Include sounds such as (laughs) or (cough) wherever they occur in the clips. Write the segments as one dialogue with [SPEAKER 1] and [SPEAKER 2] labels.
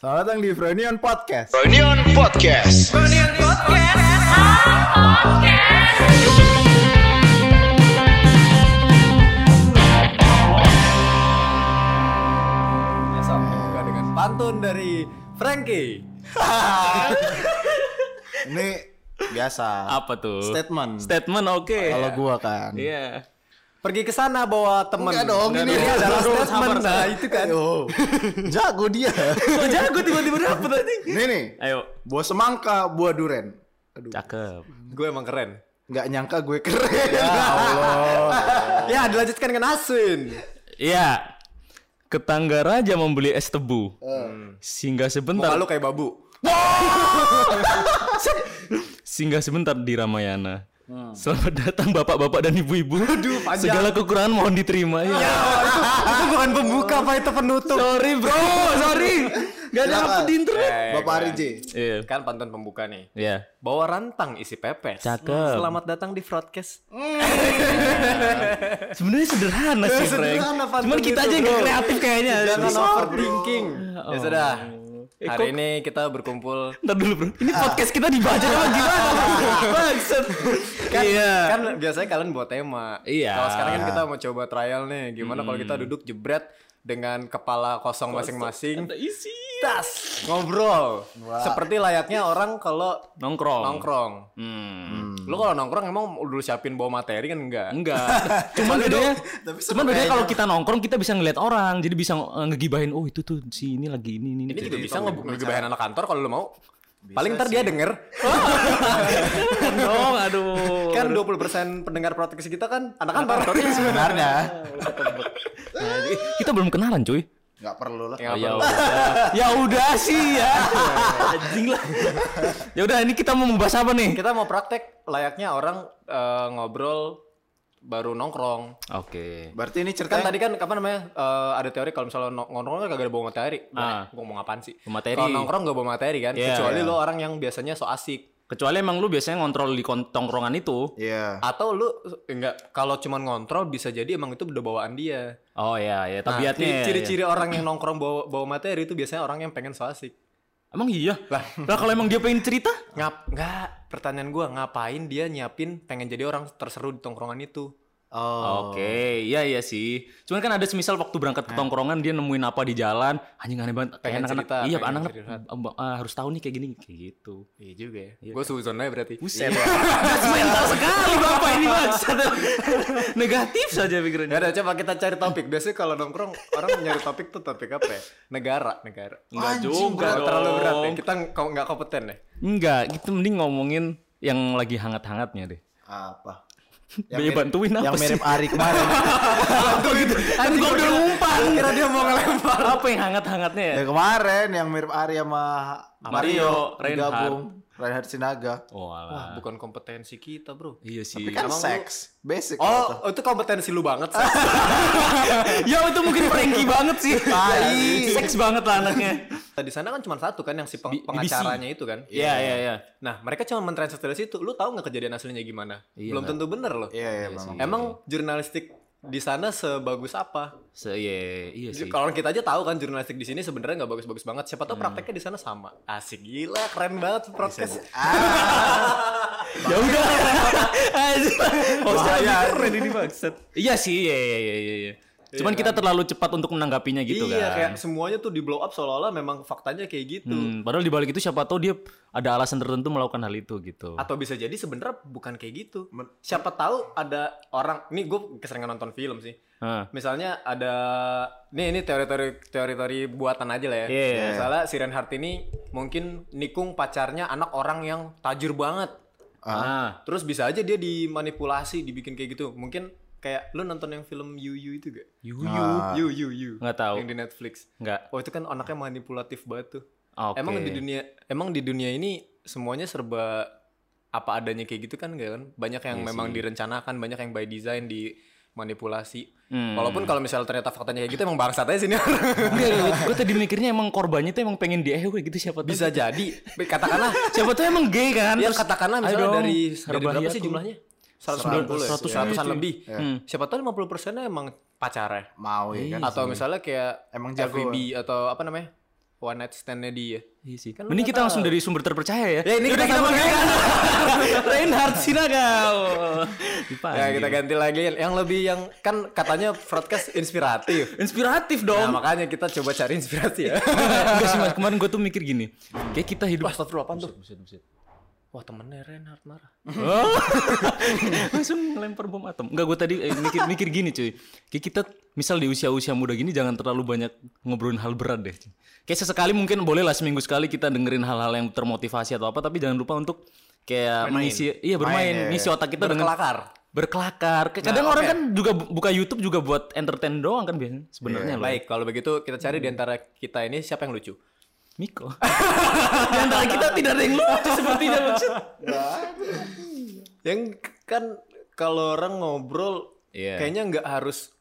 [SPEAKER 1] Selamat datang di Frenion Podcast.
[SPEAKER 2] Reunion Podcast. Iya,
[SPEAKER 1] Biasa buka dengan pantun dari Frankie. (laughs) Ini biasa.
[SPEAKER 3] apa tuh?
[SPEAKER 1] Statement.
[SPEAKER 3] Statement oke.
[SPEAKER 1] Kalau gua kan.
[SPEAKER 3] Iya.
[SPEAKER 4] pergi ke sana bawa temen
[SPEAKER 1] Enggak dong, ini
[SPEAKER 4] Ini adalah
[SPEAKER 1] Sabar,
[SPEAKER 4] statement
[SPEAKER 1] sabar.
[SPEAKER 4] nah itu kan
[SPEAKER 1] Ayo. (laughs) Jago dia.
[SPEAKER 3] Kok jago tiba-tiba dapet tadi?
[SPEAKER 1] Ini nih,
[SPEAKER 3] Ayo.
[SPEAKER 1] buah semangka, buah duren. Aduh,
[SPEAKER 3] Cakep.
[SPEAKER 4] gue emang keren
[SPEAKER 1] nggak nyangka gue keren. Ya (laughs) Allah.
[SPEAKER 4] ya dilanjutkan dengan asin
[SPEAKER 3] Iya. Ketangga raja membeli es tebu. Singgah sebentar.
[SPEAKER 4] Eh. muka lu kayak babu
[SPEAKER 3] Singgah sebentar di Ramayana. Selamat datang bapak-bapak dan ibu-ibu.
[SPEAKER 4] Hmm. panjang. Ya,
[SPEAKER 3] Segala kekurangan mohon diterima. Iya.
[SPEAKER 4] itu bukan pembuka pak itu penutup
[SPEAKER 3] Sorry
[SPEAKER 4] (laughs)
[SPEAKER 3] bro, sorry. Gak ada apa
[SPEAKER 1] Silakan.
[SPEAKER 3] di internet.
[SPEAKER 4] Eh.
[SPEAKER 1] Bapak Ari J.
[SPEAKER 3] Iya.
[SPEAKER 4] kan pantun pembuka nih
[SPEAKER 3] Iya.
[SPEAKER 4] bawa rantang isi pepes Hmm,
[SPEAKER 3] Cakep.
[SPEAKER 4] selamat datang di broadcast
[SPEAKER 3] Sebenarnya sederhana sih, Frank.
[SPEAKER 4] sederhana, Pantun
[SPEAKER 3] Cuman kita aja
[SPEAKER 4] itu,
[SPEAKER 3] yang gak
[SPEAKER 4] bro.
[SPEAKER 3] kreatif kayaknya.
[SPEAKER 4] jangan
[SPEAKER 3] Sorry.
[SPEAKER 4] overthinking ya sudah
[SPEAKER 3] Oh. Eh, kok-
[SPEAKER 4] hari ini kita berkumpul
[SPEAKER 3] Ntar dulu bro, ini podcast kita dibaca apa gimana? Maksud
[SPEAKER 4] kan,
[SPEAKER 3] Iya
[SPEAKER 4] kan biasanya kalian buat tema.
[SPEAKER 3] Iya. Hmm.
[SPEAKER 4] Kalau sekarang kan kita mau coba trial nih, gimana kalau kita duduk jebret dengan kepala kosong masing-masing,
[SPEAKER 3] isi
[SPEAKER 4] tas ngobrol, seperti layaknya orang kalau
[SPEAKER 3] Nongkrong
[SPEAKER 4] nongkrong.
[SPEAKER 3] Hmm.
[SPEAKER 4] Lu kalau nongkrong emang dulu siapin bawa materi kan enggak?
[SPEAKER 3] (laughs) Enggak Cuman bedanya Cuman bedanya kalau kita nongkrong kita bisa ngeliat orang Jadi bisa eh, ngegibahin Oh itu tuh si ini lagi ini ini
[SPEAKER 4] Ini
[SPEAKER 3] Jadi-
[SPEAKER 4] juga bisa ngebayarin anak kantor kalau lu mau. Paling ntar dia denger.
[SPEAKER 3] (laughs) Jangan dong aduh
[SPEAKER 4] kan 20% pendengar protes kita kan anak kantor.
[SPEAKER 3] Iya,
[SPEAKER 4] (laughs)
[SPEAKER 1] Sebenarnya
[SPEAKER 3] Kan Kita belum kenalan cuy
[SPEAKER 1] nggak perlu lah.
[SPEAKER 3] Oh,
[SPEAKER 4] Iya.
[SPEAKER 3] ya udah Ya udah sih ya Anjing lah Ya udah ini kita mau membahas apa nih?
[SPEAKER 4] Kita mau praktek layaknya orang eh, ngobrol baru nongkrong.
[SPEAKER 3] Oke
[SPEAKER 1] Berarti ini cerita
[SPEAKER 4] kan tadi kan apa namanya eh, ada teori kalau misalnya no- nongkrong kan kagak ada bawa materi
[SPEAKER 3] Ah.
[SPEAKER 4] gue ngomong apaan sih
[SPEAKER 3] Bawa materi.
[SPEAKER 4] kalau nongkrong gak bawa materi kan
[SPEAKER 3] Iya,
[SPEAKER 4] kecuali
[SPEAKER 3] iya.
[SPEAKER 4] lo orang yang biasanya so asik
[SPEAKER 3] Kecuali emang lu biasanya ngontrol di kon- tongkrongan itu
[SPEAKER 1] Iya.
[SPEAKER 4] atau lu enggak kalau cuman ngontrol bisa jadi emang itu udah bawaan dia
[SPEAKER 3] Oh ya ya
[SPEAKER 4] Nah,
[SPEAKER 3] tabiatnya ya, ya.
[SPEAKER 4] ciri- ciri-ciri orang yang nongkrong bawa bawa materi itu biasanya orang yang pengen so asik
[SPEAKER 3] Emang iya? Lah, kalau emang dia pengen cerita?
[SPEAKER 4] ngap nggak pertanyaan gue ngapain dia nyiapin pengen jadi orang terseru di tongkrongan itu
[SPEAKER 1] Oh.
[SPEAKER 3] Oke, iya iya sih. Cuman kan ada semisal waktu berangkat ke tongkrongan dia nemuin apa di jalan, anjing aneh banget. Kayak
[SPEAKER 4] Pengen
[SPEAKER 3] anak-anak,
[SPEAKER 4] cerita,
[SPEAKER 3] iya
[SPEAKER 4] pengen
[SPEAKER 3] anak-anak
[SPEAKER 4] curhat.
[SPEAKER 3] ab- ah, harus tahu nih kayak gini, kayak gitu. Iya.
[SPEAKER 4] iya juga ya gue suzon aja berarti
[SPEAKER 3] Buset. Gas mental sekali Bapak ini maksud. (laughs) Negatif saja pikirannya.
[SPEAKER 4] Ya udah coba kita cari topik. Biasanya kalau nongkrong orang nyari topik tuh topik apa ya? Negara, negara. Oh,
[SPEAKER 3] Enggak
[SPEAKER 1] Anjing,
[SPEAKER 3] juga
[SPEAKER 4] Enggak
[SPEAKER 3] dong.
[SPEAKER 4] terlalu berat ya. Kita kok nggak kompeten ya.
[SPEAKER 3] Enggak, gitu mending ngomongin yang lagi hangat-hangatnya deh.
[SPEAKER 1] Apa?
[SPEAKER 3] Yang bantuin apa
[SPEAKER 1] Yang
[SPEAKER 3] sih? (laughs)
[SPEAKER 1] mirip Ari kemarin.
[SPEAKER 3] Kan gua udah ngumpan.
[SPEAKER 4] Kira dia mau ngelempar.
[SPEAKER 3] Apa yang hangat-hangatnya ya?
[SPEAKER 1] Ya kemarin yang mirip Ari sama
[SPEAKER 3] Mario,
[SPEAKER 1] digabung. Reinhard Sinaga.
[SPEAKER 3] Oh, alah.
[SPEAKER 4] Bukan kompetensi kita bro.
[SPEAKER 3] Iya sih.
[SPEAKER 1] Tapi kan seks, basic.
[SPEAKER 4] Oh, itu kompetensi lu banget sih.
[SPEAKER 3] ya itu mungkin Frankie banget sih.
[SPEAKER 1] Tai.
[SPEAKER 3] Seks banget lah anaknya.
[SPEAKER 4] Nah, Di sana kan cuma satu kan yang si peng-
[SPEAKER 3] Bi-
[SPEAKER 4] pengacaranya itu kan.
[SPEAKER 3] Iya, iya, iya.
[SPEAKER 4] Nah mereka cuma mentranslate dari situ. Lu tahu nggak kejadian aslinya gimana?
[SPEAKER 3] Iya,
[SPEAKER 4] Belum
[SPEAKER 3] nggak.
[SPEAKER 4] tentu bener loh.
[SPEAKER 1] Iya, iya, memang.
[SPEAKER 4] Emang jurnalistik di sana sebagus apa?
[SPEAKER 3] Se iya, iya sih. Hmm.
[SPEAKER 4] Kalau kita aja tahu kan jurnalistik di sini sebenarnya nggak bagus-bagus banget. Siapa tahu prakteknya di sana sama. Asik gila, keren banget podcast.
[SPEAKER 3] Ya udah. (laughs) oh,
[SPEAKER 4] Bahaya.
[SPEAKER 3] keren ini maksud. Iya sih, iya iya iya iya, iya. Cuman kita terlalu cepat untuk menanggapinya gitu
[SPEAKER 4] iya,
[SPEAKER 3] kan.
[SPEAKER 4] kayak semuanya tuh di blow up seolah-olah memang faktanya kayak gitu.
[SPEAKER 3] Hmm, padahal dibalik itu siapa tahu dia ada alasan tertentu melakukan hal itu gitu.
[SPEAKER 4] Atau bisa jadi sebenarnya bukan kayak gitu. Siapa tahu ada orang, nih gue keseringan nonton film sih.
[SPEAKER 3] Heeh.
[SPEAKER 4] Misalnya ada, nih ini teori-teori teori-teori buatan aja lah ya.
[SPEAKER 3] Iya.
[SPEAKER 4] Misalnya si Reinhardt ini mungkin nikung pacarnya anak orang yang tajir banget.
[SPEAKER 3] Ah.
[SPEAKER 4] Terus bisa aja dia dimanipulasi, dibikin kayak gitu. Mungkin kayak lu nonton yang film Yu Yu itu gak?
[SPEAKER 3] Yuyu.
[SPEAKER 1] Ah.
[SPEAKER 4] Yu Yu Yu.
[SPEAKER 3] Nggak tahu.
[SPEAKER 4] Yang di Netflix.
[SPEAKER 3] Enggak.
[SPEAKER 4] Oh itu kan anaknya manipulatif banget tuh.
[SPEAKER 3] Ah, Oke.
[SPEAKER 4] Emang di dunia emang di dunia ini semuanya serba apa adanya kayak gitu kan enggak kan? Banyak
[SPEAKER 3] Iya
[SPEAKER 4] yang memang direncanakan, banyak yang by design dimanipulasi.
[SPEAKER 3] Hmm.
[SPEAKER 4] Walaupun kalau misalnya ternyata faktanya kayak gitu emang bangsat aja sini
[SPEAKER 3] (laughs)
[SPEAKER 4] orang.
[SPEAKER 3] gue tadi mikirnya emang korbannya tuh emang pengen diewe gitu siapa tahu.
[SPEAKER 4] Bisa jadi katakanlah
[SPEAKER 3] Siapa tuh emang gay kan?
[SPEAKER 4] ya
[SPEAKER 3] Terus,
[SPEAKER 4] katakanlah
[SPEAKER 3] ayo
[SPEAKER 4] misalnya
[SPEAKER 3] dong,
[SPEAKER 4] dari, dari berapa
[SPEAKER 3] herbahiaku.
[SPEAKER 4] sih jumlahnya?
[SPEAKER 1] 190 ya?
[SPEAKER 4] 190 100 an
[SPEAKER 3] Iya.
[SPEAKER 4] lebih. Ya.
[SPEAKER 3] Hmm.
[SPEAKER 4] Siapa tahu 50 persennya emang pacarnya.
[SPEAKER 1] mau ya kan.
[SPEAKER 4] Atau misalnya kayak
[SPEAKER 1] Emang jagoan.
[SPEAKER 4] FVB atau apa namanya? one night stand-nya dia.
[SPEAKER 3] Iya sih.
[SPEAKER 4] Kan lu
[SPEAKER 3] Mending
[SPEAKER 4] nggak
[SPEAKER 3] kita
[SPEAKER 4] tahu.
[SPEAKER 3] langsung dari sumber terpercaya ya.
[SPEAKER 4] Ya, ini
[SPEAKER 3] Yaudah,
[SPEAKER 4] kita
[SPEAKER 3] panggil
[SPEAKER 4] (laughs)
[SPEAKER 3] Reinhard Sinagau.
[SPEAKER 4] Ya
[SPEAKER 3] Dipanggil.
[SPEAKER 4] kita ganti lagi yang lebih yang kan katanya broadcast inspiratif.
[SPEAKER 3] Inspiratif
[SPEAKER 4] Nah,
[SPEAKER 3] dong.
[SPEAKER 4] makanya kita coba cari inspirasi
[SPEAKER 3] (laughs)
[SPEAKER 4] ya.
[SPEAKER 3] Enggak sih mas, kemarin gue tuh mikir gini. Kayak kita hidup.
[SPEAKER 4] Wah, astagfirullah apaan tuh?
[SPEAKER 3] Buset, buset.
[SPEAKER 4] Wah, temennya Renard marah.
[SPEAKER 3] (laughs) Oh. Langsung ngelempar bom atom. Enggak gue tadi eh, mikir mikir gini cuy. Kayak kita misal di usia-usia muda gini jangan terlalu banyak ngobrolin hal berat deh. cuy. Kayak sesekali mungkin boleh lah seminggu sekali kita dengerin hal-hal yang termotivasi atau apa tapi jangan lupa untuk kayak mengisi iya bermain,
[SPEAKER 4] Main, ya,
[SPEAKER 3] ngisi
[SPEAKER 4] ya.
[SPEAKER 3] otak kita dengan
[SPEAKER 4] Berkelakar.
[SPEAKER 3] berkelakar. Kadang
[SPEAKER 4] Nah,
[SPEAKER 3] orang
[SPEAKER 4] oke.
[SPEAKER 3] kan juga bu- buka YouTube juga buat entertain doang kan biasanya sebenarnya loh.
[SPEAKER 4] Baik, kalau begitu kita cari di antara kita ini siapa yang lucu.
[SPEAKER 3] Miko. (laughs) Di antara kita tidak ada yang lucu sepertinya maksud.
[SPEAKER 4] Yang kan kalau orang ngobrol
[SPEAKER 3] Iya.
[SPEAKER 4] kayaknya nggak harus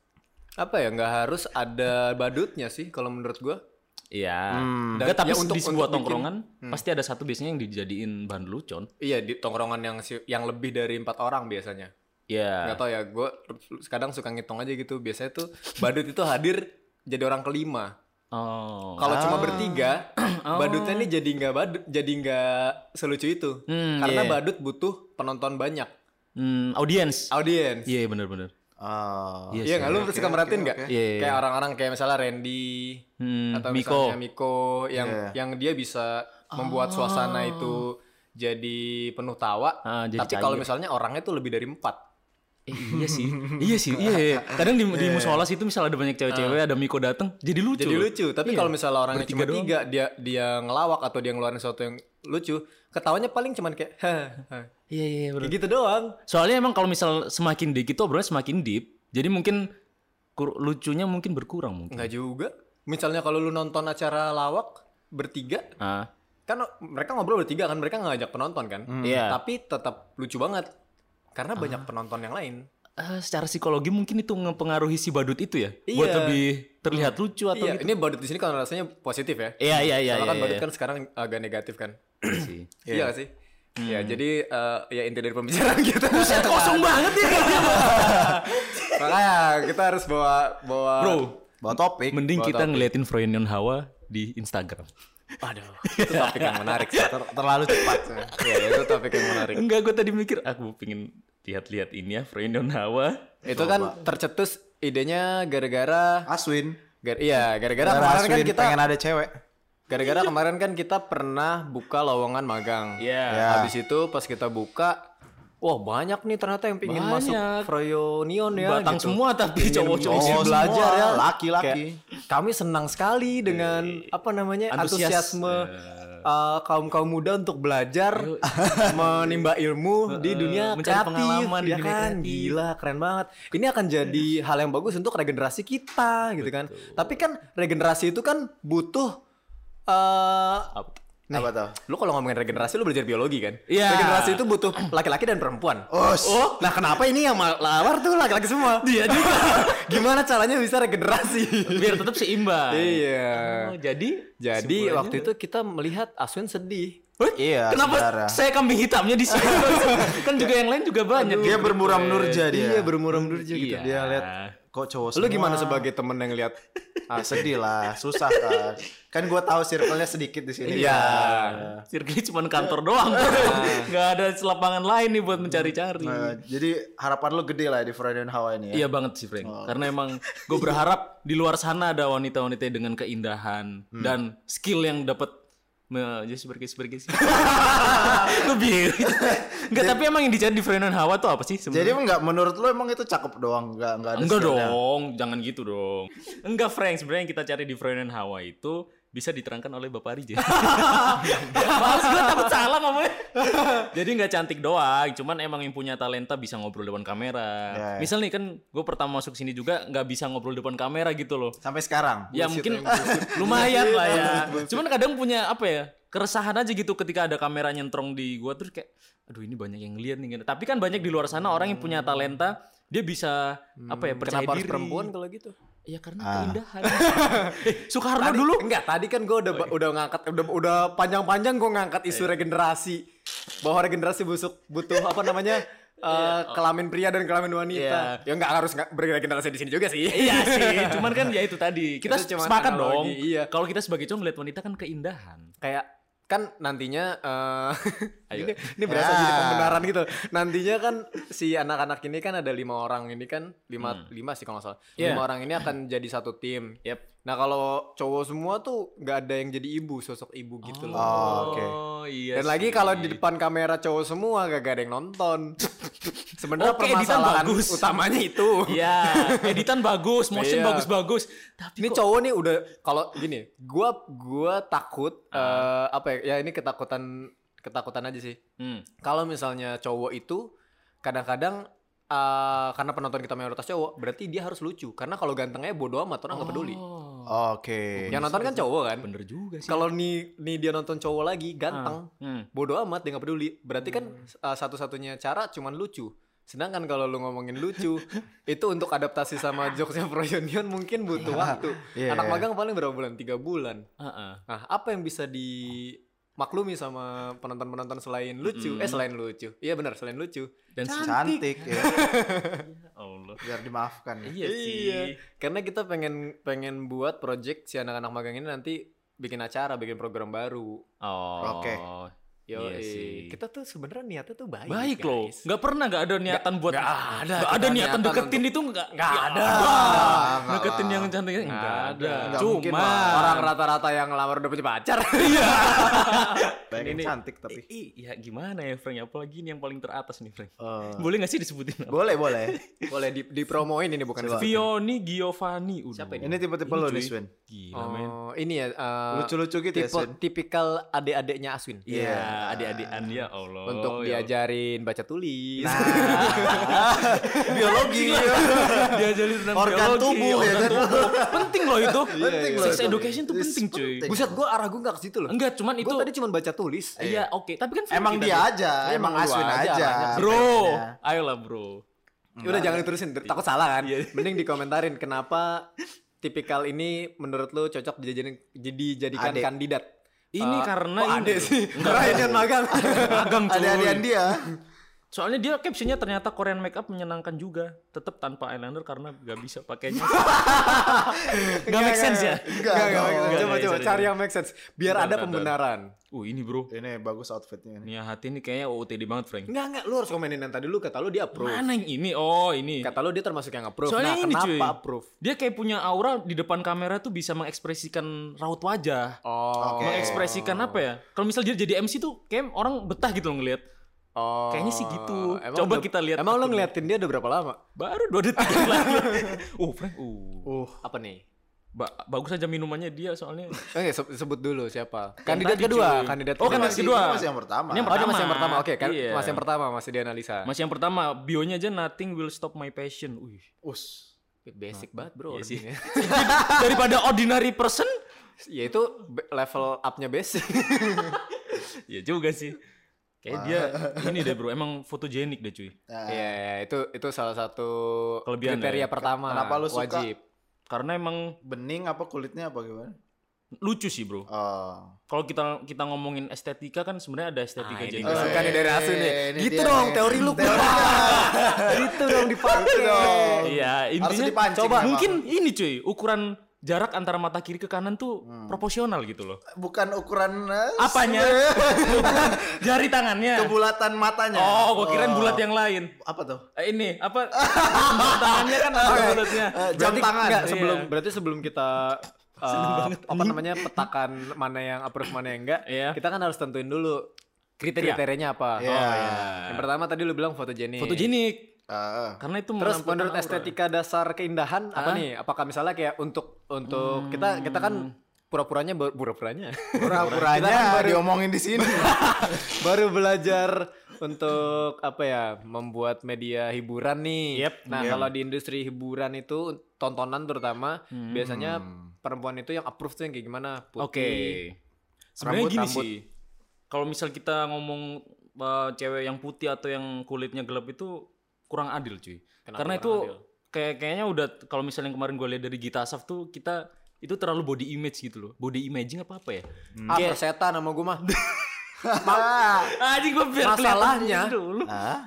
[SPEAKER 4] apa ya nggak harus ada badutnya sih kalau menurut gua.
[SPEAKER 3] Iya.
[SPEAKER 4] Dan-
[SPEAKER 3] Enggak, tapi
[SPEAKER 4] ya, untuk-
[SPEAKER 3] di sebuah
[SPEAKER 4] untuk bikin- Hmm.
[SPEAKER 3] tongkrongan pasti ada satu biasanya yang dijadiin bahan lucon.
[SPEAKER 4] Iya di tongkrongan yang si- yang lebih dari empat orang biasanya.
[SPEAKER 3] Iya.
[SPEAKER 4] Nggak tau ya gue kadang suka ngitung aja gitu. Biasanya tuh badut itu hadir jadi orang kelima.
[SPEAKER 3] Oh.
[SPEAKER 4] Kalau cuma (clears throat) bertiga, badutnya nih jadi nggak badut, jadi nggak selucu itu.
[SPEAKER 3] Hmm,
[SPEAKER 4] Karena
[SPEAKER 3] iya.
[SPEAKER 4] badut butuh penonton banyak,
[SPEAKER 3] Hmm, audience.
[SPEAKER 4] audiens.
[SPEAKER 3] Iya, benar-benar.
[SPEAKER 2] Ah.
[SPEAKER 3] Iya,
[SPEAKER 4] Iya nggak? Lu
[SPEAKER 2] oke, oke,
[SPEAKER 4] suka merhatiin
[SPEAKER 2] oke.
[SPEAKER 4] nggak?
[SPEAKER 3] Iya, iya,
[SPEAKER 4] Kayak
[SPEAKER 3] iya.
[SPEAKER 4] orang-orang kayak misalnya Randy
[SPEAKER 3] Hmm,
[SPEAKER 4] atau
[SPEAKER 3] Miko.
[SPEAKER 4] misalnya Miko yang
[SPEAKER 2] Iya.
[SPEAKER 4] yang dia bisa membuat suasana itu jadi penuh tawa.
[SPEAKER 3] Oh. Ah, jadi
[SPEAKER 4] tapi kalau
[SPEAKER 3] cair.
[SPEAKER 4] misalnya orangnya tuh lebih dari empat.
[SPEAKER 3] Eh, iya
[SPEAKER 4] (laughs)
[SPEAKER 3] sih. iya sih. Iya, iya. Kadang di, di musola situ misal ada banyak cewek-cewek, ada Miko dateng, jadi lucu.
[SPEAKER 4] Ah. Jadi
[SPEAKER 3] loh.
[SPEAKER 4] lucu. Tapi
[SPEAKER 3] Iya.
[SPEAKER 4] kalau misalnya orangnya
[SPEAKER 3] Bertiga
[SPEAKER 4] cuma
[SPEAKER 3] doang.
[SPEAKER 4] tiga, dia dia ngelawak atau dia ngeluarin sesuatu yang lucu, ketawanya paling cuman kayak "Hah, hah."
[SPEAKER 3] Iya, iya, benar.
[SPEAKER 4] Kayak gitu doang.
[SPEAKER 3] Soalnya emang kalau misal semakin dikit tuh obrolannya semakin deep. Jadi mungkin kur- lucunya mungkin berkurang mungkin.
[SPEAKER 4] Enggak juga. Misalnya kalau lu nonton acara lawak bertiga,
[SPEAKER 3] Ah.
[SPEAKER 4] kan mereka ngobrol bertiga kan, mereka ngajak penonton kan.
[SPEAKER 3] Iya.
[SPEAKER 4] Tapi tetap lucu banget karena banyak penonton yang lain.
[SPEAKER 3] Eh, secara psikologi mungkin itu mempengaruhi si badut itu ya buat
[SPEAKER 4] Iya.
[SPEAKER 3] lebih terlihat lucu atau
[SPEAKER 4] Iya,
[SPEAKER 3] gitu.
[SPEAKER 4] ini badut di sini kan rasanya positif ya.
[SPEAKER 3] Iya iya iya.
[SPEAKER 4] Soalnya
[SPEAKER 3] iya,
[SPEAKER 4] kan badut
[SPEAKER 3] iya.
[SPEAKER 4] kan sekarang agak negatif kan.
[SPEAKER 3] Iya sih.
[SPEAKER 4] Iya nggak sih?
[SPEAKER 3] Hmm.
[SPEAKER 4] Ya, jadi eh, ya inti dari pembicaraan (laughs) kita.
[SPEAKER 3] Buset, kosong banget
[SPEAKER 4] (laughs)
[SPEAKER 3] ya.
[SPEAKER 4] Makanya kita harus bawa bawa
[SPEAKER 3] Bro,
[SPEAKER 2] Bawa topik.
[SPEAKER 3] mending kita ngeliatin Froynion Hawa di Instagram.
[SPEAKER 4] Aduh, itu topik yang menarik. sih.
[SPEAKER 2] Ter- terlalu cepat.
[SPEAKER 4] Iya, itu topik yang menarik.
[SPEAKER 3] Enggak, gue tadi mikir aku pengen lihat-lihat ini ya Froynion Hawa.
[SPEAKER 4] Itu kan tercetus idenya gara-gara
[SPEAKER 2] Aswin.
[SPEAKER 4] Gar- iya, gara-gara
[SPEAKER 2] Gara
[SPEAKER 4] kemarin
[SPEAKER 2] Aswin
[SPEAKER 4] kan kita
[SPEAKER 2] pengen ada cewek.
[SPEAKER 4] gara-gara kemarin kan kita pernah buka lowongan magang. Nah,
[SPEAKER 3] Iya.
[SPEAKER 2] Iya.
[SPEAKER 4] Habis itu pas kita buka, wah banyak nih ternyata yang pingin
[SPEAKER 3] Banyak.
[SPEAKER 4] masuk Froyonion ya.
[SPEAKER 3] Batang
[SPEAKER 4] gitu.
[SPEAKER 3] semua tapi
[SPEAKER 4] Pingin-
[SPEAKER 3] cowok-cowok
[SPEAKER 4] pingin
[SPEAKER 2] semua,
[SPEAKER 4] belajar ya.
[SPEAKER 2] laki-laki.
[SPEAKER 4] Kayak, Kami senang sekali dengan apa namanya
[SPEAKER 3] Iya. Antusias. Iya.
[SPEAKER 4] antusiasme kaum kaum muda untuk belajar, (laughs) menimba ilmu di dunia
[SPEAKER 3] mencari
[SPEAKER 4] kreatif,
[SPEAKER 3] pengalaman di
[SPEAKER 4] ya
[SPEAKER 3] dunia
[SPEAKER 4] kan?
[SPEAKER 3] kreatif.
[SPEAKER 4] Gila, keren banget. Ini akan jadi hal yang bagus untuk regenerasi kita, gitu kan? Tapi kan regenerasi itu kan butuh eh
[SPEAKER 2] Apa tuh?
[SPEAKER 4] lu kalau ngomongin regenerasi lu belajar biologi kan?
[SPEAKER 3] Iya.
[SPEAKER 4] Regenerasi itu butuh laki-laki dan perempuan.
[SPEAKER 2] Oh, s-
[SPEAKER 4] Oh, nah kenapa ini yang mal- lawar tuh laki-laki semua? (laughs) Dia Iya juga. Gimana caranya bisa regenerasi?
[SPEAKER 3] Biar tetap seimbang.
[SPEAKER 4] iya.
[SPEAKER 3] Oh, jadi
[SPEAKER 4] Jadi waktu itu kita melihat Aswin sedih.
[SPEAKER 2] Iya,
[SPEAKER 3] Kenapa
[SPEAKER 2] saudara.
[SPEAKER 3] saya kambing hitamnya di
[SPEAKER 2] (laughs)
[SPEAKER 3] sini? kan juga yang lain juga banyak.
[SPEAKER 2] Dia bermuram nurja dia.
[SPEAKER 4] Iya, bermuram durja gitu.
[SPEAKER 2] Dia lihat kok cowok
[SPEAKER 4] Lu
[SPEAKER 2] semua.
[SPEAKER 4] gimana sebagai temen yang lihat?
[SPEAKER 2] Ah, sedih lah, susah kan. Kan gua tahu circle-nya sedikit di sini.
[SPEAKER 4] Iya.
[SPEAKER 3] Circle cuma kantor doang.
[SPEAKER 2] Iya.
[SPEAKER 3] (laughs) Nggak ada lapangan lain nih buat mencari-cari.
[SPEAKER 2] Eh, jadi harapan lu gede lah di Friday and Hawa ini ya.
[SPEAKER 3] Iya banget sih Frank. Karena emang gue berharap di luar sana ada wanita-wanita dengan keindahan
[SPEAKER 2] Hmm.
[SPEAKER 3] dan skill yang dapat jadi sebagai sebagai
[SPEAKER 2] (laughs)
[SPEAKER 3] sih. Gue bingung. Enggak tapi emang yang dicari di Frenon Hawa tuh apa sih
[SPEAKER 2] Jadi
[SPEAKER 3] sebenarnya?
[SPEAKER 2] enggak menurut lu emang itu cakep doang, enggak enggak ada
[SPEAKER 3] Enggak
[SPEAKER 2] skill-nya?
[SPEAKER 3] dong, jangan gitu dong. Enggak Frank, sebenarnya yang kita cari di Frenon Hawa itu bisa diterangkan oleh Bapak Rija.
[SPEAKER 2] (laughs)
[SPEAKER 3] Maaf gue takut salah ngomongnya. Jadi nggak cantik doang, cuman emang yang punya talenta bisa ngobrol depan kamera.
[SPEAKER 2] Ya, ya.
[SPEAKER 3] Misal nih kan gue pertama masuk sini juga nggak bisa ngobrol depan kamera gitu loh.
[SPEAKER 2] Sampai sekarang.
[SPEAKER 3] Ya mungkin (laughs) lumayan lah ya.
[SPEAKER 4] (laughs)
[SPEAKER 3] Cuman kadang punya apa ya keresahan aja gitu ketika ada kamera nyentrong di gua terus kayak aduh ini banyak yang lihat nih. Tapi kan banyak di luar sana orang yang punya talenta dia bisa apa ya percaya
[SPEAKER 4] Hmm, Kenapa harus
[SPEAKER 3] diri.
[SPEAKER 4] perembuan kalau gitu?
[SPEAKER 3] Ya karena
[SPEAKER 4] (laughs)
[SPEAKER 3] keindahan. eh, Soekarno
[SPEAKER 4] Tadi- (laughs)
[SPEAKER 3] dulu
[SPEAKER 4] Enggak, tadi kan gue udah udah ngangkat udah udah panjang-panjang gue ngangkat isu regenerasi. Bahwa regenerasi busuk butuh apa namanya? eh, kelamin pria dan kelamin wanita. Ya nggak harus nggak bergenerasi di sini juga sih. Iya (laughs)
[SPEAKER 3] sih, cuman kan ya itu tadi. Kita
[SPEAKER 4] Itu cuman
[SPEAKER 3] sepakat
[SPEAKER 4] analogi,
[SPEAKER 3] dong.
[SPEAKER 4] iya.
[SPEAKER 3] Kalau kita sebagai cowok ngeliat wanita kan keindahan.
[SPEAKER 4] Kayak kan nantinya eh (laughs)
[SPEAKER 3] Ayo.
[SPEAKER 4] ini, ini berasa
[SPEAKER 2] Ya.
[SPEAKER 4] jadi pembenaran gitu. Nantinya kan si anak-anak ini kan ada lima orang ini kan lima lima sih kalau nggak salah.
[SPEAKER 3] Iya.
[SPEAKER 4] Lima orang ini akan jadi satu tim.
[SPEAKER 3] Yep.
[SPEAKER 4] Nah kalau cowok semua tuh nggak ada yang jadi ibu sosok ibu gitu loh.
[SPEAKER 2] Oh, oke.
[SPEAKER 3] iya.
[SPEAKER 4] Dan lagi
[SPEAKER 3] sih.
[SPEAKER 4] kalau di depan kamera cowok semua gak ada yang
[SPEAKER 3] (laughs)
[SPEAKER 4] nonton. Sebenarnya
[SPEAKER 3] Oke, editan
[SPEAKER 4] permasalahan
[SPEAKER 3] bagus.
[SPEAKER 4] utamanya itu.
[SPEAKER 3] (laughs) Iya, editan bagus, motion
[SPEAKER 4] Iya.
[SPEAKER 3] bagus-bagus. Tapi
[SPEAKER 4] Ini cowok nih udah kalau gini, gua gua takut eh,
[SPEAKER 3] Ah.
[SPEAKER 4] apa ya? Ya ini ketakutan ketakutan aja sih.
[SPEAKER 3] Hmm.
[SPEAKER 4] Kalau misalnya cowok itu kadang-kadang eh, karena penonton kita mayoritas cowok, berarti dia harus lucu. Karena kalau gantengnya bodo amat orang nggak peduli.
[SPEAKER 3] Oh, Iya
[SPEAKER 2] Oke.
[SPEAKER 4] Yang nonton kan cowok kan.
[SPEAKER 3] bener juga sih.
[SPEAKER 4] Kalau nih nih dia nonton cowok lagi ganteng,
[SPEAKER 3] Hmm.
[SPEAKER 4] bodoh amat dia nggak peduli berarti kan uh, satu-satunya cara cuman lucu sedangkan kalau lu ngomongin
[SPEAKER 3] (laughs)
[SPEAKER 4] lucu itu untuk adaptasi sama jokesnya Pro Union mungkin butuh waktu
[SPEAKER 2] Iya,
[SPEAKER 4] anak
[SPEAKER 2] iya.
[SPEAKER 4] magang paling berapa bulan tiga bulan
[SPEAKER 3] Heeh.
[SPEAKER 4] nah apa yang bisa dimaklumi sama penonton-penonton selain lucu
[SPEAKER 3] Hmm.
[SPEAKER 4] eh selain lucu iya benar selain lucu
[SPEAKER 3] Dan
[SPEAKER 2] Cantik ya.
[SPEAKER 3] Allah.
[SPEAKER 2] Biar dimaafkan. ya.
[SPEAKER 3] Iya sih.
[SPEAKER 4] karena kita pengen pengen buat project si anak-anak magang ini nanti bikin acara bikin program baru
[SPEAKER 3] Oh.
[SPEAKER 2] Oke.
[SPEAKER 4] yo
[SPEAKER 3] Iya sih.
[SPEAKER 4] kita tuh sebenarnya niatnya tuh baik
[SPEAKER 3] Baik loh.
[SPEAKER 4] guys.
[SPEAKER 3] Nggak pernah nggak ada niatan buat
[SPEAKER 4] nggak ada.
[SPEAKER 3] Nggak ada
[SPEAKER 4] Kita
[SPEAKER 3] niatan
[SPEAKER 4] niatan
[SPEAKER 3] deketin itu nggak nggak ada.
[SPEAKER 2] nggak
[SPEAKER 3] deketin
[SPEAKER 2] lah.
[SPEAKER 3] yang cantik nggak ada.
[SPEAKER 2] Nggak mungkin
[SPEAKER 3] Cuma
[SPEAKER 2] lah.
[SPEAKER 4] orang rata-rata yang ngelamar udah punya pacar
[SPEAKER 3] Iya.
[SPEAKER 2] Banyak yang
[SPEAKER 3] Ini-
[SPEAKER 2] cantik tapi.
[SPEAKER 3] Iya gimana ya Frank? Apalagi ini yang paling teratas nih Frank.
[SPEAKER 2] Eh,
[SPEAKER 3] Boleh nggak sih disebutin?
[SPEAKER 2] boleh, boleh.
[SPEAKER 4] boleh di dipromoin ini bukan
[SPEAKER 2] Coba.
[SPEAKER 4] sepi-
[SPEAKER 3] Vioni Giovanni udah.
[SPEAKER 4] Siapa
[SPEAKER 2] Ini tipe-tipe lo nih, Swin.
[SPEAKER 3] Gila men.
[SPEAKER 4] oh ini ya eh,
[SPEAKER 2] Lucu-lucu gitu ya,
[SPEAKER 4] tipe
[SPEAKER 2] Swin.
[SPEAKER 4] tipikal adik-adiknya Aswin
[SPEAKER 3] Iya, adik-adikan ya Allah.
[SPEAKER 4] untuk
[SPEAKER 3] ya Allah.
[SPEAKER 4] diajarin baca tulis
[SPEAKER 2] Nah,
[SPEAKER 4] (laughs)
[SPEAKER 2] Biologi.
[SPEAKER 3] diajarin tentang
[SPEAKER 2] Iya. Organ
[SPEAKER 3] biologi,
[SPEAKER 2] tubuh, ya
[SPEAKER 3] organ
[SPEAKER 2] kan? Iya,
[SPEAKER 3] tubuh. penting loh itu.
[SPEAKER 2] Penting loh
[SPEAKER 3] Sex
[SPEAKER 2] itu.
[SPEAKER 3] education tuh
[SPEAKER 2] Is
[SPEAKER 3] penting, cuy.
[SPEAKER 2] penting.
[SPEAKER 4] buset gue arah gue nggak ke situ loh
[SPEAKER 3] Enggak, cuman itu
[SPEAKER 4] gue tadi cuma baca tulis
[SPEAKER 3] Iya, oke. Tapi kan
[SPEAKER 2] Emang
[SPEAKER 3] kita
[SPEAKER 2] dia
[SPEAKER 3] tuh-
[SPEAKER 2] aja, emang
[SPEAKER 4] emang lu
[SPEAKER 2] Aswin
[SPEAKER 4] aja
[SPEAKER 2] aja.
[SPEAKER 4] orangnya.
[SPEAKER 3] Bro,
[SPEAKER 2] Iya.
[SPEAKER 3] ayolah, bro.
[SPEAKER 4] Ya udah jangan diterusin ter- takut salah kan mending dikomentarin kenapa tipikal ini menurut lu cocok dijadikan dijadikan
[SPEAKER 2] Adik.
[SPEAKER 4] kandidat
[SPEAKER 3] Ini
[SPEAKER 4] Eh,
[SPEAKER 3] karena
[SPEAKER 4] kok
[SPEAKER 3] ini
[SPEAKER 4] adik
[SPEAKER 3] loh. (laughs)
[SPEAKER 4] sih karena ini yang magang
[SPEAKER 3] Magang cuy.
[SPEAKER 2] Ada-adaan dia.
[SPEAKER 3] Soalnya dia captionnya ternyata Korean makeup menyenangkan juga, tetap tanpa eyeliner karena gak bisa
[SPEAKER 2] (laughs)
[SPEAKER 3] pakainya. gak make sense ya?
[SPEAKER 2] Enggak,
[SPEAKER 4] Enggak, enggak,
[SPEAKER 2] dong.
[SPEAKER 4] enggak. coba
[SPEAKER 3] enggak,
[SPEAKER 4] coba
[SPEAKER 3] sorry,
[SPEAKER 4] cari
[SPEAKER 3] sorry.
[SPEAKER 4] yang make sense
[SPEAKER 3] Bentar,
[SPEAKER 4] biar ada
[SPEAKER 3] bentar.
[SPEAKER 4] pembenaran.
[SPEAKER 3] Uh ini bro,
[SPEAKER 2] Ini bagus outfitnya. nih.
[SPEAKER 3] Nia Hati ini kayaknya OOTD banget Frank.
[SPEAKER 4] Enggak enggak lu harus komenin yang tadi lu kata lu dia approve.
[SPEAKER 3] Mana yang ini? Oh ini.
[SPEAKER 4] Kata lu dia termasuk yang approve.
[SPEAKER 3] Soalnya
[SPEAKER 4] nah,
[SPEAKER 3] ini
[SPEAKER 4] kenapa
[SPEAKER 3] cuy.
[SPEAKER 4] approve?
[SPEAKER 3] Dia kayak punya aura di depan kamera tuh bisa mengekspresikan raut wajah.
[SPEAKER 4] Oh.
[SPEAKER 2] Oke.
[SPEAKER 3] Mengekspresikan apa ya? Kalau misal dia jadi MC tuh kayak orang betah gitu loh ngelihat.
[SPEAKER 4] Oh.
[SPEAKER 3] Kayaknya sih gitu. Coba
[SPEAKER 4] udah-
[SPEAKER 3] kita lihat
[SPEAKER 4] Emang lu
[SPEAKER 3] akunnya.
[SPEAKER 4] ngeliatin dia udah berapa lama?
[SPEAKER 3] Baru dua detik lagi.
[SPEAKER 4] (laughs)
[SPEAKER 3] uh
[SPEAKER 4] Oh,
[SPEAKER 3] Frank, uh.
[SPEAKER 4] Uh, apa nih?
[SPEAKER 3] Ba- bagus aja minumannya dia soalnya.
[SPEAKER 4] Eh, se- sebut dulu siapa? Kandidat
[SPEAKER 3] tadi, cuy.
[SPEAKER 4] kedua, kandidat
[SPEAKER 3] Oh, kandidat
[SPEAKER 4] kedua.
[SPEAKER 2] Masih-
[SPEAKER 3] kedua.
[SPEAKER 2] kan ini Masih yang pertama.
[SPEAKER 3] Ini yang
[SPEAKER 4] Oh, dia masih yang
[SPEAKER 3] Pertama.
[SPEAKER 4] pertama. Oke, kan
[SPEAKER 3] Iya.
[SPEAKER 4] masih yang pertama masih dianalisa.
[SPEAKER 3] Masih yang pertama, bionya aja nothing will stop my passion. Wih.
[SPEAKER 2] Us.
[SPEAKER 4] Basic banget, Bro.
[SPEAKER 3] Iya sih. (laughs)
[SPEAKER 4] orangnya.
[SPEAKER 3] Daripada ordinary person?
[SPEAKER 4] (laughs) ya itu be- level up-nya
[SPEAKER 3] (laughs)
[SPEAKER 4] basic.
[SPEAKER 3] Ya juga sih. Kayak dia ini deh bro, emang fotogenik deh cuy.
[SPEAKER 2] Nah,
[SPEAKER 4] Iya, iya, itu itu salah satu
[SPEAKER 3] Kelebihan ya.
[SPEAKER 4] kriteria pertama.
[SPEAKER 2] Kenapa lu suka?
[SPEAKER 3] (laughs)
[SPEAKER 4] wajib.
[SPEAKER 3] Karena emang
[SPEAKER 2] Bening apa kulitnya apa gimana?
[SPEAKER 3] lucu sih bro.
[SPEAKER 2] Oh.
[SPEAKER 3] Kalau kita kita ngomongin estetika kan sebenarnya ada estetika
[SPEAKER 4] Ah, ini
[SPEAKER 3] jadi
[SPEAKER 4] gue suka nih dari Asun nih.
[SPEAKER 2] Eh, ini
[SPEAKER 4] Gitu
[SPEAKER 2] dia
[SPEAKER 4] dong
[SPEAKER 2] nih.
[SPEAKER 4] teori lu.
[SPEAKER 2] (laughs) Teori.
[SPEAKER 4] gitu dong dipakai.
[SPEAKER 2] Gitu dong.
[SPEAKER 3] Iya,
[SPEAKER 2] Harus
[SPEAKER 3] intinya
[SPEAKER 2] dipancing
[SPEAKER 3] coba
[SPEAKER 2] memang.
[SPEAKER 3] mungkin ini cuy, ukuran jarak antara mata kiri ke kanan tuh
[SPEAKER 4] Hmm.
[SPEAKER 3] proporsional gitu loh.
[SPEAKER 2] Bukan ukuran eh,
[SPEAKER 4] (laughs)
[SPEAKER 3] Apanya? Ukuran jari tangannya.
[SPEAKER 2] kebulatan matanya. Oh,
[SPEAKER 3] Oh, gua kirain bulat yang lain.
[SPEAKER 2] apa tuh?
[SPEAKER 3] Eh, ini apa?
[SPEAKER 4] (laughs)
[SPEAKER 3] tangannya kan ada bulatnya.
[SPEAKER 4] Eh, Jam tangan.
[SPEAKER 3] Iya.
[SPEAKER 4] sebelum berarti sebelum kita eh, apa namanya petakan mana yang approve mana yang enggak,
[SPEAKER 3] Iya.
[SPEAKER 4] kita kan harus tentuin dulu kriteria-kriterianya apa. Oh,
[SPEAKER 2] Iya.
[SPEAKER 4] Yang pertama tadi lu bilang fotogenik.
[SPEAKER 3] Iya. Fotogenik.
[SPEAKER 2] Ah, ah.
[SPEAKER 3] Karena itu
[SPEAKER 4] Terus
[SPEAKER 3] menampilkan
[SPEAKER 4] menurut
[SPEAKER 3] aura.
[SPEAKER 4] estetika dasar keindahan apa nih? Apakah misalnya kayak untuk untuk kita kita kan pura-puranya baru- pura-puranya (laughs) Kita kan
[SPEAKER 2] Pura-puranya
[SPEAKER 4] baru-
[SPEAKER 2] diomongin di sini.
[SPEAKER 4] baru belajar untuk apa ya membuat media hiburan nih.
[SPEAKER 3] Yep.
[SPEAKER 4] Nah kalau di industri hiburan itu tontonan terutama biasanya perempuan itu yang approve tuh yang kayak gimana? Putih.
[SPEAKER 3] Hmm. Oke. Sebenarnya
[SPEAKER 4] Rambut,
[SPEAKER 3] gini
[SPEAKER 4] rambut.
[SPEAKER 3] sih. Kalau misal kita ngomong uh, cewek yang putih atau yang kulitnya gelap itu kurang adil, cuy. Karena itu kayak kayaknya udah kalau misalnya yang kemarin gue lihat dari Gita Asaf tuh kita itu terlalu body image gitu loh. Body imaging apa apa ya?
[SPEAKER 4] Ah
[SPEAKER 3] (laughs)
[SPEAKER 4] persetan sama gue mah.
[SPEAKER 3] Anjing gue biar kelihatan
[SPEAKER 4] Masalahnya- Ah.
[SPEAKER 3] gitu dulu.
[SPEAKER 2] Nah,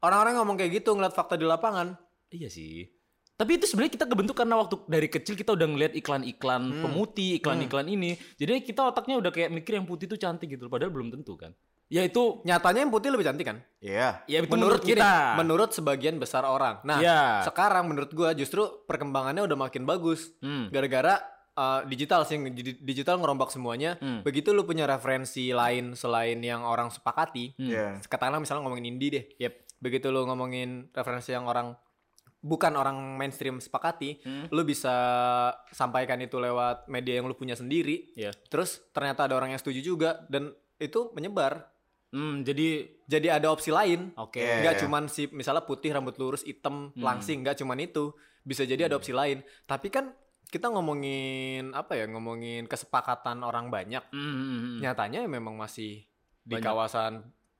[SPEAKER 4] Orang-orang ngomong kayak gitu ngeliat fakta di lapangan.
[SPEAKER 3] Iya sih. Tapi itu sebenarnya kita kebentuk karena waktu dari kecil kita udah ngeliat iklan-iklan
[SPEAKER 4] Hmm.
[SPEAKER 3] pemutih, iklan-iklan ini. Jadi kita otaknya udah kayak mikir yang putih itu cantik gitu, padahal belum tentu kan. Ya itu
[SPEAKER 4] Nyatanya yang putih lebih cantik kan?
[SPEAKER 2] Iya.
[SPEAKER 3] ya itu
[SPEAKER 4] menurut,
[SPEAKER 3] menurut, kita.
[SPEAKER 4] gini, menurut sebagian besar orang. Nah,
[SPEAKER 3] Iya.
[SPEAKER 4] sekarang menurut gua justru perkembangannya udah makin bagus.
[SPEAKER 3] Hmm.
[SPEAKER 4] Gara-gara uh, digital sih, di- digital ngerombak semuanya.
[SPEAKER 3] Hmm.
[SPEAKER 4] Begitu lu punya referensi lain selain yang orang sepakati.
[SPEAKER 3] Hmm.
[SPEAKER 2] Iya.
[SPEAKER 4] Katakanlah misalnya ngomongin indie deh. Begitu lu ngomongin referensi yang orang bukan orang mainstream sepakati,
[SPEAKER 3] Hmm.
[SPEAKER 4] lu bisa sampaikan itu lewat media yang lu punya sendiri.
[SPEAKER 3] Iya.
[SPEAKER 4] Terus ternyata ada orang yang setuju juga dan itu menyebar.
[SPEAKER 3] Hmm, jadi
[SPEAKER 4] Jadi ada opsi lain.
[SPEAKER 3] oke.
[SPEAKER 2] Iya,
[SPEAKER 4] Nggak
[SPEAKER 2] iya.
[SPEAKER 4] cuman si misalnya putih rambut lurus hitam langsing nggak cuman itu bisa jadi ada opsi lain tapi kan kita ngomongin apa ya ngomongin kesepakatan orang banyak
[SPEAKER 3] Hmm, hmm, hmm.
[SPEAKER 4] nyatanya ya memang masih di
[SPEAKER 3] Banyak.
[SPEAKER 4] kawasan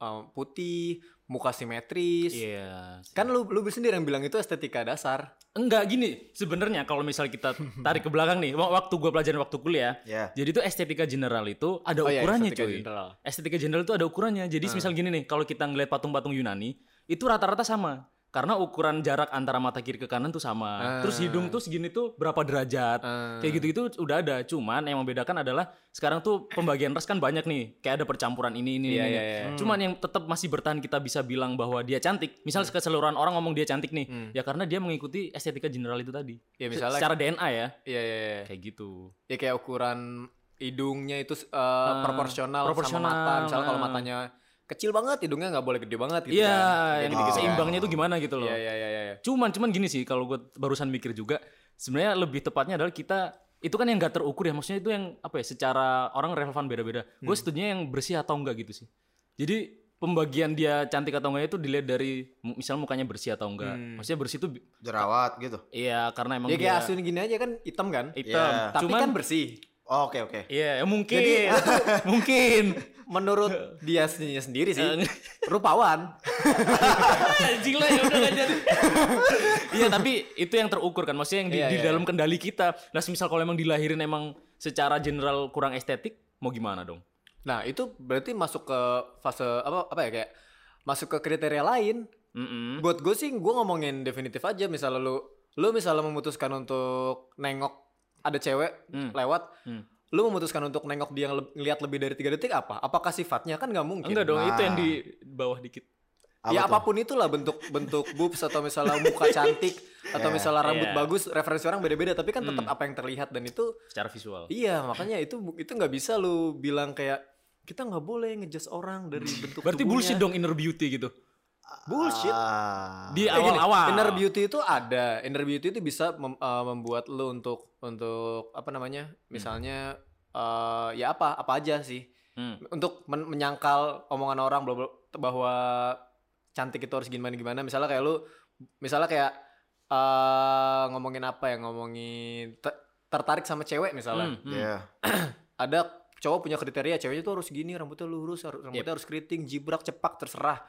[SPEAKER 4] eh, putih muka simetris
[SPEAKER 3] Iya.
[SPEAKER 4] kan lu lu sendiri yang bilang itu estetika dasar
[SPEAKER 3] Enggak gini, sebenarnya kalau misal kita tarik ke belakang nih, wa- waktu gua pelajaran waktu kuliah,
[SPEAKER 2] Iya.
[SPEAKER 3] jadi itu estetika general itu ada
[SPEAKER 4] Oh iya,
[SPEAKER 3] ukurannya
[SPEAKER 4] estetika
[SPEAKER 3] cuy.
[SPEAKER 4] general.
[SPEAKER 3] Estetika general itu ada ukurannya. Jadi
[SPEAKER 4] Nah.
[SPEAKER 3] misal gini nih, kalau kita ngelihat patung-patung Yunani, itu rata-rata sama. Karena ukuran jarak antara mata kiri ke kanan tuh sama.
[SPEAKER 4] Ah.
[SPEAKER 3] Terus hidung tuh segini tuh berapa derajat.
[SPEAKER 4] Ah.
[SPEAKER 3] Kayak gitu-gitu udah ada. Cuman yang membedakan adalah sekarang tuh pembagian ras kan banyak nih. Kayak ada percampuran ini ini
[SPEAKER 4] Iya,
[SPEAKER 3] ini.
[SPEAKER 4] iya,
[SPEAKER 3] ini.
[SPEAKER 4] iya.
[SPEAKER 3] Cuman yang tetap masih bertahan kita bisa bilang bahwa dia cantik. Misal keseluruhan orang ngomong dia cantik nih,
[SPEAKER 4] Hmm.
[SPEAKER 3] ya karena dia mengikuti estetika general itu tadi.
[SPEAKER 4] ya
[SPEAKER 3] Se-
[SPEAKER 4] misalnya
[SPEAKER 3] secara DNA ya,
[SPEAKER 4] ya, ya, ya.
[SPEAKER 3] kayak gitu.
[SPEAKER 4] Ya, kayak ukuran hidungnya itu eh, proporsional,
[SPEAKER 3] proporsional,
[SPEAKER 4] sama mata misalnya kalau
[SPEAKER 3] ah.
[SPEAKER 4] matanya kecil banget hidungnya nggak boleh gede banget gitu
[SPEAKER 3] Iya,
[SPEAKER 4] kan.
[SPEAKER 3] yang
[SPEAKER 4] Jadi gitu kan.
[SPEAKER 3] seimbangnya tuh gimana gitu loh.
[SPEAKER 4] Iya iya iya iya.
[SPEAKER 3] Cuman cuman gini sih kalau gue barusan mikir juga sebenarnya lebih tepatnya adalah kita itu kan yang gak terukur ya maksudnya itu yang apa ya secara orang relevan beda-beda. Gue setujunya yang bersih atau enggak gitu sih. Jadi pembagian dia cantik atau enggaknya itu dilihat dari mu- misalnya mukanya bersih atau enggak.
[SPEAKER 4] Hmm.
[SPEAKER 3] Maksudnya bersih itu bi-
[SPEAKER 2] Jerawat gitu.
[SPEAKER 3] iya karena emang
[SPEAKER 4] Ya
[SPEAKER 3] dia
[SPEAKER 4] kayak asun gini aja kan hitam kan?
[SPEAKER 3] hitam.
[SPEAKER 2] Iya.
[SPEAKER 4] Tapi
[SPEAKER 3] Cuman
[SPEAKER 4] kan bersih.
[SPEAKER 2] Oh, Oke oke.
[SPEAKER 3] iya ya mungkin (laughs) mungkin (laughs)
[SPEAKER 4] Menurut dia sendirinya sendiri sih.
[SPEAKER 3] Eh.
[SPEAKER 4] rupawan.
[SPEAKER 3] anjing lah ya udah nggak jadi. Iya tapi itu yang terukur kan maksudnya yang di,
[SPEAKER 4] Iya,
[SPEAKER 3] di
[SPEAKER 4] iya.
[SPEAKER 3] dalam kendali kita. Nah misal kalau emang dilahirin emang secara general kurang estetik mau gimana dong?
[SPEAKER 4] Nah, itu berarti masuk ke fase apa apa ya kayak masuk ke kriteria lain.
[SPEAKER 3] Mm-mm.
[SPEAKER 4] Buat gue sih gue ngomongin definitif aja misalnya lu lu misalnya memutuskan untuk nengok ada cewek
[SPEAKER 3] Hmm.
[SPEAKER 4] lewat
[SPEAKER 3] Hmm.
[SPEAKER 4] lu memutuskan untuk nengok dia ngeliat ngeliat lebih dari tiga detik apa? Apakah sifatnya kan nggak mungkin?
[SPEAKER 3] Enggak dong,
[SPEAKER 2] Nah.
[SPEAKER 3] itu yang di bawah dikit.
[SPEAKER 2] Apa
[SPEAKER 4] ya
[SPEAKER 2] tuh?
[SPEAKER 4] apapun itulah bentuk bentuk boobs atau misalnya
[SPEAKER 3] (laughs)
[SPEAKER 4] muka cantik atau
[SPEAKER 2] Iya,
[SPEAKER 4] misalnya rambut
[SPEAKER 3] iya.
[SPEAKER 4] bagus referensi orang beda-beda tapi kan tetap
[SPEAKER 3] Hmm.
[SPEAKER 4] apa yang terlihat dan itu
[SPEAKER 3] Secara visual.
[SPEAKER 4] iya makanya itu itu nggak bisa lu bilang kayak kita nggak boleh ngejudge orang dari bentuk
[SPEAKER 3] Berarti
[SPEAKER 4] tubuhnya."
[SPEAKER 3] bullshit dong inner beauty gitu.
[SPEAKER 4] bullshit
[SPEAKER 2] Ah.
[SPEAKER 3] Di
[SPEAKER 4] Eh,
[SPEAKER 3] Iya,
[SPEAKER 4] gini,
[SPEAKER 3] awal-awal. Hmm,
[SPEAKER 4] inner beauty itu ada inner beauty itu bisa mem- eh, membuat lu untuk untuk apa namanya misalnya eh, ya apa apa aja sih
[SPEAKER 3] Hmm.
[SPEAKER 4] untuk men- menyangkal omongan orang bla- bla- bahwa cantik itu harus gimana gimana misalnya kayak lu misalnya kayak eh ngomongin apa ya ngomongin te- tertarik sama cewek misalnya
[SPEAKER 3] Hmm, hmm.
[SPEAKER 2] Iya.
[SPEAKER 4] ada cowok punya kriteria ceweknya tuh harus gini rambutnya lurus harus- rambutnya harus keriting jibrak cepak terserah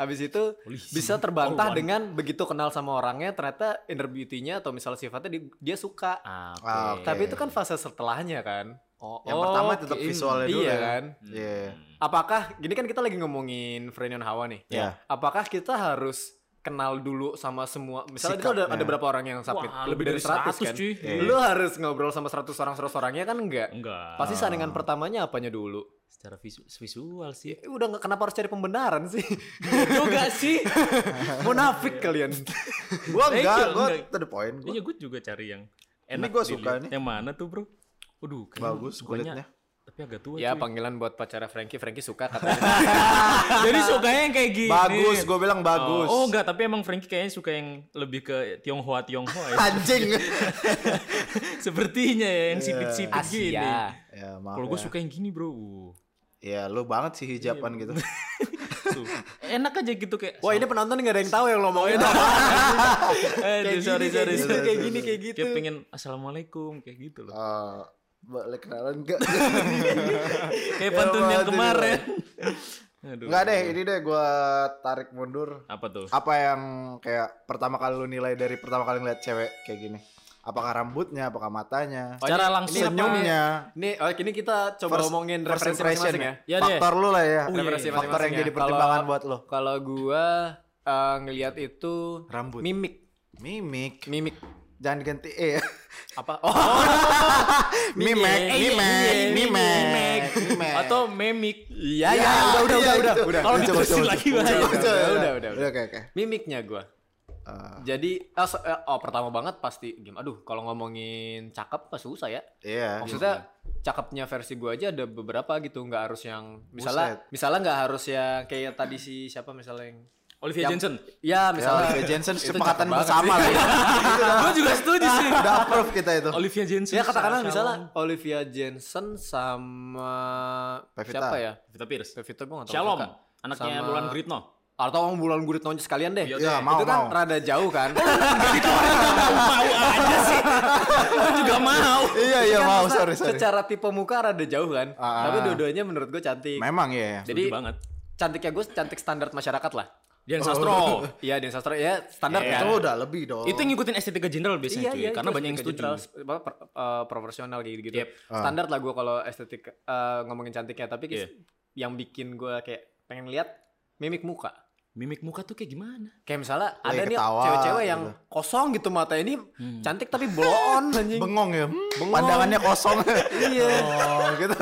[SPEAKER 4] habis itu
[SPEAKER 3] Polisi. Oh,
[SPEAKER 4] bisa terbantah
[SPEAKER 3] Korban.
[SPEAKER 4] dengan begitu kenal sama orangnya ternyata inner beauty-nya atau misalnya sifatnya di- dia suka
[SPEAKER 3] Ah, oke.
[SPEAKER 2] Ah, oke.
[SPEAKER 4] tapi itu kan fase setelahnya kan oh,
[SPEAKER 2] Yang pertama tetap
[SPEAKER 3] oke.
[SPEAKER 2] visualnya dulu.
[SPEAKER 4] iya
[SPEAKER 2] ya.
[SPEAKER 4] kan
[SPEAKER 3] Hmm.
[SPEAKER 2] Iya.
[SPEAKER 4] Apakah gini kan kita lagi ngomongin Frenion Hawa nih?
[SPEAKER 2] Iya.
[SPEAKER 4] Apakah kita harus kenal dulu sama semua misalnya itu ada,
[SPEAKER 2] Sikapnya.
[SPEAKER 4] ada berapa orang yang submit?
[SPEAKER 3] ya. Wah, lebih dari 100,
[SPEAKER 4] kan?
[SPEAKER 3] cuy. Iya.
[SPEAKER 2] Iya.
[SPEAKER 4] Lu harus ngobrol sama 100 orang 100 orangnya kan enggak?
[SPEAKER 3] Enggak.
[SPEAKER 4] Pasti saringan pertamanya apanya dulu?
[SPEAKER 3] Secara visu- visual sih.
[SPEAKER 4] Eh, udah nggak- kenapa harus cari pembenaran sih?
[SPEAKER 3] Eh,
[SPEAKER 4] (laughs)
[SPEAKER 3] Juga sih. Iya.
[SPEAKER 4] Munafik kalian.
[SPEAKER 3] (laughs)
[SPEAKER 2] Gua
[SPEAKER 3] Eh,
[SPEAKER 2] enggak,
[SPEAKER 3] iya,
[SPEAKER 2] gua
[SPEAKER 3] enggak.
[SPEAKER 2] to the point. Gua.
[SPEAKER 3] Iya, gue juga cari yang enak.
[SPEAKER 2] gua suka
[SPEAKER 3] dilihat.
[SPEAKER 2] nih.
[SPEAKER 3] Yang mana tuh, Bro? Waduh, kayaknya
[SPEAKER 2] Bagus
[SPEAKER 3] sukanya-
[SPEAKER 2] kulitnya.
[SPEAKER 3] Tapi agak tua
[SPEAKER 4] ya
[SPEAKER 3] cuy.
[SPEAKER 4] panggilan buat pacara Frankie, Frankie suka (laughs) katanya.
[SPEAKER 3] (laughs) Jadi sukanya yang kayak gini.
[SPEAKER 2] Bagus, gua bilang bagus.
[SPEAKER 3] iya, Oh, enggak, tapi emang Frankie kayaknya suka yang lebih ke Tionghoa Tionghoa
[SPEAKER 4] (laughs)
[SPEAKER 3] ya. (laughs)
[SPEAKER 2] Anjing.
[SPEAKER 3] Sepertinya ya yang
[SPEAKER 2] Iya.
[SPEAKER 3] sipit-sipit gini.
[SPEAKER 4] Asia.
[SPEAKER 2] ya, maaf.
[SPEAKER 3] Kalau gue
[SPEAKER 2] ya.
[SPEAKER 3] suka yang gini, Bro. Uh.
[SPEAKER 2] Ya, lu banget
[SPEAKER 4] Iya,
[SPEAKER 2] sih hijaban
[SPEAKER 4] (laughs)
[SPEAKER 2] gitu.
[SPEAKER 3] Tuh. Enak aja gitu kayak.
[SPEAKER 4] Wah ini penonton nggak ada yang tahu yang ngomongin.
[SPEAKER 3] (laughs) Aduh, sorry, sorry,
[SPEAKER 4] Kayak gini,
[SPEAKER 3] sorry.
[SPEAKER 4] kayak gini, kayak gitu.
[SPEAKER 3] Kayak pengen assalamualaikum kayak gitu
[SPEAKER 4] (laughs)
[SPEAKER 3] loh.
[SPEAKER 2] Eh, boleh kenalan enggak?
[SPEAKER 4] Iya,
[SPEAKER 2] (laughs)
[SPEAKER 3] Kayak
[SPEAKER 2] Ya,
[SPEAKER 3] pantun yang
[SPEAKER 2] Pak,
[SPEAKER 3] kemarin. (laughs) Aduh.
[SPEAKER 2] Enggak
[SPEAKER 4] iya.
[SPEAKER 2] deh, ini deh gua tarik mundur.
[SPEAKER 3] Apa tuh?
[SPEAKER 2] Apa yang kayak pertama kali lu nilai dari pertama kali ngeliat cewek kayak gini? Apakah rambutnya, apakah matanya,
[SPEAKER 4] Oh,
[SPEAKER 3] Cara
[SPEAKER 4] ini-
[SPEAKER 3] langsung
[SPEAKER 4] ini-
[SPEAKER 2] senyumnya?
[SPEAKER 4] (laughs) Nih, oh, ini kita coba
[SPEAKER 2] First-
[SPEAKER 4] ngomongin
[SPEAKER 2] first
[SPEAKER 4] referensi
[SPEAKER 2] impression
[SPEAKER 4] masing-masing ya.
[SPEAKER 3] Ya deh.
[SPEAKER 2] Faktor lu lah ya.
[SPEAKER 3] Oh, iya, iya.
[SPEAKER 2] Faktor yang
[SPEAKER 4] masing-masing
[SPEAKER 2] jadi
[SPEAKER 4] ya.
[SPEAKER 2] pertimbangan
[SPEAKER 4] Kalau-
[SPEAKER 2] buat lu.
[SPEAKER 4] Kalau gua eh, ngelihat itu
[SPEAKER 2] Rambut.
[SPEAKER 4] mimik,
[SPEAKER 2] Mimik.
[SPEAKER 4] mimik
[SPEAKER 2] Jangan ganti
[SPEAKER 3] (laughs)
[SPEAKER 2] E ya.
[SPEAKER 4] apa? Oh,
[SPEAKER 2] Mimek,
[SPEAKER 3] Eh, iya,
[SPEAKER 2] mimek, mimek, mimek.
[SPEAKER 3] Atau mimik.
[SPEAKER 4] iya iya, udah udah
[SPEAKER 2] iya,
[SPEAKER 4] udah udah.
[SPEAKER 2] itu.
[SPEAKER 4] udah.
[SPEAKER 3] Kalau
[SPEAKER 2] Coba,
[SPEAKER 3] diterusin
[SPEAKER 2] coba,
[SPEAKER 3] lagi
[SPEAKER 2] coba,
[SPEAKER 3] bahaya.
[SPEAKER 2] coba, coba,
[SPEAKER 4] Udah,
[SPEAKER 2] coba.
[SPEAKER 4] udah, udah.
[SPEAKER 2] Udah, Oke, oke.
[SPEAKER 4] Mimiknya gua.
[SPEAKER 2] Eh,
[SPEAKER 4] Jadi eh, se- eh, oh pertama banget pasti game. Aduh, kalau ngomongin cakep mah susah ya.
[SPEAKER 2] Iya.
[SPEAKER 4] Maksudnya cakepnya versi gua aja ada beberapa gitu, nggak harus yang
[SPEAKER 2] Buset.
[SPEAKER 4] misalnya misalnya nggak harus yang kayak tadi si siapa misalnya yang
[SPEAKER 3] Olivia
[SPEAKER 4] Yang-
[SPEAKER 3] Jensen.
[SPEAKER 4] Ya,
[SPEAKER 2] Ya,
[SPEAKER 4] misalnya
[SPEAKER 2] Olivia Jensen
[SPEAKER 4] itu
[SPEAKER 2] sepakatan
[SPEAKER 4] cakep banget
[SPEAKER 2] bersama
[SPEAKER 4] sih.
[SPEAKER 2] lah. ya.
[SPEAKER 3] Gue juga setuju sih.
[SPEAKER 2] Udah approve kita itu.
[SPEAKER 3] Olivia Jensen.
[SPEAKER 4] (laughs) Ya katakanlah
[SPEAKER 3] Sarah
[SPEAKER 4] misalnya
[SPEAKER 3] Shalom.
[SPEAKER 4] Olivia Jensen sama
[SPEAKER 2] Pevita.
[SPEAKER 4] siapa ya?
[SPEAKER 3] Pevita Pierce.
[SPEAKER 4] Pevita gue nggak tahu.
[SPEAKER 3] Shalom.
[SPEAKER 4] siapa.
[SPEAKER 3] Anaknya
[SPEAKER 4] Sama-
[SPEAKER 3] Bulan Guritno.
[SPEAKER 4] Atau orang bulan gurit nonjol sekalian deh.
[SPEAKER 2] Iya,
[SPEAKER 3] Iya,
[SPEAKER 2] mau,
[SPEAKER 4] itu kan
[SPEAKER 2] mau.
[SPEAKER 4] rada jauh
[SPEAKER 2] (laughs)
[SPEAKER 4] kan.
[SPEAKER 3] Mau aja sih. Gue juga mau.
[SPEAKER 2] Iya, iya,
[SPEAKER 4] Kan
[SPEAKER 2] mau.
[SPEAKER 4] masa
[SPEAKER 2] Sorry, sorry.
[SPEAKER 4] Secara tipe muka rada jauh kan.
[SPEAKER 2] Ah.
[SPEAKER 4] Tapi dua-duanya menurut gue cantik.
[SPEAKER 2] Memang ya.
[SPEAKER 4] Jadi
[SPEAKER 3] Setuju banget.
[SPEAKER 4] cantiknya gue cantik standar masyarakat lah.
[SPEAKER 3] Dian
[SPEAKER 2] Oh.
[SPEAKER 3] Sastro.
[SPEAKER 4] Iya, Dian Sastro ya standar
[SPEAKER 3] Iya.
[SPEAKER 4] kan.
[SPEAKER 2] Itu udah lebih dong.
[SPEAKER 3] Itu yang ngikutin estetika jenderal biasanya cuy. Karena
[SPEAKER 4] Iya, itu
[SPEAKER 3] banyak yang
[SPEAKER 4] estetika
[SPEAKER 3] setuju.
[SPEAKER 4] general, sp- apa, per- eh, proporsional gitu-gitu.
[SPEAKER 3] Yep.
[SPEAKER 2] Ah.
[SPEAKER 4] Standar lah gue kalau estetik eh, ngomongin cantiknya. Tapi
[SPEAKER 3] Iya.
[SPEAKER 4] yang bikin gue kayak pengen lihat mimik muka.
[SPEAKER 3] Mimik muka tuh kayak gimana?
[SPEAKER 4] Kayak misalnya ada
[SPEAKER 2] Kayak
[SPEAKER 4] nih
[SPEAKER 2] ketawa,
[SPEAKER 4] cewek-cewek yang
[SPEAKER 2] gitu.
[SPEAKER 4] kosong gitu mata ini
[SPEAKER 3] Hmm.
[SPEAKER 4] cantik tapi bloon anjing.
[SPEAKER 2] bengong ya. Pandangannya (laughs) kosong.
[SPEAKER 4] Iya.
[SPEAKER 2] Oh, gitu.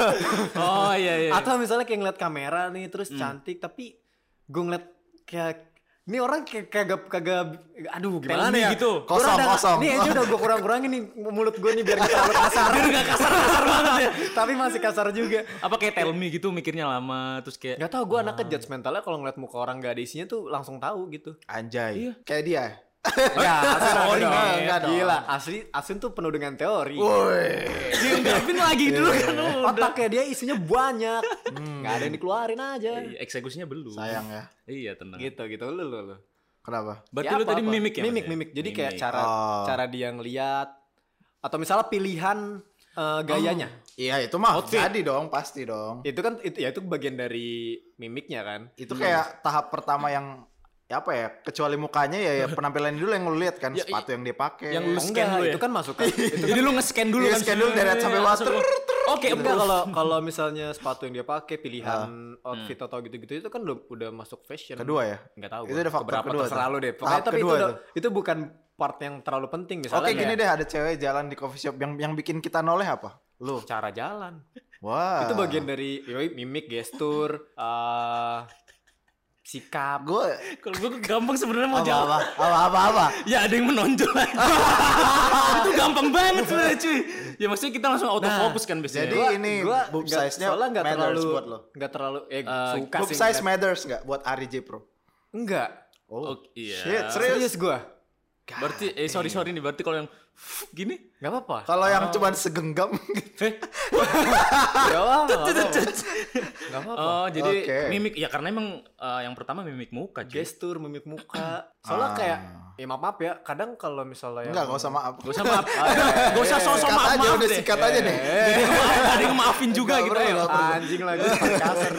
[SPEAKER 3] Oh iya iya.
[SPEAKER 4] Atau misalnya kayak ngeliat kamera nih terus cantik tapi gue ngeliat kayak ini orang kayak kagak kagak aduh gimana
[SPEAKER 3] me
[SPEAKER 4] ya
[SPEAKER 3] gitu.
[SPEAKER 4] Gua
[SPEAKER 2] Kosong,
[SPEAKER 4] rada-
[SPEAKER 2] kosong.
[SPEAKER 4] Nih aja udah gue kurang-kurangin nih mulut gue nih biar (laughs) gak terlalu kasar. Biar gak kasar-kasar banget ya. (laughs) Tapi masih kasar juga.
[SPEAKER 3] apa kayak tell me gitu mikirnya lama terus kayak
[SPEAKER 4] Gak tau gue anaknya judgmentalnya kalau ngeliat muka orang gak ada isinya tuh langsung tahu gitu.
[SPEAKER 2] Anjay. Kayak dia. Iya,
[SPEAKER 4] Ya, Asun ada
[SPEAKER 3] Sorry,
[SPEAKER 4] dong.
[SPEAKER 3] man.
[SPEAKER 4] Enggak dong. Gila, asli Asun tuh penuh dengan teori.
[SPEAKER 2] Woi.
[SPEAKER 3] diungkapin lagi dulu
[SPEAKER 4] iya,
[SPEAKER 3] kan
[SPEAKER 4] Otaknya dia isinya banyak. Gak ada yang dikeluarin aja.
[SPEAKER 3] Iya, eksekusinya belum
[SPEAKER 2] Sayang ya.
[SPEAKER 3] iya tenang
[SPEAKER 4] Gitu gitu lu lu lu.
[SPEAKER 2] Kenapa?
[SPEAKER 3] berarti
[SPEAKER 4] Ya,
[SPEAKER 3] lu tadi
[SPEAKER 4] apa-apa.
[SPEAKER 3] mimik ya Mas,
[SPEAKER 4] Mimik
[SPEAKER 3] ya?
[SPEAKER 4] mimik. Jadi kayak
[SPEAKER 3] Mimik.
[SPEAKER 4] cara
[SPEAKER 2] Oh.
[SPEAKER 4] cara dia ngeliat atau misalnya pilihan eh, gayanya.
[SPEAKER 2] Iya, itu mah
[SPEAKER 3] Outfit.
[SPEAKER 2] jadi dong, pasti dong.
[SPEAKER 4] Itu kan itu ya itu bagian dari mimiknya kan.
[SPEAKER 2] Oh. Itu kayak tahap pertama yang ya apa ya? Kecuali mukanya ya, ya penampilan dulu yang lu lihat kan,
[SPEAKER 3] Ya, i-
[SPEAKER 2] sepatu yang dia pakai.
[SPEAKER 3] yang lu
[SPEAKER 4] Oh,
[SPEAKER 3] scan dulu
[SPEAKER 4] enggak,
[SPEAKER 3] ya
[SPEAKER 4] itu kan masuk
[SPEAKER 2] (laughs)
[SPEAKER 4] kan. itu
[SPEAKER 3] jadi lu
[SPEAKER 4] (laughs)
[SPEAKER 3] nge-scan gitu. dulu
[SPEAKER 2] Iya,
[SPEAKER 3] kan
[SPEAKER 2] scan dulu dari atas sampai bawah.
[SPEAKER 3] Langsung- oke
[SPEAKER 4] enggak
[SPEAKER 3] bro.
[SPEAKER 4] kalau kalau misalnya sepatu yang dia pakai, pilihan outfit
[SPEAKER 3] Hmm.
[SPEAKER 4] atau gitu-gitu itu kan udah, udah masuk fashion.
[SPEAKER 2] Ah. kedua ya.
[SPEAKER 4] Enggak tahu.
[SPEAKER 2] Itu
[SPEAKER 4] gua.
[SPEAKER 2] udah faktor
[SPEAKER 4] Keberapa
[SPEAKER 2] kedua
[SPEAKER 4] terserah
[SPEAKER 2] tuh.
[SPEAKER 4] lu deh.
[SPEAKER 2] Tahap
[SPEAKER 4] Pokoknya tapi
[SPEAKER 2] kedua
[SPEAKER 4] itu udah- itu bukan part yang terlalu penting misalnya. ya.
[SPEAKER 2] Oke, gini
[SPEAKER 4] kayak
[SPEAKER 2] deh ada cewek jalan di coffee shop yang yang bikin kita noleh apa? Lu. Ah.
[SPEAKER 4] cara jalan.
[SPEAKER 2] Wah.
[SPEAKER 4] Itu bagian dari yoi, mimik, gestur, eh, sikap.
[SPEAKER 2] gue
[SPEAKER 3] kalau gue gampang sebenarnya mau
[SPEAKER 2] apa,
[SPEAKER 3] jawab
[SPEAKER 2] apa apa apa apa.
[SPEAKER 3] ya ada yang menonjol
[SPEAKER 2] (laughs)
[SPEAKER 3] aja itu gampang banget sebenarnya cuy ya maksudnya kita langsung autofocus kan biasanya
[SPEAKER 2] Nah, jadi- ini boob
[SPEAKER 4] nggak-
[SPEAKER 2] size-nya
[SPEAKER 4] soalnya nggak
[SPEAKER 2] matters
[SPEAKER 4] terlalu
[SPEAKER 2] buat lo.
[SPEAKER 4] nggak terlalu eh suka
[SPEAKER 2] Book
[SPEAKER 4] sih
[SPEAKER 2] size
[SPEAKER 4] ngeliat-
[SPEAKER 2] matters nggak buat Ari J Pro?
[SPEAKER 4] enggak Eh,
[SPEAKER 2] Oh,
[SPEAKER 3] Oke, iya.
[SPEAKER 2] shit, serius.
[SPEAKER 4] serius gua
[SPEAKER 3] berarti eh sorry sorry nih berarti kalau yang gini
[SPEAKER 4] nggak apa-apa
[SPEAKER 2] Kalau yang cuman segenggam (laughs) gitu.
[SPEAKER 3] eh
[SPEAKER 4] nggak apa-apa nggak apa-apa. nggak apa-apa
[SPEAKER 3] Oh, jadi
[SPEAKER 2] Oke.
[SPEAKER 3] mimik ya karena emang eh, yang pertama mimik muka, cuy.
[SPEAKER 4] Eh, gestur mimik muka soalnya
[SPEAKER 2] Ah.
[SPEAKER 4] kayak ya maaf maaf ya kadang kalau misalnya
[SPEAKER 2] Enggak, enggak usah maaf.
[SPEAKER 3] Gak usah
[SPEAKER 2] (laughs)
[SPEAKER 3] maaf. Gak usah sosok
[SPEAKER 2] Sikat
[SPEAKER 3] maaf
[SPEAKER 2] Eh, aja, udah
[SPEAKER 3] maaf deh. Eh.
[SPEAKER 2] sikat aja deh.
[SPEAKER 3] Ada yang maaf, (laughs) ada yang maafin juga
[SPEAKER 2] Nggak
[SPEAKER 3] gitu
[SPEAKER 2] perlu,
[SPEAKER 3] ya.
[SPEAKER 2] nggak perlu.
[SPEAKER 4] Ah, anjing lagi
[SPEAKER 2] (laughs)
[SPEAKER 4] kasar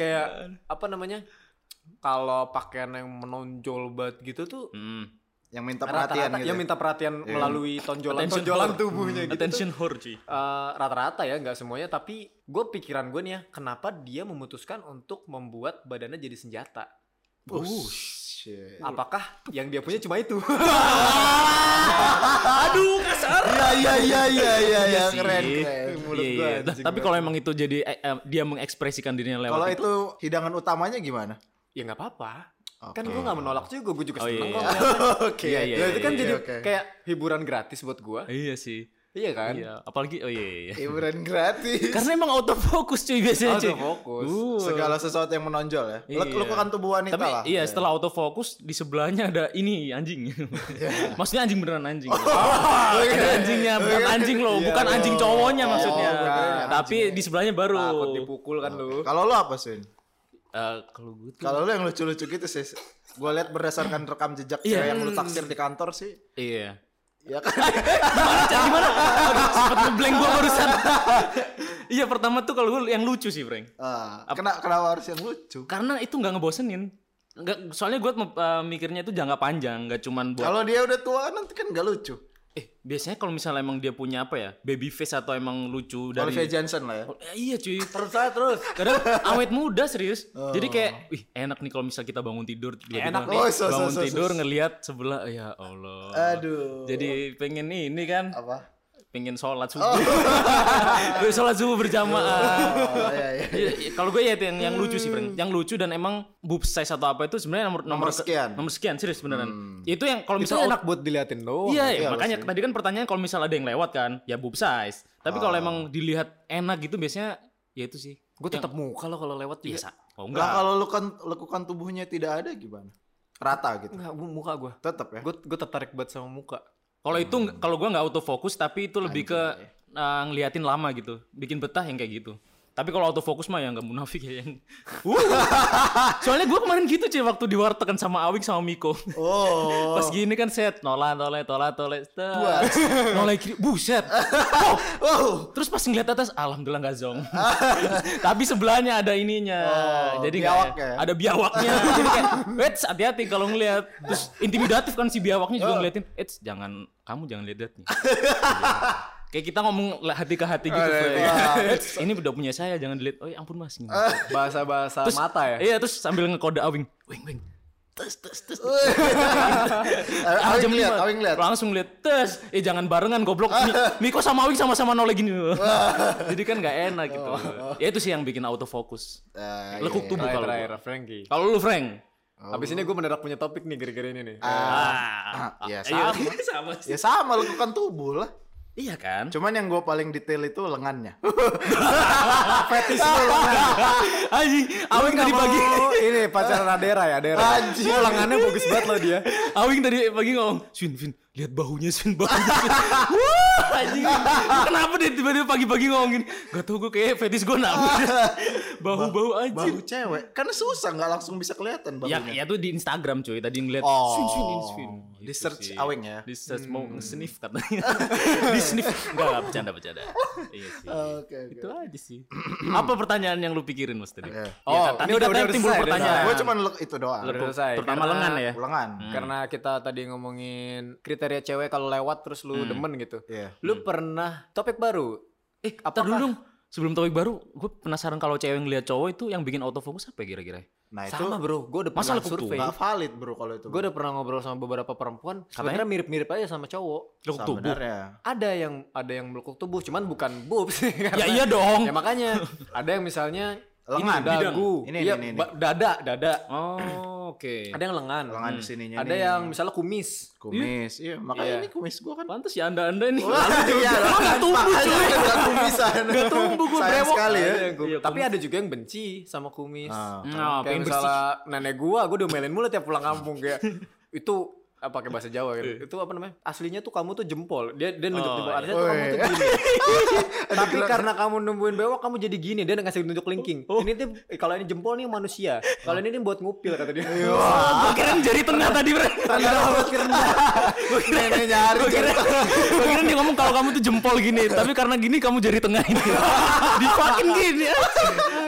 [SPEAKER 4] kayak apa namanya kalau pakaian yang menonjol banget gitu tuh
[SPEAKER 3] Hmm.
[SPEAKER 2] Yang minta perhatian
[SPEAKER 4] rata-rata
[SPEAKER 2] gitu.
[SPEAKER 4] yang minta perhatian
[SPEAKER 2] Iya.
[SPEAKER 4] melalui tonjolan
[SPEAKER 3] Attention
[SPEAKER 4] tonjolan
[SPEAKER 3] whore.
[SPEAKER 4] tubuhnya gitu tuh
[SPEAKER 3] Attention whore, cuy.
[SPEAKER 4] Eh, rata-rata ya nggak semuanya tapi gue pikiran gue nih ya kenapa dia memutuskan untuk membuat badannya jadi senjata
[SPEAKER 2] Oh, shit.
[SPEAKER 3] Iya.
[SPEAKER 4] apakah yang dia punya cuma itu (laughs)
[SPEAKER 3] Aduh, kasar.
[SPEAKER 2] Iya iya iya iya iya iya
[SPEAKER 3] sih.
[SPEAKER 2] keren keren.
[SPEAKER 4] Mulut
[SPEAKER 3] Iya,
[SPEAKER 4] gua
[SPEAKER 3] iya. Nah,
[SPEAKER 4] anjing
[SPEAKER 3] Tapi kalau emang itu jadi eh, eh, dia mengekspresikan dirinya lewat
[SPEAKER 2] Kalau itu hidangan utamanya gimana?
[SPEAKER 4] ya nggak apa-apa
[SPEAKER 2] Oke.
[SPEAKER 4] kan gue nggak menolak juga gue juga
[SPEAKER 3] Oh, iya,
[SPEAKER 4] seneng kok
[SPEAKER 3] iya.
[SPEAKER 4] ngeliatnya.
[SPEAKER 2] Oke.
[SPEAKER 3] Iya, iya,
[SPEAKER 4] Nah, itu kan
[SPEAKER 3] iya,
[SPEAKER 4] jadi
[SPEAKER 2] oke.
[SPEAKER 4] kayak hiburan gratis buat gue
[SPEAKER 3] Iya sih.
[SPEAKER 4] iya kan
[SPEAKER 3] Iya, apalagi oh iya iya. iya.
[SPEAKER 2] Hiburan gratis.
[SPEAKER 3] Karena emang autofocus cuy biasanya cuy.
[SPEAKER 4] Autofocus.
[SPEAKER 3] Uh.
[SPEAKER 2] Segala sesuatu yang menonjol ya. Lu lu
[SPEAKER 3] Iya.
[SPEAKER 2] kan tubuh wanita
[SPEAKER 3] Tapi
[SPEAKER 2] lah.
[SPEAKER 3] iya
[SPEAKER 2] (laughs)
[SPEAKER 3] setelah autofocus di sebelahnya ada ini anjing.
[SPEAKER 2] Iya.
[SPEAKER 3] Maksudnya anjing beneran anjing. Ada anjingnya bukan anjing loh,
[SPEAKER 2] Oh, Iya,
[SPEAKER 3] bukan
[SPEAKER 2] oh.
[SPEAKER 3] anjing cowoknya
[SPEAKER 2] Oh,
[SPEAKER 3] maksudnya.
[SPEAKER 2] bukan.
[SPEAKER 3] Tapi di sebelahnya baru.
[SPEAKER 4] takut dipukul kan lu
[SPEAKER 2] Kalau lu apa, Sun?
[SPEAKER 3] Eh, kalau gue tuh-
[SPEAKER 2] Kalau lu yang lucu-lucu gitu sih. Gue lihat berdasarkan rekam jejak
[SPEAKER 3] Iya.
[SPEAKER 2] cewek yang lu taksir di kantor sih.
[SPEAKER 3] Iya.
[SPEAKER 2] Ya
[SPEAKER 3] (laughs)
[SPEAKER 2] kan.
[SPEAKER 3] Gimana Cak? Gimana? Aduh, sempet ngeblank gua barusan. (laughs) iya, pertama tuh kalau gue yang lucu sih, Frank.
[SPEAKER 2] Ah, kena kenapa harus yang lucu?
[SPEAKER 3] Karena itu nggak ngebosenin. eh, Nggak, soalnya gue mikirnya itu jangka panjang, nggak cuman buat
[SPEAKER 2] Kalau dia udah tua nanti kan gak lucu.
[SPEAKER 3] eh biasanya kalau misalnya emang dia punya apa ya baby face atau emang lucu dari
[SPEAKER 2] Olivia Johnson lah ya.
[SPEAKER 3] Eh, iya cuy
[SPEAKER 4] Terus saya terus.
[SPEAKER 3] kadang awet muda serius jadi kayak wih enak nih kalau misal kita bangun tidur tiba-tiba
[SPEAKER 4] Enak
[SPEAKER 2] nih. Oh, so, so,
[SPEAKER 3] bangun
[SPEAKER 2] so, so, so.
[SPEAKER 3] tidur ngelihat sebelah ya allah
[SPEAKER 2] Aduh.
[SPEAKER 3] jadi pengen ini kan
[SPEAKER 2] apa?
[SPEAKER 3] pengen sholat subuh (laughs) Pengen sholat subuh berjamaah
[SPEAKER 2] Oh, iya, iya.
[SPEAKER 3] Iya, iya. kalau gue ya itu yang, yang lucu sih Frank yang lucu dan emang boob size atau apa itu sebenarnya nomor,
[SPEAKER 2] Hmm. Nomor
[SPEAKER 3] ke-
[SPEAKER 2] sekian. Hmm.
[SPEAKER 3] nomor sekian serius beneran itu yang kalau
[SPEAKER 4] Itu
[SPEAKER 3] misalnya
[SPEAKER 4] enak buat diliatin doang.
[SPEAKER 3] Iya, iya,
[SPEAKER 2] iya,
[SPEAKER 3] makanya
[SPEAKER 2] pasti.
[SPEAKER 3] tadi kan pertanyaan kalau misalnya ada yang lewat kan, ya boob size. Tapi kalau
[SPEAKER 2] Ah.
[SPEAKER 3] emang dilihat enak gitu biasanya ya itu sih.
[SPEAKER 4] Gue tetap muka lo kalau lewat juga.
[SPEAKER 3] biasa. Oh
[SPEAKER 2] Nah,
[SPEAKER 3] enggak.
[SPEAKER 2] kalau lekukan lekukan tubuhnya tidak ada gimana? Rata gitu.
[SPEAKER 4] Enggak, gua muka gue.
[SPEAKER 2] Tetap
[SPEAKER 3] Iya.
[SPEAKER 2] ya.
[SPEAKER 4] Gue gue tertarik banget sama muka.
[SPEAKER 3] Kalau itu nggak- kalau gua nggak autofocus tapi itu lebih ke
[SPEAKER 2] iya.
[SPEAKER 3] eh, ngeliatin lama gitu, bikin betah yang kayak gitu. Tapi kalau autofocus mah yang nggak munafik
[SPEAKER 2] (laughs)
[SPEAKER 3] ya yang. Uh. Soalnya gua kemarin gitu cuy waktu di warteg kan sama Awik sama Miko.
[SPEAKER 2] Oh.
[SPEAKER 3] Pas gini kan set nolan toleh tola toleh
[SPEAKER 2] Buat.
[SPEAKER 3] (laughs) noleh kiri buset.
[SPEAKER 2] (laughs) Wow.
[SPEAKER 3] Terus pas ngeliat atas, alhamdulillah nggak
[SPEAKER 2] (laughs)
[SPEAKER 3] zong. Tapi sebelahnya ada ininya.
[SPEAKER 2] Oh,
[SPEAKER 3] jadi
[SPEAKER 2] biawak
[SPEAKER 3] nggak-
[SPEAKER 2] ya?
[SPEAKER 3] Ada
[SPEAKER 2] (laughs)
[SPEAKER 3] biawaknya. jadi kayak, "Eits, hati-hati kalau ngeliat. Terus intimidatif kan si biawaknya
[SPEAKER 2] Oh.
[SPEAKER 3] juga ngeliatin, "Eits, jangan kamu jangan lihat lihatnya." Kayak kita ngomong lah hati ke hati
[SPEAKER 2] Oh,
[SPEAKER 3] gitu,
[SPEAKER 2] iya,
[SPEAKER 3] Fre. (laughs) "Eits, ini udah punya saya, jangan dilihat. Oh, ya ampun Mas. Gini.
[SPEAKER 4] Bahasa bahasa mata ya.
[SPEAKER 3] Iya, terus sambil ngekode awing, wing wing. Tes tes tes. Ah,
[SPEAKER 2] Eh, Awing
[SPEAKER 3] jam
[SPEAKER 2] lihat,
[SPEAKER 3] lima.
[SPEAKER 2] awing lihat.
[SPEAKER 3] Langsung lihat tes. Eh jangan barengan goblok. Mi-
[SPEAKER 2] (laughs)
[SPEAKER 3] Miko sama Awing sama-sama noleh gini. (laughs) Jadi kan nggak enak gitu.
[SPEAKER 2] Oh,
[SPEAKER 3] Ya itu sih yang bikin autofocus.
[SPEAKER 2] Eh, iya, iya.
[SPEAKER 3] Lekuk tubuh
[SPEAKER 4] Terakhir
[SPEAKER 3] kalau
[SPEAKER 4] terakhir
[SPEAKER 3] gua. Oh.
[SPEAKER 4] Frankie.
[SPEAKER 3] Kalau lu Frank.
[SPEAKER 4] Abis ini gue mendadak punya topik nih gara-gara ini nih.
[SPEAKER 3] Ah,
[SPEAKER 2] ah, iya,
[SPEAKER 3] ayo. (laughs) sama.
[SPEAKER 2] Ya
[SPEAKER 3] sih.
[SPEAKER 2] sama lekukan tubuh lah.
[SPEAKER 3] Iya kan?
[SPEAKER 2] Cuman yang gue paling detail itu lengannya. Fetis lu lengan.
[SPEAKER 3] Aji, Awing tadi pagi
[SPEAKER 4] Oh,
[SPEAKER 2] (laughs)
[SPEAKER 4] ini pacaran Adera ya, Adera.
[SPEAKER 2] Anjir.
[SPEAKER 4] Wah, lengannya bagus banget lo dia.
[SPEAKER 3] (laughs) Awing tadi pagi ngomong, Swin, Vin, lihat bahunya Swin, bahunya
[SPEAKER 2] (laughs)
[SPEAKER 3] Swin. Wah, anjing. Kenapa dia tiba-tiba pagi-pagi ngomong gini? Gak tau gue kayak fetish
[SPEAKER 2] (laughs)
[SPEAKER 3] gue nabur. Bahu-bahu anjir.
[SPEAKER 2] Bahu cewek. Kan susah nggak langsung bisa kelihatan
[SPEAKER 3] Ya,
[SPEAKER 2] bahunya.
[SPEAKER 3] ya tuh di Instagram cuy, tadi ngeliat
[SPEAKER 2] Oh.
[SPEAKER 3] Swin, Swin, Swin.
[SPEAKER 2] Di search Awing ya?
[SPEAKER 3] Di search mau
[SPEAKER 4] Hmm.
[SPEAKER 3] sniff
[SPEAKER 4] (laughs)
[SPEAKER 3] katanya. di sniff. Enggak, enggak, bercanda, bercanda. Iya sih.
[SPEAKER 4] Oh.
[SPEAKER 2] Oke, oke.
[SPEAKER 3] Itu aja sih. Apa pertanyaan yang lu pikirin mas tadi?
[SPEAKER 2] Iya.
[SPEAKER 4] Oh,
[SPEAKER 3] Oh,
[SPEAKER 4] ini
[SPEAKER 3] tadi
[SPEAKER 4] udah-
[SPEAKER 3] udah,
[SPEAKER 4] udah
[SPEAKER 3] timbul
[SPEAKER 4] selesai, udah
[SPEAKER 3] pertanyaan.
[SPEAKER 4] selesai.
[SPEAKER 2] Gue Nah, cuman lek- itu doang.
[SPEAKER 4] Udah selesai.
[SPEAKER 3] Terutama
[SPEAKER 4] Karena- Hmm.
[SPEAKER 3] lengan ya.
[SPEAKER 2] Lengan.
[SPEAKER 4] Karena kita tadi ngomongin kriteria cewek kalau lewat terus
[SPEAKER 3] Hmm.
[SPEAKER 4] lu demen gitu.
[SPEAKER 2] Iya.
[SPEAKER 4] Lu pernah topik baru?
[SPEAKER 3] Eh, apa dulu dong? Sebelum topik baru, gue penasaran kalau cewek ngeliat cowok itu yang bikin autofocus apa ya kira-kira?
[SPEAKER 2] Nah itu
[SPEAKER 4] Sama bro, gue udah
[SPEAKER 3] Masa
[SPEAKER 4] pernah
[SPEAKER 3] lekuk tuh?
[SPEAKER 4] survei.
[SPEAKER 2] nggak valid bro kalau itu.
[SPEAKER 4] Gue udah pernah ngobrol sama beberapa perempuan. Sebenarnya mirip-mirip aja sama cowok.
[SPEAKER 3] Lekuk tubuh.
[SPEAKER 2] Sebenarnya.
[SPEAKER 4] Ada yang ada yang melukuk tubuh, cuman bukan boobs. (laughs)
[SPEAKER 3] Ya
[SPEAKER 4] Karena-
[SPEAKER 3] iya dong.
[SPEAKER 4] Ya makanya ada yang misalnya
[SPEAKER 2] Lengan,
[SPEAKER 4] ini dagu,
[SPEAKER 2] Ini,
[SPEAKER 4] Iya,
[SPEAKER 2] ini, ini.
[SPEAKER 4] ba- dada, dada.
[SPEAKER 3] Oh, oke.
[SPEAKER 4] Ada yang lengan.
[SPEAKER 2] Lengan di sininya
[SPEAKER 4] Ada
[SPEAKER 2] nih.
[SPEAKER 4] yang misalnya kumis.
[SPEAKER 2] kumis. Iya, makanya
[SPEAKER 4] Iya.
[SPEAKER 2] ini kumis gue kan.
[SPEAKER 3] Pantes ya Anda-anda ini.
[SPEAKER 2] iya,
[SPEAKER 3] Lo nggak tumbuh, cuy.
[SPEAKER 2] Enggak kumisan.
[SPEAKER 3] Nggak tumbuh, gue
[SPEAKER 2] Sayang
[SPEAKER 3] brewok.
[SPEAKER 2] sekali ya.
[SPEAKER 4] Ada yang kum-
[SPEAKER 3] Iya,
[SPEAKER 4] Tapi
[SPEAKER 3] kumis.
[SPEAKER 4] ada juga yang benci sama kumis.
[SPEAKER 2] Ah.
[SPEAKER 3] Nah,
[SPEAKER 4] kayak
[SPEAKER 3] pengen bersih.
[SPEAKER 4] misalnya nenek gua, gua diomelin mulu tiap pulang kampung kayak itu apa pakai bahasa Jawa gitu. itu apa namanya? Aslinya tuh kamu tuh jempol. Dia dia nunjuk
[SPEAKER 3] Eh. Oh,
[SPEAKER 4] jempol.
[SPEAKER 3] iya.
[SPEAKER 4] Artinya tuh kamu tuh
[SPEAKER 2] Woi.
[SPEAKER 3] (laughs)
[SPEAKER 4] gini. Tapi
[SPEAKER 2] gelap.
[SPEAKER 4] karena kamu nemuin bewok kamu jadi gini. Dia ngasih nunjuk linking.
[SPEAKER 3] Oh,
[SPEAKER 4] Ini tuh eh, kalau ini jempol nih manusia. Kalau ini nih buat ngupil kata dia.
[SPEAKER 3] Iya. Gue kira jari tengah tadi, Bre. Gue kira
[SPEAKER 2] Nenek nyari
[SPEAKER 3] Gue kira, gua kira dia ngomong kalau kamu tuh jempol gini, tapi karena gini kamu jari tengah (laughs) ini. Dipakin gini. ya.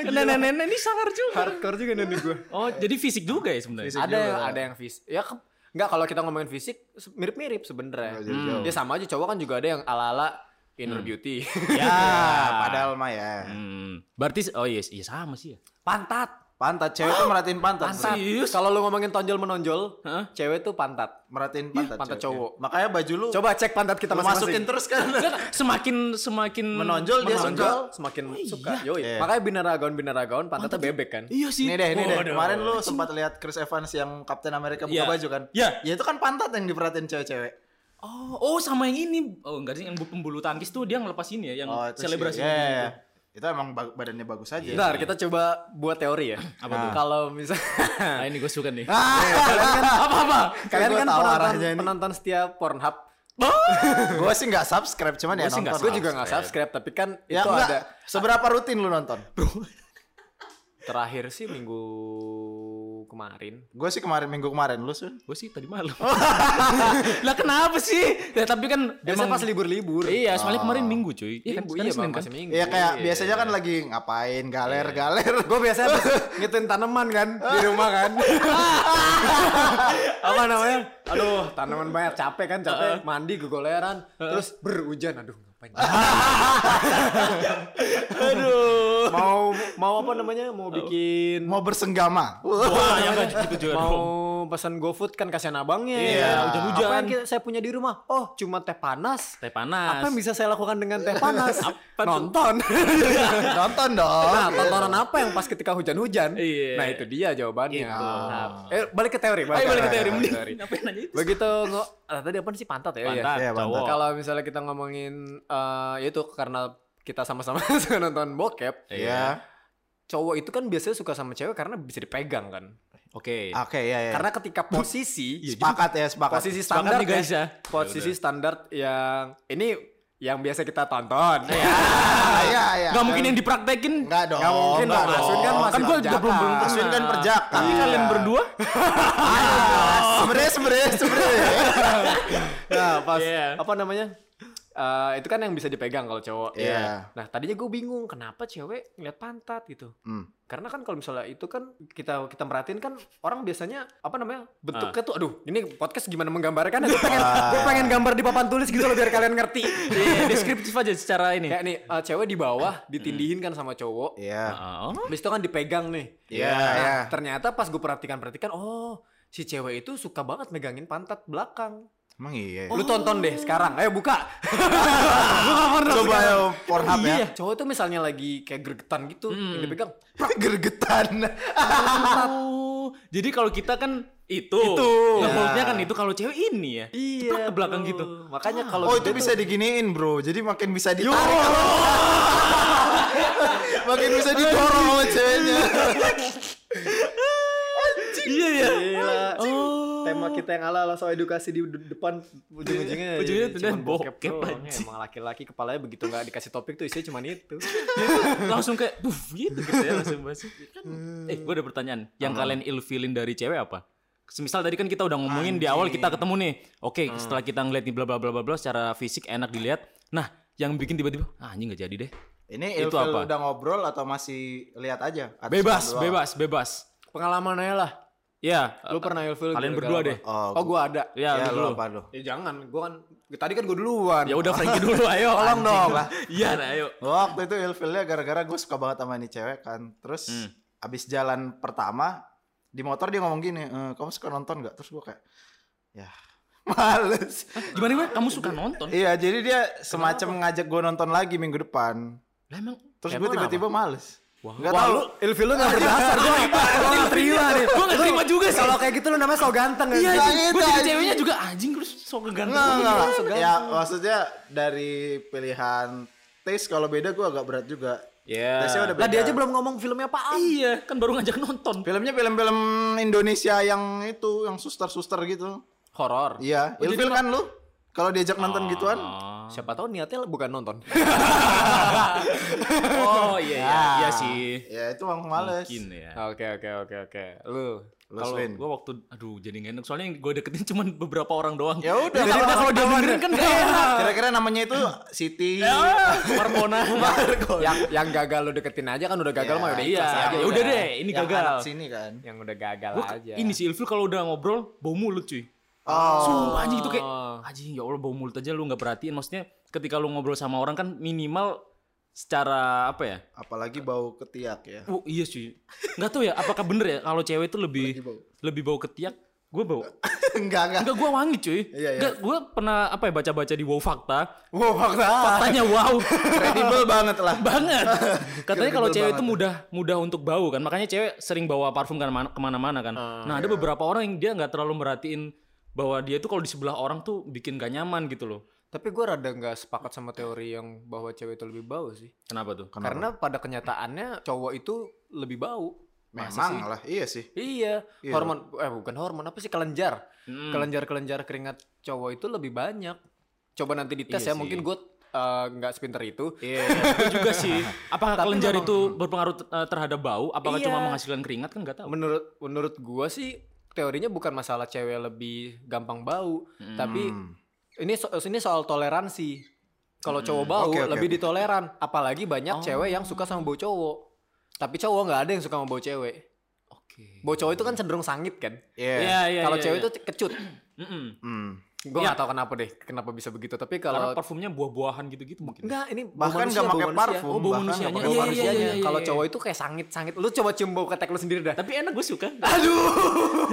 [SPEAKER 3] Nenek-nenek nah, ini sangar juga.
[SPEAKER 4] Hardcore juga nenek gua.
[SPEAKER 3] Oh, jadi fisik juga ya sebenarnya.
[SPEAKER 4] ada yang ada yang fisik Iya, ya ke- nggak kalau kita ngomongin fisik se- mirip-mirip sebenarnya
[SPEAKER 2] Nggak jauh-jauh.
[SPEAKER 4] ya sama aja cowok kan juga ada yang ala-ala inner beauty
[SPEAKER 3] Ya,
[SPEAKER 2] Ah, Padahal mah ya.
[SPEAKER 3] Hmm, berarti oh iya, iya sama sih ya.
[SPEAKER 4] (laughs) pantat
[SPEAKER 2] Pantat cewek tuh merhatiin pantat.
[SPEAKER 4] pantat
[SPEAKER 3] Serius?
[SPEAKER 4] kalau lu ngomongin tonjol menonjol
[SPEAKER 3] Hah?
[SPEAKER 4] cewek tuh pantat
[SPEAKER 2] Merhatiin pantat,
[SPEAKER 4] pantat
[SPEAKER 2] cewek.
[SPEAKER 4] cowok.
[SPEAKER 2] Makanya baju lu
[SPEAKER 4] coba cek pantat kita
[SPEAKER 2] lu masukin
[SPEAKER 4] masing-masing
[SPEAKER 2] terus kan.
[SPEAKER 3] Enggak, semakin semakin
[SPEAKER 2] Menonjol dia
[SPEAKER 3] menonjol.
[SPEAKER 2] senjol.
[SPEAKER 4] semakin suka yoi
[SPEAKER 2] Iya.
[SPEAKER 4] makanya binaragawan binaragawan pantatnya bebek kan
[SPEAKER 3] Iya sih.
[SPEAKER 2] Ini deh, ini deh.
[SPEAKER 3] Waduh.
[SPEAKER 2] Kemarin lu sempat lihat Chris Evans yang Captain America buka
[SPEAKER 3] Iya.
[SPEAKER 2] baju kan?
[SPEAKER 3] Iya.
[SPEAKER 2] Ya itu kan pantat yang diperhatiin cewek-cewek.
[SPEAKER 3] Oh, oh sama yang ini. Oh, enggak sih yang bu- pembulu tangkis tuh dia ngelepas ini ya, yang
[SPEAKER 2] Oh, itu sih.
[SPEAKER 3] selebrasi.
[SPEAKER 2] Iya,
[SPEAKER 3] ini.
[SPEAKER 2] iya, iya. Itu emang ba- badannya bagus aja.
[SPEAKER 4] Bentar, kita coba buat teori ya.
[SPEAKER 3] Apa tuh?
[SPEAKER 4] Kalau (laughs) misal
[SPEAKER 3] Nah, ini gue suka nih.
[SPEAKER 2] Iya.
[SPEAKER 4] apa-apa? Kalian
[SPEAKER 2] Gua
[SPEAKER 4] kan
[SPEAKER 2] tahu
[SPEAKER 4] penonton,
[SPEAKER 2] arahnya ini.
[SPEAKER 4] penonton setia Pornhub.
[SPEAKER 2] gue sih nggak subscribe cuman ya
[SPEAKER 3] sih nggak
[SPEAKER 2] nonton.
[SPEAKER 4] Gue juga nggak subscribe, tapi kan
[SPEAKER 2] Ya
[SPEAKER 4] itu
[SPEAKER 2] enggak.
[SPEAKER 4] ada
[SPEAKER 2] Seberapa rutin lu nonton?
[SPEAKER 4] terakhir sih minggu kemarin.
[SPEAKER 2] Gue sih kemarin minggu kemarin lu Sun.
[SPEAKER 3] Gue sih tadi malam.
[SPEAKER 2] Oh.
[SPEAKER 3] (laughs) lah kenapa sih? Ya, tapi kan
[SPEAKER 4] Biasanya pas libur-libur.
[SPEAKER 3] Iya, soalnya
[SPEAKER 2] Oh.
[SPEAKER 3] kemarin minggu cuy. kan,
[SPEAKER 4] Iya, Bu,
[SPEAKER 3] sekarang
[SPEAKER 4] iya,
[SPEAKER 3] Senin
[SPEAKER 4] Bang,
[SPEAKER 3] kan?
[SPEAKER 4] masih minggu. Iya,
[SPEAKER 2] Iya kayak biasanya kan lagi ngapain galer galer.
[SPEAKER 4] Gue biasanya (laughs) habis ngituin tanaman kan di rumah (laughs) kan. Apa namanya? Aduh, tanaman banyak capek kan, capek mandi kegoleran, terus berhujan. Aduh, ngapain? (laughs) Aduh. Mau mau apa namanya? Mau bikin
[SPEAKER 2] (laughs) Mau bersenggama.
[SPEAKER 3] Wah, ya kan gitu juga dong.
[SPEAKER 4] mau pesan GoFood kan kasihan abangnya.
[SPEAKER 3] Iya, hujan-hujan.
[SPEAKER 4] Apa yang kita- saya punya di rumah? Oh, cuma teh panas.
[SPEAKER 3] Teh panas.
[SPEAKER 4] Apa yang bisa saya lakukan dengan teh panas?
[SPEAKER 3] tuh? (laughs)
[SPEAKER 4] Nonton.
[SPEAKER 3] Iya.
[SPEAKER 2] Nonton dong.
[SPEAKER 4] Nah, tontonan apa yang pas ketika hujan-hujan?
[SPEAKER 3] Iya. Gitu.
[SPEAKER 4] Nah, itu dia jawabannya. Nah, eh, balik ke teori,
[SPEAKER 3] Ayo balik ke teori.
[SPEAKER 4] balik
[SPEAKER 3] mending.
[SPEAKER 4] ke teori.
[SPEAKER 3] Ngapain nanya itu?
[SPEAKER 4] Begitu nge- ah, tadi apa sih pantat ya?
[SPEAKER 3] Pantat,
[SPEAKER 2] Iya, pantat.
[SPEAKER 3] cowok.
[SPEAKER 4] Kalau misalnya kita ngomongin eh, ya itu karena kita sama-sama (laughs) suka nonton bokep,
[SPEAKER 2] Iya.
[SPEAKER 4] cowok itu kan biasanya suka sama cewek karena bisa dipegang kan.
[SPEAKER 3] Oke.
[SPEAKER 2] Oke ya ya.
[SPEAKER 4] Karena ketika posisi
[SPEAKER 2] sepakat ya sepakat.
[SPEAKER 4] posisi
[SPEAKER 3] Sepakat
[SPEAKER 4] standar
[SPEAKER 3] nih, guys, ya.
[SPEAKER 4] Posisi standar yang ini yang biasa kita tonton.
[SPEAKER 3] Iya.
[SPEAKER 2] Ah, iya iya.
[SPEAKER 3] Gak mungkin yang dipraktekin.
[SPEAKER 2] Enggak dong.
[SPEAKER 4] Nggak mungkin
[SPEAKER 2] nggak
[SPEAKER 4] dong,
[SPEAKER 2] dong.
[SPEAKER 4] Asun kan masih
[SPEAKER 3] Kan gue juga
[SPEAKER 4] perjaka.
[SPEAKER 3] belum belum
[SPEAKER 2] Asun kan
[SPEAKER 3] pernah.
[SPEAKER 2] perjaka.
[SPEAKER 3] Tapi
[SPEAKER 2] Iya.
[SPEAKER 3] kalian berdua?
[SPEAKER 2] Sebenernya sebenernya sebenernya.
[SPEAKER 4] Nah, pas
[SPEAKER 3] Iya.
[SPEAKER 4] apa namanya? Eh, itu kan yang bisa dipegang kalau cowok.
[SPEAKER 2] Iya.
[SPEAKER 4] Nah, tadinya gue bingung kenapa cewek ngeliat pantat gitu.
[SPEAKER 2] Hmm.
[SPEAKER 4] Karena kan kalau misalnya itu kan kita kita merhatiin kan orang biasanya apa namanya? bentuknya
[SPEAKER 3] Ah.
[SPEAKER 4] tuh aduh, ini podcast gimana menggambarkan? Gue pengen
[SPEAKER 2] Ah.
[SPEAKER 4] gue pengen gambar di papan tulis gitu loh biar kalian ngerti.
[SPEAKER 3] Iya, deskriptif aja secara ini.
[SPEAKER 4] Kayak nih eh, cewek di bawah ditindihin kan sama cowok.
[SPEAKER 2] Hmm. Iya.
[SPEAKER 3] Oh.
[SPEAKER 4] Habis itu kan dipegang nih.
[SPEAKER 2] Iya,
[SPEAKER 4] Nah,
[SPEAKER 2] iya.
[SPEAKER 4] Ternyata pas gue perhatikan-perhatikan, oh si cewek itu suka banget megangin pantat belakang.
[SPEAKER 2] Emang iya.
[SPEAKER 4] Lu tonton deh sekarang. Ayo buka. Oh. (laughs) Gua nggak pernah
[SPEAKER 2] Coba
[SPEAKER 4] sekarang.
[SPEAKER 2] ya Pornhub ya.
[SPEAKER 4] Iya, cowok tuh misalnya lagi kayak gergetan gitu, yang dipegang.
[SPEAKER 2] (laughs) Gergetan.
[SPEAKER 3] Oh, Jadi kalau kita kan itu.
[SPEAKER 4] Itu. Iya.
[SPEAKER 3] Ngeholdnya
[SPEAKER 2] Iya.
[SPEAKER 3] kan itu kalau cewek ini ya. Ceprak ke belakang
[SPEAKER 4] tuh.
[SPEAKER 3] gitu.
[SPEAKER 4] Makanya kalau
[SPEAKER 2] Oh
[SPEAKER 4] gede
[SPEAKER 2] itu bisa
[SPEAKER 4] tuh-
[SPEAKER 2] diginiin bro, jadi makin bisa ditarik (laughs) Makin bisa didorong sama ceweknya
[SPEAKER 3] Iya ya.
[SPEAKER 4] Gila.
[SPEAKER 3] Oh.
[SPEAKER 4] Tema kita yang ala-ala soal edukasi di de- depan (laughs) ujung-ujungnya.
[SPEAKER 3] Ujungnya
[SPEAKER 4] ya,
[SPEAKER 3] tuh dan
[SPEAKER 4] cuman bokep
[SPEAKER 3] bokep
[SPEAKER 4] doang.
[SPEAKER 3] aja.
[SPEAKER 4] Emang laki-laki kepalanya begitu nggak dikasih topik tuh isinya cuman itu.
[SPEAKER 3] langsung kayak buff gitu gitu ya langsung bahas. Kan,
[SPEAKER 2] Hmm.
[SPEAKER 3] eh gue ada pertanyaan yang kalian ilfilin dari cewek apa Semisal tadi kan kita udah ngomongin di awal kita ketemu nih oke
[SPEAKER 2] Hmm.
[SPEAKER 3] setelah kita ngeliat nih bla bla bla bla bla secara fisik enak dilihat nah yang bikin tiba-tiba ah anjing nggak jadi deh
[SPEAKER 2] Ini
[SPEAKER 3] Itu
[SPEAKER 2] Ilfil
[SPEAKER 3] apa?
[SPEAKER 2] udah ngobrol atau masih lihat aja? Atas
[SPEAKER 3] bebas
[SPEAKER 2] doang.
[SPEAKER 3] bebas bebas
[SPEAKER 4] Pengalaman aja lah.
[SPEAKER 3] ya
[SPEAKER 4] Lu pernah ilfil
[SPEAKER 3] kalian
[SPEAKER 4] gara-gara
[SPEAKER 3] berdua
[SPEAKER 4] apa?
[SPEAKER 3] deh
[SPEAKER 2] Oh,
[SPEAKER 4] Oh, gua ada.
[SPEAKER 3] ya,
[SPEAKER 2] ya
[SPEAKER 3] lu
[SPEAKER 2] lu
[SPEAKER 3] dulu
[SPEAKER 2] apa lu?
[SPEAKER 4] Ya jangan, gua kan tadi kan gua duluan.
[SPEAKER 3] ya udah Frankie
[SPEAKER 2] (laughs)
[SPEAKER 3] dulu ayo
[SPEAKER 2] Tolong dong lah
[SPEAKER 3] iya nah, ayo
[SPEAKER 2] Waktu itu Ilfilnya gara-gara gue suka banget sama ini cewek kan Terus
[SPEAKER 3] Hmm.
[SPEAKER 2] abis jalan pertama di motor dia ngomong gini, "Eh, kamu suka nonton gak? Terus gue kayak, ya (laughs) males
[SPEAKER 3] gimana gimana kamu suka nonton
[SPEAKER 2] Iya jadi dia semacam ngajak gue nonton lagi minggu depan
[SPEAKER 3] lah emang
[SPEAKER 2] Terus
[SPEAKER 3] emang
[SPEAKER 2] gue
[SPEAKER 3] kenapa?
[SPEAKER 2] tiba-tiba males. Gak
[SPEAKER 4] Wah,
[SPEAKER 2] tau
[SPEAKER 4] lu ilfil lu gak
[SPEAKER 2] (laughs)
[SPEAKER 4] berdasar gua gak- gua gak terima nih.
[SPEAKER 3] Gua gak terima juga sih.
[SPEAKER 4] Kalau kayak gitu lu namanya so ganteng
[SPEAKER 2] Iya,
[SPEAKER 4] anjing.
[SPEAKER 2] iya.
[SPEAKER 3] gue jadi
[SPEAKER 2] anjing.
[SPEAKER 3] ceweknya juga anjing terus sok ganteng
[SPEAKER 2] Enggak, enggak, enggak. Ya maksudnya dari pilihan taste kalau beda gue agak berat juga.
[SPEAKER 3] Iya.
[SPEAKER 2] Taste-nya udah
[SPEAKER 4] Lah
[SPEAKER 2] beda.
[SPEAKER 4] dia aja belum ngomong filmnya apaan.
[SPEAKER 3] iya kan baru ngajak nonton
[SPEAKER 2] Filmnya film-film Indonesia yang itu, yang suster-suster gitu.
[SPEAKER 4] Horor.
[SPEAKER 2] Iya,
[SPEAKER 3] Oh,
[SPEAKER 2] ilfil kan lu? Kalau diajak
[SPEAKER 3] Ah.
[SPEAKER 2] nonton gituan.
[SPEAKER 4] Siapa tahu niatnya bukan (laughs) nonton.
[SPEAKER 3] Oh iya iya, iya sih.
[SPEAKER 2] Ya itu emang males.
[SPEAKER 3] Mungkin ya.
[SPEAKER 4] Oke oke oke oke. Lu
[SPEAKER 2] Lu
[SPEAKER 3] Kalau
[SPEAKER 2] Swin.
[SPEAKER 3] gue waktu aduh jadi gak enak soalnya yang gue deketin cuman beberapa orang doang.
[SPEAKER 2] Ya udah,
[SPEAKER 3] Jadi
[SPEAKER 2] kalau-
[SPEAKER 3] kalau kalau dia dengerin kan gak
[SPEAKER 2] (laughs)
[SPEAKER 3] enak.
[SPEAKER 2] (laughs) Kira-kira namanya itu Siti.
[SPEAKER 3] Ah, Marmona.
[SPEAKER 4] (laughs) yang yang gagal lu deketin aja kan udah gagal
[SPEAKER 2] Iya,
[SPEAKER 4] mah udah
[SPEAKER 3] Iya,
[SPEAKER 4] ikhlas aja.
[SPEAKER 3] ya udah deh, ini
[SPEAKER 2] Yang anak
[SPEAKER 3] gagal.
[SPEAKER 2] sini kan.
[SPEAKER 4] Yang udah gagal
[SPEAKER 3] Gua-
[SPEAKER 4] aja.
[SPEAKER 3] ini si Ilfil kalau udah ngobrol bau mulut cuy.
[SPEAKER 2] Oh,
[SPEAKER 3] Sumpah anjing itu kayak anjing ya Allah bau mulut aja lu nggak perhatiin maksudnya ketika lu ngobrol sama orang kan minimal secara apa ya?
[SPEAKER 2] apalagi bau ketiak ya. (laughs)
[SPEAKER 3] Oh iya sih. Nggak tahu ya apakah bener ya kalau cewek itu lebih
[SPEAKER 2] Lagi bau.
[SPEAKER 3] lebih bau ketiak, gue bau.
[SPEAKER 2] enggak, enggak.
[SPEAKER 3] Enggak gue wangi cuy.
[SPEAKER 2] Iya, iya.
[SPEAKER 3] Enggak gue pernah apa ya baca-baca di Wow Fakta.
[SPEAKER 2] Wow, fakta.
[SPEAKER 3] Faktanya wow
[SPEAKER 2] Kredibel banget lah.
[SPEAKER 3] banget. Katanya kalau
[SPEAKER 2] Betul
[SPEAKER 3] cewek
[SPEAKER 2] banget.
[SPEAKER 3] itu mudah mudah untuk bau kan. Makanya cewek sering bawa parfum kan mana- kemana-mana kan. nah ada beberapa orang yang dia nggak terlalu merhatiin bahwa dia tuh kalau di sebelah orang tuh bikin gak nyaman gitu loh.
[SPEAKER 4] Tapi gue rada nggak sepakat sama teori yang bahwa cewek itu lebih bau sih.
[SPEAKER 3] Kenapa tuh?
[SPEAKER 4] Karena pada kenyataannya cowok itu lebih bau.
[SPEAKER 2] Memang lah, iya sih.
[SPEAKER 4] Iya, hormon eh bukan hormon apa sih kelenjar.
[SPEAKER 3] Hmm.
[SPEAKER 4] Kelenjar-kelenjar keringat cowok itu lebih banyak. Coba nanti dites ya, mungkin gue eh, nggak sepinter (laughs) itu.
[SPEAKER 3] Iya, itu juga sih. Apakah
[SPEAKER 4] Tapi
[SPEAKER 3] kelenjar
[SPEAKER 4] memang-
[SPEAKER 3] itu berpengaruh te- eh, terhadap bau? Apakah
[SPEAKER 4] Iya.
[SPEAKER 3] cuma menghasilkan keringat kan nggak tahu.
[SPEAKER 4] Menurut menurut gua sih teorinya bukan masalah cewek lebih gampang bau,
[SPEAKER 3] Hmm.
[SPEAKER 4] tapi ini so- ini soal toleransi. Kalau cowok bau
[SPEAKER 2] Oke, oke,
[SPEAKER 4] lebih
[SPEAKER 2] oke.
[SPEAKER 4] ditoleran, apalagi
[SPEAKER 3] Hmm.
[SPEAKER 4] banyak
[SPEAKER 3] Oh.
[SPEAKER 4] cewek yang suka sama bau cowok. Tapi cowok nggak ada yang suka sama bau cewek.
[SPEAKER 3] Oke.
[SPEAKER 4] Bau cowok itu kan cenderung sangit kan.
[SPEAKER 2] Iya.
[SPEAKER 3] Iya, iya,
[SPEAKER 4] kalau
[SPEAKER 3] iya,
[SPEAKER 4] cewek
[SPEAKER 3] iya.
[SPEAKER 4] itu kecut.
[SPEAKER 3] Mm-mm.
[SPEAKER 2] Hmm.
[SPEAKER 4] Gue
[SPEAKER 3] Iya.
[SPEAKER 4] nggak tahu kenapa deh, kenapa bisa begitu. Tapi
[SPEAKER 3] Karena
[SPEAKER 4] kalau
[SPEAKER 3] parfumnya buah-buahan gitu-gitu mungkin.
[SPEAKER 4] Enggak, ini bau
[SPEAKER 2] gitu. Bahkan
[SPEAKER 4] manusia,
[SPEAKER 2] nggak
[SPEAKER 4] bau
[SPEAKER 2] pakai
[SPEAKER 4] manusia.
[SPEAKER 2] parfum,
[SPEAKER 3] Oh, bau
[SPEAKER 2] bahkan nggak
[SPEAKER 3] manusianya.
[SPEAKER 2] pakai
[SPEAKER 3] Iya, iya,
[SPEAKER 2] parfum.
[SPEAKER 4] manusianya.
[SPEAKER 3] iya, iya,
[SPEAKER 4] Kalau
[SPEAKER 3] iya.
[SPEAKER 4] cowok itu kayak sangit-sangit. Lu coba cium bau ketek lu sendiri dah.
[SPEAKER 3] Tapi enak gue suka. Aduh. (laughs)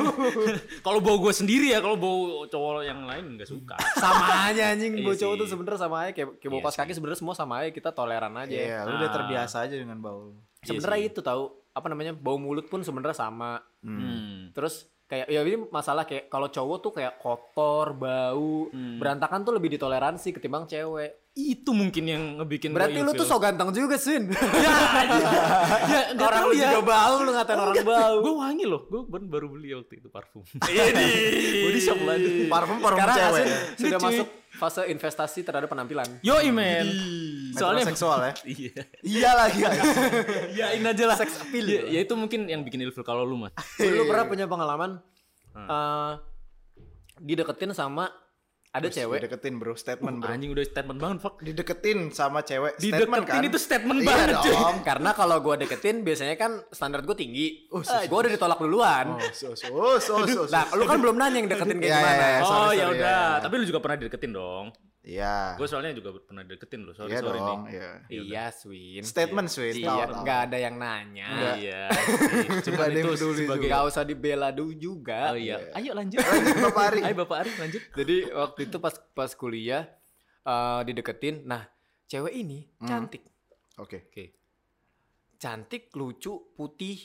[SPEAKER 3] kalau bau gue sendiri ya, kalau bau cowok yang lain nggak suka.
[SPEAKER 4] (laughs) sama aja anjing bau
[SPEAKER 3] Iya
[SPEAKER 4] cowok
[SPEAKER 3] sih.
[SPEAKER 4] tuh sebenernya sama aja kayak, kayak bau
[SPEAKER 3] Iya
[SPEAKER 4] kaos kaki sebenernya semua sama aja kita toleran aja
[SPEAKER 2] Iya, lu udah
[SPEAKER 3] Ah.
[SPEAKER 2] terbiasa aja dengan bau.
[SPEAKER 4] sebenernya itu tahu apa namanya bau mulut pun sebenernya sama
[SPEAKER 2] Hmm.
[SPEAKER 3] Hmm.
[SPEAKER 4] terus kayak ya ini masalah kayak kalau cowok tuh kayak kotor bau
[SPEAKER 3] Hmm.
[SPEAKER 4] berantakan tuh lebih ditoleransi ketimbang cewek
[SPEAKER 3] Itu mungkin yang ngebikin
[SPEAKER 4] berarti
[SPEAKER 3] gua
[SPEAKER 4] lu tuh
[SPEAKER 3] ilfil.
[SPEAKER 4] so ganteng juga (laughs) sin
[SPEAKER 3] ya, ya, nggak
[SPEAKER 4] orang
[SPEAKER 3] tahu
[SPEAKER 4] lu
[SPEAKER 3] ya.
[SPEAKER 4] juga bau lu ngatain orang bau
[SPEAKER 3] Gue wangi loh, gue baru beli waktu itu parfum. (laughs) Body shop lah.
[SPEAKER 2] Parfum parfum
[SPEAKER 4] sekarang
[SPEAKER 2] cewek.
[SPEAKER 4] Asin
[SPEAKER 2] ya?
[SPEAKER 3] Ini
[SPEAKER 4] sudah
[SPEAKER 3] cuy.
[SPEAKER 4] masuk fase investasi terhadap penampilan
[SPEAKER 3] Yo men. Soalnya
[SPEAKER 2] Metroseksual ya.
[SPEAKER 3] Iya.
[SPEAKER 2] Iya lagi.
[SPEAKER 3] (laughs) Yain aja lah. Seks appeal. Ya, ya itu mungkin yang bikin ilfil kalau lu mas.
[SPEAKER 4] lu pernah punya pengalaman eh, dideketin sama ada cewek
[SPEAKER 2] Deketin bro, statement bro.
[SPEAKER 3] Anjing udah statement banget fuck.
[SPEAKER 2] Dideketin sama cewek.
[SPEAKER 3] Dideketin
[SPEAKER 2] Statement kan.
[SPEAKER 3] itu statement
[SPEAKER 2] Iya
[SPEAKER 3] banget cuy.
[SPEAKER 2] dong.
[SPEAKER 4] karena kalau gue deketin biasanya kan standar gue tinggi. Eh, gue udah ditolak duluan.
[SPEAKER 2] So so so so. so.
[SPEAKER 4] Nah, lu kan belum nanya yang deketin (laughs) kayak
[SPEAKER 2] Iya, iya,
[SPEAKER 4] gimana.
[SPEAKER 2] iya. Eh,
[SPEAKER 3] oh
[SPEAKER 2] sorry,
[SPEAKER 3] ya
[SPEAKER 2] sorry,
[SPEAKER 3] udah,
[SPEAKER 2] ya.
[SPEAKER 3] tapi lu juga pernah dideketin dong.
[SPEAKER 2] Iya.
[SPEAKER 3] Gue soalnya juga pernah dideketin lo, sorry
[SPEAKER 2] Iya
[SPEAKER 3] sorry
[SPEAKER 2] dong.
[SPEAKER 3] nih.
[SPEAKER 2] Iya.
[SPEAKER 4] Iya, Swin.
[SPEAKER 2] Statement sweet.
[SPEAKER 4] Iya,
[SPEAKER 2] Tahu tahu.
[SPEAKER 4] nggak ada yang nanya.
[SPEAKER 2] Nggak.
[SPEAKER 3] Iya.
[SPEAKER 2] Nggak
[SPEAKER 3] Cuma
[SPEAKER 2] ada yang
[SPEAKER 3] itu
[SPEAKER 2] peduli
[SPEAKER 3] sebagai
[SPEAKER 4] Gak usah dibela dulu juga.
[SPEAKER 3] Oh iya. Ayo lanjut.
[SPEAKER 2] Bapak Ari.
[SPEAKER 3] Ayo Bapak Ari lanjut.
[SPEAKER 4] Jadi waktu itu pas pas kuliah eh, dideketin, nah cewek ini cantik,
[SPEAKER 2] Oke.
[SPEAKER 3] Oke.
[SPEAKER 4] cantik, lucu, putih,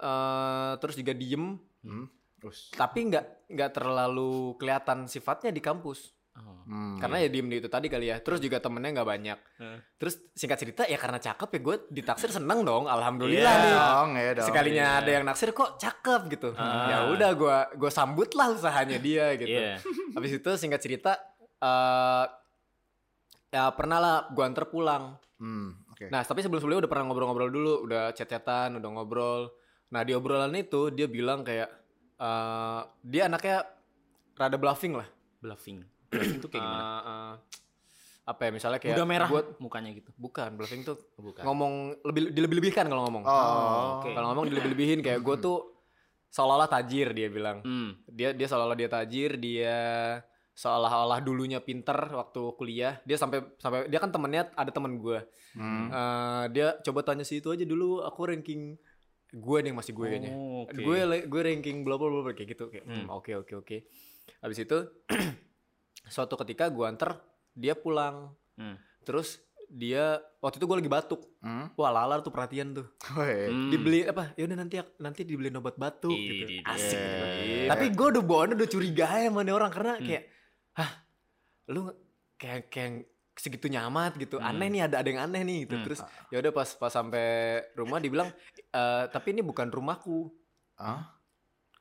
[SPEAKER 4] eh, terus juga diem,
[SPEAKER 2] Hmm. Terus.
[SPEAKER 4] tapi nggak nggak terlalu kelihatan sifatnya di kampus.
[SPEAKER 3] Oh.
[SPEAKER 2] Hmm.
[SPEAKER 4] Karena ya diem di itu tadi kali ya. Terus juga temennya nggak banyak.
[SPEAKER 3] Heeh.
[SPEAKER 4] Terus singkat cerita ya karena cakep ya gue ditaksir seneng dong. Alhamdulillah
[SPEAKER 3] Iya.
[SPEAKER 4] nih.
[SPEAKER 2] dong, ya dong.
[SPEAKER 4] Sekalinya
[SPEAKER 3] Iya.
[SPEAKER 4] ada yang naksir kok cakep gitu.
[SPEAKER 3] Ah.
[SPEAKER 4] Ya udah gue gue sambut lah usahanya dia gitu.
[SPEAKER 3] Iya.
[SPEAKER 4] Habis itu singkat cerita eh ya pernah lah gue anter pulang.
[SPEAKER 2] Hmm. Oke.
[SPEAKER 4] Nah tapi sebelum sebelumnya udah pernah ngobrol-ngobrol dulu. Udah chat-chatan, udah ngobrol. Nah di obrolan itu dia bilang kayak eh dia anaknya rada bluffing lah.
[SPEAKER 3] Bluffing. Bluffing tuh kayak gimana?
[SPEAKER 4] Eh, eh, apa ya misalnya kayak
[SPEAKER 3] Udah Iya. merah
[SPEAKER 4] buat
[SPEAKER 3] mukanya gitu.
[SPEAKER 4] bukan bluffing tuh
[SPEAKER 3] Bukan.
[SPEAKER 4] ngomong lebih dilebih-lebihkan kalau ngomong.
[SPEAKER 2] Oh.
[SPEAKER 3] Oke.
[SPEAKER 4] Kalau ngomong dilebih-lebihin kayak gue tuh seolah-olah tajir dia bilang.
[SPEAKER 3] Hmm.
[SPEAKER 4] Dia dia seolah-olah dia tajir, dia seolah-olah dulunya pinter waktu kuliah. Dia sampai sampai dia kan temennya ada temen gue.
[SPEAKER 2] Hmm.
[SPEAKER 4] Eh, dia coba tanya si itu aja dulu aku ranking gue nih masih gue kayaknya
[SPEAKER 3] Oh, oke.
[SPEAKER 4] gue le- gue ranking bla bla bla bla, kayak gitu kayak
[SPEAKER 3] Hmm.
[SPEAKER 4] "Hmm, oke oke oke habis itu (clears throat) suatu ketika gue anter dia pulang
[SPEAKER 3] Hmm.
[SPEAKER 4] terus dia waktu itu gue lagi batuk
[SPEAKER 2] Hmm.
[SPEAKER 4] wah lalar tuh perhatian tuh
[SPEAKER 2] Woi.
[SPEAKER 3] Hmm.
[SPEAKER 4] dibeli apa ya udah nanti ak- nanti dibeliin obat batuk
[SPEAKER 3] Ih, di-
[SPEAKER 4] gitu
[SPEAKER 3] di-
[SPEAKER 4] asik gitu kan.
[SPEAKER 2] Iya.
[SPEAKER 4] tapi gue udah bawaannya udah curiga aja sama nih orang karena
[SPEAKER 3] Hmm.
[SPEAKER 4] kayak hah lu nge- kayak kayak segitu nyamat gitu aneh nih ada ada yang aneh nih gitu
[SPEAKER 3] Hmm.
[SPEAKER 4] terus ya udah pas pas sampai rumah dibilang "Eh, tapi ini bukan rumahku
[SPEAKER 2] Ah.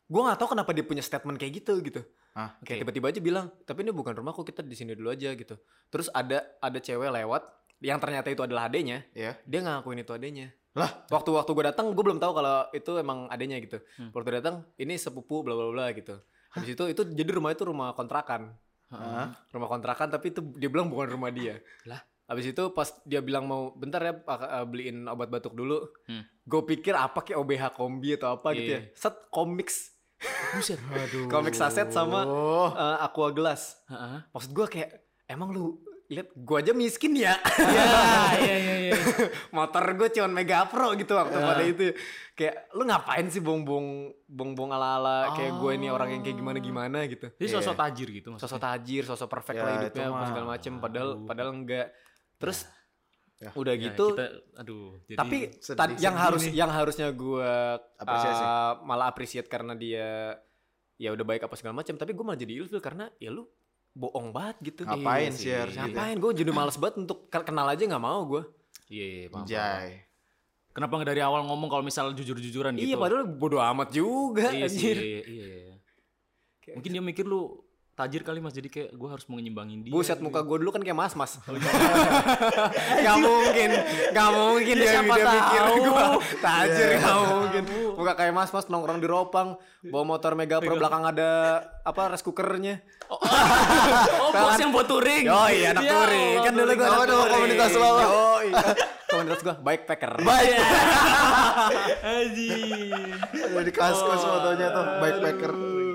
[SPEAKER 4] gue nggak tahu kenapa dia punya statement kayak gitu gitu
[SPEAKER 2] Ah,
[SPEAKER 3] oke.
[SPEAKER 4] kayak tiba-tiba aja bilang tapi ini bukan rumahku kita di sini dulu aja gitu terus ada ada cewek lewat yang ternyata itu adalah adenya
[SPEAKER 2] Iya.
[SPEAKER 4] dia ngakuin itu adenya
[SPEAKER 2] Lah.
[SPEAKER 4] waktu waktu gue datang gue belum tahu kalau itu emang adenya gitu
[SPEAKER 3] Hmm.
[SPEAKER 4] waktu datang ini sepupu bla bla bla gitu habis itu itu jadi rumah itu rumah kontrakan
[SPEAKER 2] Ah.
[SPEAKER 4] rumah kontrakan tapi itu dia bilang bukan rumah dia lah habis itu pas dia bilang mau bentar ya pak- eh, beliin obat batuk dulu
[SPEAKER 3] Hmm.
[SPEAKER 4] gue pikir apa kayak OBH kombi atau apa gitu ya
[SPEAKER 3] Iya.
[SPEAKER 4] set komiks
[SPEAKER 3] Buset.
[SPEAKER 2] Aduh.
[SPEAKER 4] Komik saset sama-
[SPEAKER 2] Oh.
[SPEAKER 4] eh, aqua glass
[SPEAKER 3] Heeh.
[SPEAKER 4] maksud gue kayak emang lu lihat gue aja miskin ya
[SPEAKER 3] Ya, iya iya iya.
[SPEAKER 4] motor gue cuman Mega Pro gitu waktu
[SPEAKER 2] Iya.
[SPEAKER 4] pada itu kayak lu ngapain sih bongbong bongbong ala ala kayak gue ini orang yang kayak gimana gimana gitu
[SPEAKER 3] Jadi
[SPEAKER 2] Iya.
[SPEAKER 3] sosok tajir gitu maksudnya.
[SPEAKER 4] sosok tajir sosok perfect
[SPEAKER 2] Ya,
[SPEAKER 4] lah
[SPEAKER 2] itu
[SPEAKER 4] hidupnya apa
[SPEAKER 2] mah.
[SPEAKER 4] segala macem padahal
[SPEAKER 3] Aduh.
[SPEAKER 4] padahal enggak terus
[SPEAKER 2] Ya.
[SPEAKER 4] udah
[SPEAKER 3] Ya,
[SPEAKER 4] gitu
[SPEAKER 3] kita, aduh. Jadi,
[SPEAKER 4] tapi
[SPEAKER 2] sedih,
[SPEAKER 4] tad-
[SPEAKER 2] sedih
[SPEAKER 4] yang harus
[SPEAKER 2] nih.
[SPEAKER 4] yang harusnya gue
[SPEAKER 2] Apresiasi.
[SPEAKER 3] Ah.
[SPEAKER 4] malah appreciate karena dia ya udah baik apa segala macam tapi gue malah jadi ilfil karena ya lu bohong banget gitu
[SPEAKER 2] Ngapain
[SPEAKER 3] Iya
[SPEAKER 2] sih
[SPEAKER 3] sih.
[SPEAKER 2] harus gitu?
[SPEAKER 4] ngapain gue jadi males banget untuk kenal aja nggak mau gue
[SPEAKER 3] Iya, iya, paham, paham.
[SPEAKER 2] Jai.
[SPEAKER 3] Kenapa nggak dari awal ngomong kalau misalnya jujur-jujuran gitu?
[SPEAKER 4] Iya padahal bodo Iya, amat juga
[SPEAKER 3] iya, sih,
[SPEAKER 4] anjir. gitu.
[SPEAKER 3] iya, iya, iya. Mungkin dia mikir lu tajir kali mas jadi kayak gue harus menyimbangin dia
[SPEAKER 4] Buset muka gue dulu kan kayak mas
[SPEAKER 3] (laughs)
[SPEAKER 4] mas. gak mungkin, gak mungkin dia,
[SPEAKER 1] siapa
[SPEAKER 4] dia mikir
[SPEAKER 1] tahu?
[SPEAKER 4] (laughs) gue tajir gak mungkin. Muka kayak mas mas nongkrong di Ropang, bawa motor Mega
[SPEAKER 3] Iya.
[SPEAKER 4] Pro belakang ada apa rice cookernya.
[SPEAKER 3] oh bos yang buat touring
[SPEAKER 4] Yo iya anak
[SPEAKER 3] Ya
[SPEAKER 4] touring
[SPEAKER 3] Allah,
[SPEAKER 4] kan dulu gue
[SPEAKER 3] touring.
[SPEAKER 2] Apa nama komunitas lo, apa?
[SPEAKER 4] (laughs) komunitas gue bike packer.
[SPEAKER 2] Baik.
[SPEAKER 4] (laughs)
[SPEAKER 3] Anjing.
[SPEAKER 2] Udah di kaskus fotonya tuh backpacker.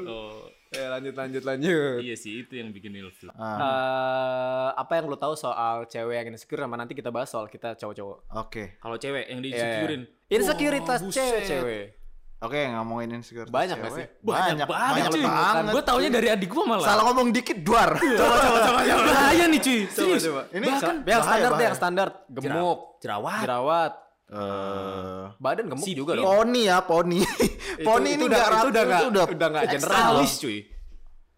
[SPEAKER 3] oh
[SPEAKER 4] Ya, lanjut lanjut lanjut.
[SPEAKER 3] iya sih itu yang bikin ilfil
[SPEAKER 2] Ah,
[SPEAKER 4] Eh, apa yang lo tahu soal cewek yang insecure sama nanti kita bahas soal kita cowok-cowok.
[SPEAKER 2] Oke.
[SPEAKER 3] kalau cewek yang
[SPEAKER 4] Iya,
[SPEAKER 3] diinsecurein
[SPEAKER 4] Insekuritas
[SPEAKER 3] Wah, buset.
[SPEAKER 4] cewek-cewek.
[SPEAKER 2] Oke, ngomongin insecure.
[SPEAKER 4] Banyak nggak sih?
[SPEAKER 3] banyak
[SPEAKER 2] Banyak, banyak,
[SPEAKER 3] banget,
[SPEAKER 2] banget.
[SPEAKER 3] gue taunya dari adik gue malah
[SPEAKER 2] Salah ngomong dikit duar.
[SPEAKER 4] Iya.
[SPEAKER 2] Coba coba coba.
[SPEAKER 3] bahaya nih cuy serius
[SPEAKER 4] coba.
[SPEAKER 2] Ini
[SPEAKER 4] Bahkan
[SPEAKER 2] bahaya,
[SPEAKER 4] yang standar deh,
[SPEAKER 2] bahaya.
[SPEAKER 4] yang standar. Gemuk,
[SPEAKER 3] jerawat
[SPEAKER 4] jerawat,
[SPEAKER 2] Eh,
[SPEAKER 4] badan gemuk
[SPEAKER 3] Sipil.
[SPEAKER 4] juga loh.
[SPEAKER 2] poni ya, poni. poni ini enggak rata,
[SPEAKER 4] udah nggak
[SPEAKER 2] itu udah Iya,
[SPEAKER 4] udah nggak general. loh.
[SPEAKER 3] alis cuy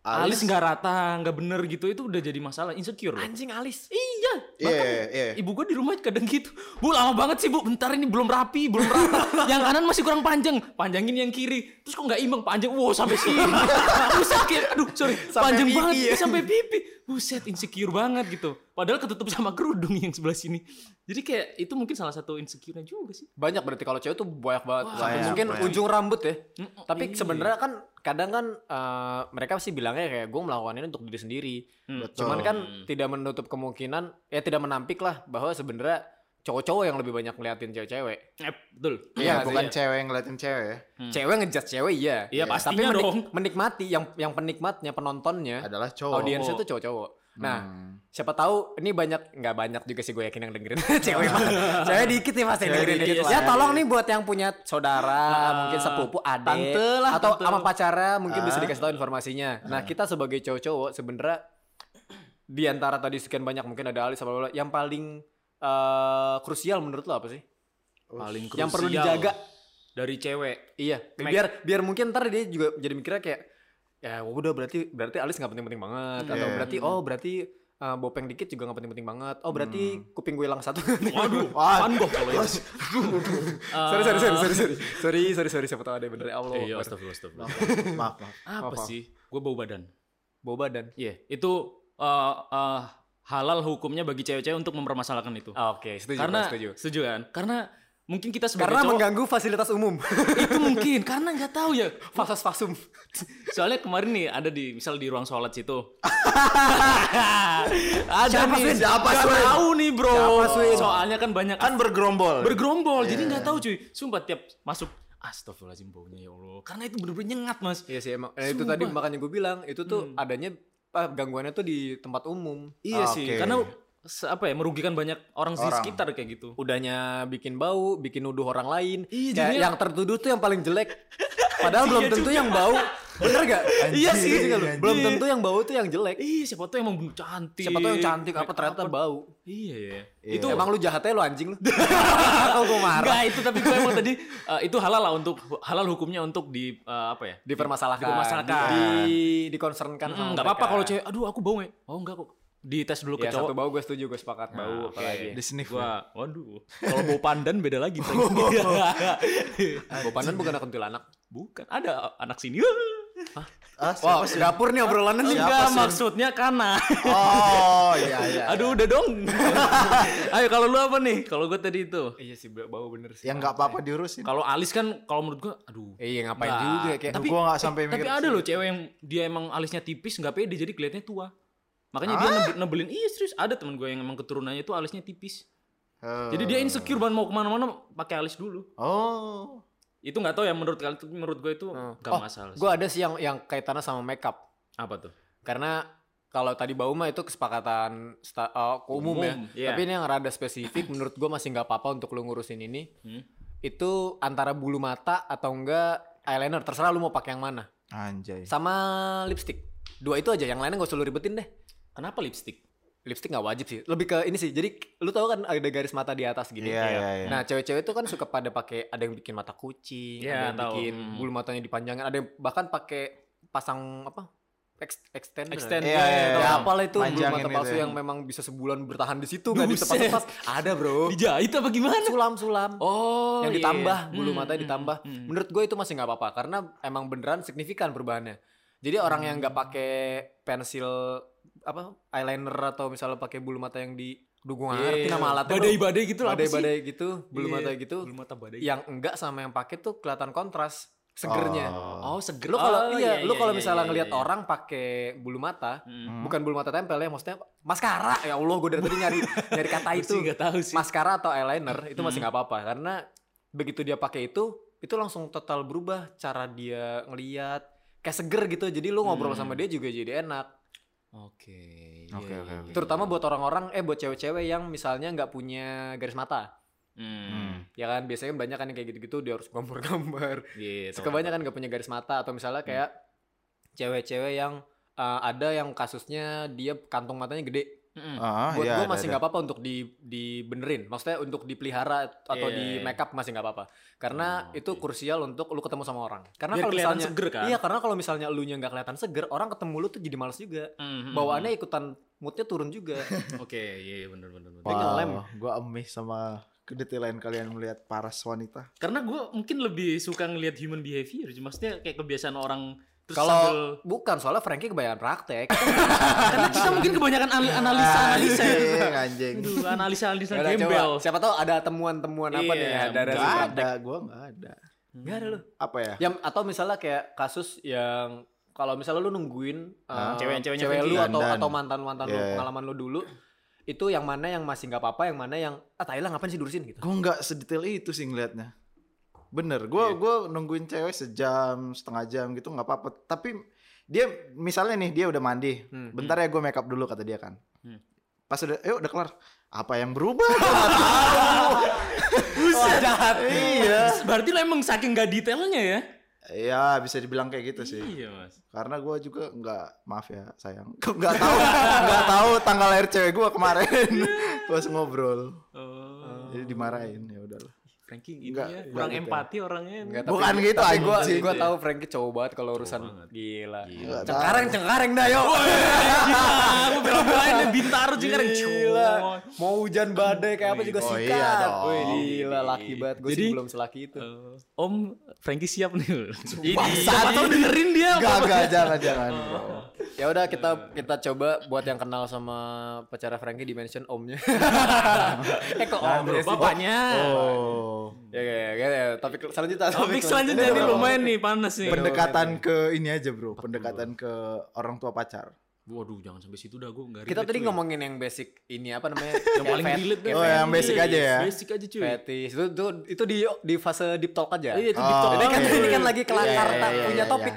[SPEAKER 3] alis nggak rata nggak bener gitu itu udah jadi masalah insecure loh.
[SPEAKER 4] Anjing alis.
[SPEAKER 3] Iya,
[SPEAKER 2] Iya,
[SPEAKER 3] bahkan
[SPEAKER 2] iya, iya.
[SPEAKER 3] ibu gue di rumah kadang gitu. Bu lama banget sih bu, bentar ini belum rapi, belum rata. yang kanan masih kurang panjang, panjangin yang kiri. Terus kok nggak imbang panjang, wow sampai sini. (laughs) Aduh sakit, aduh sorry, panjang
[SPEAKER 4] pipi
[SPEAKER 3] banget Ih, sampai pipi. Buset insecure banget gitu. Padahal ketutup sama kerudung yang sebelah sini. Jadi kayak itu mungkin salah satu insecure-nya juga sih.
[SPEAKER 4] Banyak berarti kalau cewek tuh banyak banget.
[SPEAKER 3] Wah,
[SPEAKER 4] Sampai
[SPEAKER 2] banyak,
[SPEAKER 4] mungkin
[SPEAKER 2] banyak.
[SPEAKER 4] ujung rambut ya.
[SPEAKER 3] Mm,
[SPEAKER 4] Tapi
[SPEAKER 3] iya.
[SPEAKER 4] sebenarnya kan kadang kan eh, mereka sih bilangnya kayak gue melakukan ini untuk diri sendiri.
[SPEAKER 3] Hmm.
[SPEAKER 2] Betul.
[SPEAKER 4] Cuman kan
[SPEAKER 3] Hmm.
[SPEAKER 4] tidak menutup kemungkinan ya tidak menampik lah bahwa sebenarnya cowok-cowok yang lebih banyak ngeliatin cewek-cewek.
[SPEAKER 3] Eh, betul.
[SPEAKER 2] Iya,
[SPEAKER 4] Iya,
[SPEAKER 2] bukan
[SPEAKER 4] iya.
[SPEAKER 2] cewek yang ngeliatin cewek ya.
[SPEAKER 4] Cewek ngejudge cewek iya.
[SPEAKER 3] Hmm. Iya,
[SPEAKER 4] Tapi
[SPEAKER 3] pastinya
[SPEAKER 4] menik-
[SPEAKER 3] dong.
[SPEAKER 4] menikmati yang yang penikmatnya penontonnya
[SPEAKER 2] Adalah cowok.
[SPEAKER 4] audiensnya tuh cowok-cowok. Nah,
[SPEAKER 2] Hmm.
[SPEAKER 4] siapa tahu ini banyak nggak banyak juga sih gue yakin yang dengerin (laughs) cewek
[SPEAKER 3] (laughs)
[SPEAKER 4] banget. cewek dikit nih pasti yang
[SPEAKER 2] Cewek
[SPEAKER 4] dengerin
[SPEAKER 2] dikit
[SPEAKER 4] ya
[SPEAKER 3] iya.
[SPEAKER 4] tolong nih buat yang punya saudara mungkin sepupu adik
[SPEAKER 3] tante lah,
[SPEAKER 4] atau
[SPEAKER 3] tante.
[SPEAKER 4] sama pacarnya mungkin bisa
[SPEAKER 2] Ah.
[SPEAKER 4] dikasih tahu informasinya nah kita sebagai cowok-cowok sebenarnya di antara tadi sekian banyak mungkin ada Ali sama Lola yang paling eh, krusial menurut lo apa sih
[SPEAKER 3] Paling krusial.
[SPEAKER 4] Yang perlu dijaga.
[SPEAKER 3] dari cewek.
[SPEAKER 4] iya
[SPEAKER 3] Make-
[SPEAKER 4] biar biar mungkin ntar dia juga jadi mikirnya kayak ya udah berarti berarti alis nggak penting-penting banget atau
[SPEAKER 2] Iya.
[SPEAKER 4] berarti oh berarti eh, bopeng dikit juga nggak penting-penting banget oh berarti
[SPEAKER 2] Hmm.
[SPEAKER 4] kuping gue hilang satu
[SPEAKER 3] Waduh,
[SPEAKER 2] Wah. (laughs)
[SPEAKER 3] Van Gogh kalau itu.
[SPEAKER 4] (laughs)
[SPEAKER 3] Eh,
[SPEAKER 4] sorry
[SPEAKER 3] Oh,
[SPEAKER 4] sorry sorry sorry sorry sorry sorry sorry siapa tahu ada yang bener ya Allah
[SPEAKER 3] Iya,
[SPEAKER 4] Akbar.
[SPEAKER 3] astagfirullah, astagfirullah.
[SPEAKER 2] Maaf, maaf.
[SPEAKER 3] Apa
[SPEAKER 4] Apa?
[SPEAKER 3] sih? Gue bau badan.
[SPEAKER 4] bau badan
[SPEAKER 3] Iya, itu eh, eh, halal hukumnya bagi cewek-cewek untuk mempermasalahkan itu.
[SPEAKER 4] oke setuju
[SPEAKER 3] karena
[SPEAKER 4] setuju
[SPEAKER 3] kan? Karena mungkin kita sebagai
[SPEAKER 4] karena
[SPEAKER 3] cowok
[SPEAKER 4] mengganggu fasilitas umum (laughs)
[SPEAKER 3] itu mungkin karena nggak tahu ya.
[SPEAKER 4] fasas fasum
[SPEAKER 3] Soalnya kemarin nih ada di misal di ruang sholat situ. ada
[SPEAKER 2] Siapa,
[SPEAKER 3] nih.
[SPEAKER 2] Swin? Siapa,
[SPEAKER 3] Nggak
[SPEAKER 2] Swin?
[SPEAKER 3] tahu nih, Bro.
[SPEAKER 2] Siapa, Swin?
[SPEAKER 3] Soalnya kan banyak
[SPEAKER 2] Kan bergerombol.
[SPEAKER 3] bergerombol jadi nggak tahu cuy. Sumpah tiap masuk Astagfirullahaladzim baunya ya Allah. Karena itu bener-bener nyengat mas.
[SPEAKER 4] iya sih emang Eh, itu tadi
[SPEAKER 3] Sumpah. Hmm.
[SPEAKER 4] makanya gue bilang itu tuh adanya ah, gangguannya tuh di tempat umum
[SPEAKER 3] Iya sih,
[SPEAKER 2] Oke.
[SPEAKER 3] karena se- apa ya merugikan banyak orang, di
[SPEAKER 2] Orang.
[SPEAKER 3] sekitar kayak gitu.
[SPEAKER 4] udahnya bikin bau bikin nuduh orang lain
[SPEAKER 3] Iya,
[SPEAKER 4] Kayak
[SPEAKER 3] jadinya-
[SPEAKER 4] yang tertuduh tuh yang paling jelek
[SPEAKER 3] (laughs)
[SPEAKER 4] padahal belum tentu yang bau bener gak
[SPEAKER 3] Iya sih.
[SPEAKER 4] belum tentu yang bau tuh yang jelek
[SPEAKER 3] Iya, siapa tuh emang bener cantik.
[SPEAKER 4] siapa tahu yang cantik apa
[SPEAKER 3] make
[SPEAKER 4] ternyata
[SPEAKER 3] up-an.
[SPEAKER 4] bau
[SPEAKER 3] Iya ya.
[SPEAKER 2] Iya.
[SPEAKER 3] Itu
[SPEAKER 4] emang lu jahatnya lu
[SPEAKER 3] (laughs)
[SPEAKER 4] anjing lu Tahu gue marah
[SPEAKER 3] enggak itu tapi gue emang tadi eh, itu halal lah untuk halal hukumnya untuk di eh, apa ya?
[SPEAKER 4] dipermasalahkan
[SPEAKER 3] Dipermasalahkan.
[SPEAKER 4] di dikoncernkan
[SPEAKER 3] Mm,
[SPEAKER 4] sama
[SPEAKER 3] Enggak apa-apa
[SPEAKER 4] mereka.
[SPEAKER 3] kalau cewek, aduh aku bau nggak? Oh enggak kok. Dites dulu ke
[SPEAKER 4] ya satu
[SPEAKER 3] cowok. Nah, Iya.
[SPEAKER 4] bau gue setuju gue sepakat bau
[SPEAKER 3] oke. (laughs)
[SPEAKER 4] apalagi
[SPEAKER 2] Di sini
[SPEAKER 3] Iya, Gua, waduh. (laughs) Kalau bau pandan beda lagi. Frank.
[SPEAKER 4] bau pandan bukan anak kuntilanak
[SPEAKER 3] (laughs) Bukan, ada anak sini. Hah?
[SPEAKER 2] Ah, siapa
[SPEAKER 4] wah
[SPEAKER 2] sih?
[SPEAKER 4] dapur nih obrolannya nih
[SPEAKER 3] Enggak, maksudnya karena.
[SPEAKER 2] Oh, iya iya.
[SPEAKER 3] (laughs) Aduh udah dong. (laughs) Ayo kalau lu apa nih? Kalau gue tadi itu.
[SPEAKER 4] iya sih bau bener sih
[SPEAKER 2] Yang nggak apa-apa diurusin.
[SPEAKER 3] Kalau alis kan kalau menurut gue aduh.
[SPEAKER 4] iya ngapain
[SPEAKER 3] Nggak.
[SPEAKER 4] juga kayak
[SPEAKER 3] Tapi-
[SPEAKER 2] gua nggak sampai mikir.
[SPEAKER 3] Tapi ada loh cewek yang dia emang alisnya tipis nggak pede jadi kelihatannya tua. Makanya dia nebe- nebelin iya serius ada teman gue yang emang keturunannya itu alisnya tipis.
[SPEAKER 2] Eh,
[SPEAKER 3] Jadi dia insecure banget mau kemana-mana pakai alis dulu.
[SPEAKER 2] Oh.
[SPEAKER 3] Itu nggak tahu ya menurut kalian tapi menurut gue itu
[SPEAKER 4] Hmm.
[SPEAKER 3] nggak
[SPEAKER 4] Oh,
[SPEAKER 3] masalah. sih.
[SPEAKER 4] gue ada sih yang yang kaitannya sama makeup
[SPEAKER 3] Apa tuh?
[SPEAKER 4] karena kalau tadi bau mah itu kesepakatan sta- eh,
[SPEAKER 3] Umum,
[SPEAKER 4] umum, ya
[SPEAKER 3] iya.
[SPEAKER 4] tapi ini yang rada spesifik menurut gue masih nggak apa-apa untuk lu ngurusin ini
[SPEAKER 3] Hmm.
[SPEAKER 4] itu antara bulu mata atau enggak eyeliner terserah lu mau pakai yang mana
[SPEAKER 2] Anjay.
[SPEAKER 4] sama lipstick dua itu aja yang lainnya gak usah lu ribetin deh
[SPEAKER 3] Kenapa lipstick?
[SPEAKER 4] lipstick nggak wajib sih lebih ke ini sih jadi lu tahu kan ada garis mata di atas gini
[SPEAKER 2] Iya, iya, iya.
[SPEAKER 4] nah cewek-cewek itu kan suka pada pakai ada yang bikin mata kucing ada
[SPEAKER 3] Iya,
[SPEAKER 4] yang
[SPEAKER 3] tahu.
[SPEAKER 4] bikin
[SPEAKER 3] Hmm.
[SPEAKER 4] bulu matanya dipanjangin ada yang bahkan pakai pasang apa ex- extender
[SPEAKER 3] Extend.
[SPEAKER 2] Iya, iya,
[SPEAKER 4] Ya,
[SPEAKER 2] iya.
[SPEAKER 4] ya apalah itu bulu
[SPEAKER 2] Panjangin
[SPEAKER 4] mata
[SPEAKER 2] gitu
[SPEAKER 4] palsu
[SPEAKER 2] ya.
[SPEAKER 4] yang memang bisa sebulan bertahan di situ nggak di
[SPEAKER 3] Buset.
[SPEAKER 4] tempat-tempat ada bro
[SPEAKER 3] Dijahit apa gimana?
[SPEAKER 4] sulam-sulam
[SPEAKER 3] Oh,
[SPEAKER 4] yang
[SPEAKER 3] iya.
[SPEAKER 4] ditambah bulu
[SPEAKER 3] Hmm,
[SPEAKER 4] mata
[SPEAKER 3] hmm,
[SPEAKER 4] ditambah
[SPEAKER 3] hmm.
[SPEAKER 4] menurut gue itu masih nggak apa-apa karena emang beneran signifikan perubahannya Jadi orang yang
[SPEAKER 3] Hmm.
[SPEAKER 4] nggak pakai pensil apa eyeliner atau misalnya pakai bulu mata yang di Duh gua nggak ngerti
[SPEAKER 3] Iya.
[SPEAKER 4] nama alatnya. Bro.
[SPEAKER 3] Badai-badai gitu lah apa sih?
[SPEAKER 4] Badai-badai gitu, bulu
[SPEAKER 3] Iya,
[SPEAKER 4] mata gitu.
[SPEAKER 3] Bulu mata badai.
[SPEAKER 4] Yang enggak sama yang pakai tuh kelihatan kontras segernya.
[SPEAKER 2] Oh.
[SPEAKER 3] Oh, seger.
[SPEAKER 4] Lu
[SPEAKER 3] Oh,
[SPEAKER 4] kalau iya, lu kalau
[SPEAKER 3] iya,
[SPEAKER 4] misalnya
[SPEAKER 3] iya,
[SPEAKER 4] ngelihat
[SPEAKER 3] iya.
[SPEAKER 4] orang ah, pakai bulu mata,
[SPEAKER 3] Mm.
[SPEAKER 2] Hmm.
[SPEAKER 4] bukan bulu mata tempel ya, maksudnya maskara. Ya Allah, gue dari tadi
[SPEAKER 3] (laughs)
[SPEAKER 4] nyari nyari kata
[SPEAKER 3] Gua
[SPEAKER 4] itu.
[SPEAKER 3] sih nggak tahu sih.
[SPEAKER 4] Maskara atau eyeliner itu masih
[SPEAKER 3] Hmm.
[SPEAKER 4] nggak apa-apa karena begitu dia pakai itu, itu langsung total berubah cara dia ngelihat kayak seger gitu. Jadi lu ngobrol
[SPEAKER 3] Hmm.
[SPEAKER 4] sama dia juga jadi enak.
[SPEAKER 3] Oke. iya,
[SPEAKER 2] Oke, oke, oke.
[SPEAKER 4] Terutama buat orang-orang eh buat cewek-cewek yang misalnya nggak punya garis mata.
[SPEAKER 2] Hmm.
[SPEAKER 4] Ya kan biasanya banyak kan yang kayak gitu-gitu dia harus gambar-gambar.
[SPEAKER 3] Iya.
[SPEAKER 4] Terus kebanyakan nggak punya garis mata atau misalnya kayak cewek-cewek yang uh, ada yang kasusnya dia kantung matanya gede.
[SPEAKER 3] Hmm.
[SPEAKER 2] Ah,
[SPEAKER 4] Hmm. buat
[SPEAKER 2] iya,
[SPEAKER 4] gue
[SPEAKER 2] ada,
[SPEAKER 4] masih
[SPEAKER 2] ada.
[SPEAKER 4] nggak apa-apa untuk di dibenerin. Maksudnya untuk dipelihara atau
[SPEAKER 3] Iya,
[SPEAKER 4] di
[SPEAKER 3] iya.
[SPEAKER 4] make up masih nggak apa-apa. Karena
[SPEAKER 3] Oh,
[SPEAKER 4] itu
[SPEAKER 3] oke.
[SPEAKER 4] krusial untuk lu ketemu sama orang. Karena
[SPEAKER 3] Biar
[SPEAKER 4] kalau
[SPEAKER 3] kelihatan
[SPEAKER 4] misalnya
[SPEAKER 3] seger kan?
[SPEAKER 4] Iya, karena kalau misalnya lu nya nggak kelihatan seger, orang ketemu lu tuh jadi males juga. Bawaannya ikutan moodnya turun juga.
[SPEAKER 3] Hmm, (laughs) Oke, iya iya benar benar. benar.
[SPEAKER 4] Dia ngelem.
[SPEAKER 2] Wow, gue amih sama kedetailan kalian melihat paras wanita.
[SPEAKER 3] Karena gue mungkin lebih suka ngelihat human behavior, maksudnya kayak kebiasaan orang terus
[SPEAKER 4] Kalau
[SPEAKER 3] sambil
[SPEAKER 4] bukan soalnya Frankie
[SPEAKER 3] (laughs)
[SPEAKER 4] kebanyakan praktek.
[SPEAKER 3] karena kita mungkin kebanyakan
[SPEAKER 4] (laughs)
[SPEAKER 3] anal- analisa
[SPEAKER 2] Ah,
[SPEAKER 3] analisa.
[SPEAKER 2] Anjing, iya, anjing.
[SPEAKER 3] Aduh, analisa analisa
[SPEAKER 4] Yaudah, coba.
[SPEAKER 3] gembel.
[SPEAKER 4] Siapa tahu ada temuan-temuan apa
[SPEAKER 3] Iya,
[SPEAKER 4] nih ya dari
[SPEAKER 2] Gak
[SPEAKER 3] Enggak.
[SPEAKER 2] ada, gue gak ada.
[SPEAKER 4] Enggak ada lu.
[SPEAKER 2] Apa ya?
[SPEAKER 4] Yang atau misalnya kayak kasus yang kalau misalnya lu nungguin
[SPEAKER 2] Ah,
[SPEAKER 4] eh,
[SPEAKER 3] cewek-ceweknya
[SPEAKER 4] cewek
[SPEAKER 3] Frankie.
[SPEAKER 4] lu atau
[SPEAKER 2] Dandan.
[SPEAKER 4] atau mantan-mantan lu
[SPEAKER 2] Iya, iya.
[SPEAKER 4] pengalaman lu dulu itu yang mana yang masih nggak apa-apa, yang mana yang ah Thailand ngapain sih durusin gitu.
[SPEAKER 2] Gue gak sedetail itu sih ngeliatnya. Bener, gue gua nungguin cewek sejam, setengah jam gitu gak apa-apa. Tapi dia misalnya nih, dia udah mandi.
[SPEAKER 4] Hmm.
[SPEAKER 2] Bentar ya gue make up dulu kata dia kan.
[SPEAKER 3] Hmm.
[SPEAKER 2] Pas udah, eh udah kelar. Apa yang berubah?
[SPEAKER 4] Wah, jahat.
[SPEAKER 2] iya.
[SPEAKER 3] Berarti lo emang saking gak detailnya ya?
[SPEAKER 2] Ya bisa dibilang kayak gitu sih.
[SPEAKER 3] Iya mas.
[SPEAKER 2] Karena gue juga nggak maaf ya sayang, (laughs) nggak tahu nggak tahu tanggal lahir cewek gue kemarin (laughs) pas ngobrol,
[SPEAKER 4] Eh,
[SPEAKER 3] Oh,
[SPEAKER 2] jadi dimarahin ya udahlah.
[SPEAKER 3] Frankie ini
[SPEAKER 2] Enggak,
[SPEAKER 3] ya
[SPEAKER 2] enggak
[SPEAKER 3] kurang
[SPEAKER 2] detail.
[SPEAKER 3] empati orangnya. ini. (laughs)
[SPEAKER 4] Enggak,
[SPEAKER 2] Bukan gitu,
[SPEAKER 4] tapi
[SPEAKER 2] anjing.
[SPEAKER 4] gua
[SPEAKER 2] Gitu
[SPEAKER 4] gua
[SPEAKER 3] ya.
[SPEAKER 4] tahu Frankie cowok banget kalau urusan
[SPEAKER 3] banget.
[SPEAKER 4] gila.
[SPEAKER 3] Gila.
[SPEAKER 2] Nggak tahu.
[SPEAKER 4] Cengkareng cengkareng dah yo.
[SPEAKER 3] Ah, gue bela-belain deh, bintaro juga kan.
[SPEAKER 4] Gila. Mau hujan badai kayak apa juga
[SPEAKER 2] Oh, iya
[SPEAKER 4] sikat.
[SPEAKER 2] dong.
[SPEAKER 4] Wih, gila laki banget. Gue sih
[SPEAKER 3] Jadi-
[SPEAKER 4] belum selaki itu.
[SPEAKER 3] Eh, Om Frankie siap nih.
[SPEAKER 2] Bangsat.
[SPEAKER 3] Siapa tahu dengerin dia.
[SPEAKER 2] Gak gak jangan jangan.
[SPEAKER 4] Ya udah kita kita coba buat yang kenal sama pacara Frankie di mention omnya. eh kok om
[SPEAKER 3] Bro,
[SPEAKER 4] sih?
[SPEAKER 3] bapaknya.
[SPEAKER 2] Oh
[SPEAKER 4] Ya ya ya, ya. Tapi selanjutnya.
[SPEAKER 3] Topik selanjutnya nih lumayan nih panas nih.
[SPEAKER 2] pendekatan ke ini aja bro, pendekatan ke orang tua pacar.
[SPEAKER 3] Waduh, jangan sampai situ dah gue enggak
[SPEAKER 4] Kita tadi ngomongin yang basic ini apa namanya?
[SPEAKER 3] (laughs) yang paling relate dah.
[SPEAKER 2] Oh, yang basic aja ya?
[SPEAKER 3] iya, Basic aja cuy.
[SPEAKER 4] Fetish. Itu, itu itu di di fase deep talk aja.
[SPEAKER 3] Iya, itu
[SPEAKER 2] Oh,
[SPEAKER 3] deep talk.
[SPEAKER 4] Ini kan
[SPEAKER 2] Oke.
[SPEAKER 4] ini kan lagi kelakar
[SPEAKER 2] Iya, iya,
[SPEAKER 4] tak
[SPEAKER 2] iya,
[SPEAKER 4] punya
[SPEAKER 2] iya.
[SPEAKER 4] topik.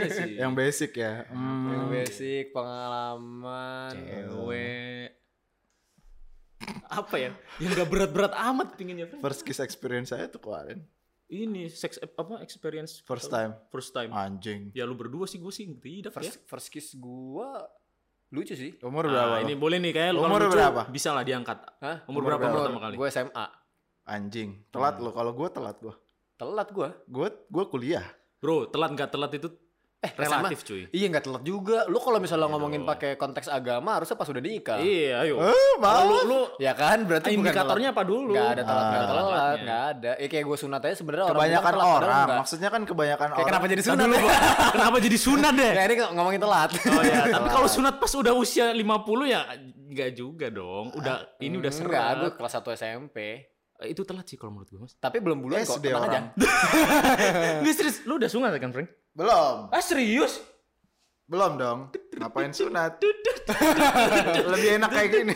[SPEAKER 3] Iya sih.
[SPEAKER 2] Yang basic ya. Hmm.
[SPEAKER 4] Yang basic pengalaman.
[SPEAKER 3] cewek apa ya? Yang gak berat-berat amat pinginnya. Frank.
[SPEAKER 2] First kiss experience saya tuh kemarin,
[SPEAKER 3] Ini sex apa experience
[SPEAKER 2] first time.
[SPEAKER 3] First time.
[SPEAKER 2] Anjing.
[SPEAKER 3] Ya lu berdua sih gue sih tidak ya.
[SPEAKER 4] First first kiss gua lucu sih.
[SPEAKER 2] Umur
[SPEAKER 3] Ah,
[SPEAKER 2] berapa?
[SPEAKER 3] ini
[SPEAKER 2] Ini...
[SPEAKER 3] boleh nih kayak lu
[SPEAKER 2] Umur
[SPEAKER 3] kalau lucu
[SPEAKER 2] berapa?
[SPEAKER 3] bisa lah diangkat.
[SPEAKER 4] Hah?
[SPEAKER 3] Umur,
[SPEAKER 2] Umur
[SPEAKER 3] berapa
[SPEAKER 2] berapa?
[SPEAKER 3] pertama kali?
[SPEAKER 4] Gue SMA.
[SPEAKER 2] Anjing. Telat
[SPEAKER 4] Hmm.
[SPEAKER 2] lo. Kalau gue telat gue.
[SPEAKER 4] Telat gua.
[SPEAKER 2] Gue gue kuliah.
[SPEAKER 3] Bro, telat nggak telat itu
[SPEAKER 4] Eh,
[SPEAKER 3] relatif cuy.
[SPEAKER 4] Iya nggak telat juga. Lu kalau misalnya ngomongin pakai konteks agama harusnya pas udah nikah.
[SPEAKER 3] Iya, ayo.
[SPEAKER 2] Eh,
[SPEAKER 3] Kalau
[SPEAKER 2] malu.
[SPEAKER 3] lu, lu
[SPEAKER 4] Ya kan berarti bukan
[SPEAKER 3] indikatornya apa
[SPEAKER 4] telat.
[SPEAKER 3] dulu?
[SPEAKER 4] Nggak ada telat, nggak ada
[SPEAKER 3] Ah.
[SPEAKER 4] telat,
[SPEAKER 3] Telatnya.
[SPEAKER 4] nggak ada. Ya kayak gue sunat aja sebenarnya orang
[SPEAKER 2] Kebanyakan
[SPEAKER 4] bilang telat, padahal
[SPEAKER 2] orang.
[SPEAKER 4] nggak.
[SPEAKER 2] Maksudnya kan kebanyakan
[SPEAKER 4] Kayak
[SPEAKER 2] orang.
[SPEAKER 4] kenapa jadi sunat?
[SPEAKER 3] Dulu, Bang. Kenapa jadi sunat deh?
[SPEAKER 4] ya ini kok ngomongin telat.
[SPEAKER 3] Oh ya, tapi
[SPEAKER 4] (laughs)
[SPEAKER 3] kalau sunat pas udah usia 50 ya nggak juga dong. Udah ini udah
[SPEAKER 4] Hmm, nggak,
[SPEAKER 3] serat.
[SPEAKER 4] gue kelas 1 SMP.
[SPEAKER 3] Eh, Itu telat sih kalau menurut gue, Mas.
[SPEAKER 4] Tapi belum bulan kok,
[SPEAKER 2] SD
[SPEAKER 4] tenang aja.
[SPEAKER 2] orang.
[SPEAKER 4] Eh.
[SPEAKER 3] Nggak serius, lu udah sunat kan, Frank?
[SPEAKER 2] Belum.
[SPEAKER 3] Ah, serius?
[SPEAKER 2] Belum dong. Ngapain sunat? Lebih enak kayak gini.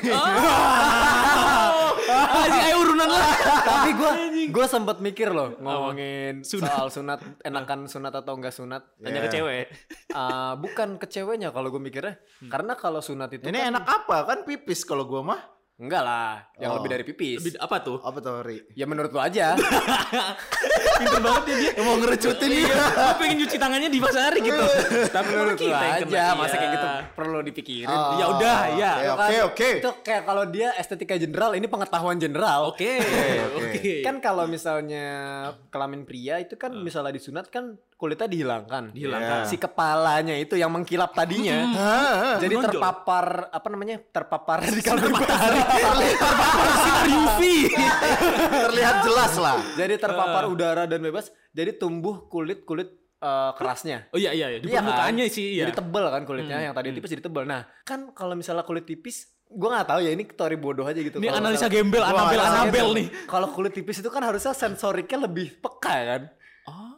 [SPEAKER 3] Aji, ayo urunan lah.
[SPEAKER 4] (laughs) tapi gue gue sempat mikir loh ngomongin soal sunat, enakan sunat atau enggak sunat. Iya.
[SPEAKER 3] Tanya ke
[SPEAKER 2] Ya.
[SPEAKER 3] cewek. Hmm.
[SPEAKER 4] Ah, bukan ke ceweknya kalau gue mikirnya. Karena kalau sunat itu
[SPEAKER 2] Ini
[SPEAKER 4] kan-
[SPEAKER 2] enak apa? Kan pipis kalau gua mah.
[SPEAKER 4] enggak lah, yang
[SPEAKER 2] Oh.
[SPEAKER 4] lebih dari pipis.
[SPEAKER 3] Lebih- Apa tuh?
[SPEAKER 2] Apa tuh, Ri?
[SPEAKER 4] Ya menurut lu aja.
[SPEAKER 3] (laughs) Pinter banget ya
[SPEAKER 4] (laughs)
[SPEAKER 3] dia.
[SPEAKER 2] Mau ngerecutin
[SPEAKER 3] Iya, gue pengen nyuci tangannya di pas hari gitu. Tapi menurut
[SPEAKER 4] Menurut lu
[SPEAKER 3] kita yang
[SPEAKER 4] aja
[SPEAKER 3] kena,
[SPEAKER 4] masa
[SPEAKER 3] iya.
[SPEAKER 4] kayak gitu perlu dipikirin.
[SPEAKER 2] Oh,
[SPEAKER 3] Ya udah, ya.
[SPEAKER 2] oke,
[SPEAKER 4] Itu
[SPEAKER 2] Oke,
[SPEAKER 4] kan-
[SPEAKER 2] oke.
[SPEAKER 4] Itu kayak kalau dia estetika jenderal, ini pengetahuan jenderal.
[SPEAKER 3] Oke,
[SPEAKER 2] oke.
[SPEAKER 3] oke.
[SPEAKER 4] Kan kalau misalnya kelamin pria itu kan misalnya disunat kan kulitnya
[SPEAKER 3] Hmm.
[SPEAKER 4] dihilangkan.
[SPEAKER 3] Dihilangkan. Hmm.
[SPEAKER 4] Si kepalanya itu yang mengkilap tadinya.
[SPEAKER 2] Hah?
[SPEAKER 4] Jadi
[SPEAKER 3] menonjol.
[SPEAKER 4] terpapar apa namanya? Terpapar (laughs) radikal bebas.
[SPEAKER 3] sinar UV.
[SPEAKER 2] (laughs) Terlihat jelas lah.
[SPEAKER 3] Ah.
[SPEAKER 4] Jadi terpapar udara dan bebas. Jadi tumbuh kulit-kulit eh, kerasnya.
[SPEAKER 3] Oh iya iya iya, di
[SPEAKER 4] Iya kan?
[SPEAKER 3] permukaannya sih iya.
[SPEAKER 4] Jadi tebel kan kulitnya
[SPEAKER 3] Hmm,
[SPEAKER 4] yang tadi
[SPEAKER 3] hmm.
[SPEAKER 4] tipis jadi tebel. Nah, kan kalau misalnya kulit tipis gua nggak tahu ya ini teori bodoh aja gitu.
[SPEAKER 3] Ini
[SPEAKER 4] Kalau
[SPEAKER 3] analisa
[SPEAKER 4] misalnya-
[SPEAKER 3] gembel,
[SPEAKER 4] Wah,
[SPEAKER 3] Anabel,
[SPEAKER 4] analisa
[SPEAKER 3] Anabel
[SPEAKER 4] gembel.
[SPEAKER 3] nih.
[SPEAKER 4] Kalau kulit tipis itu kan harusnya sensoriknya lebih peka ya kan.
[SPEAKER 3] Oh.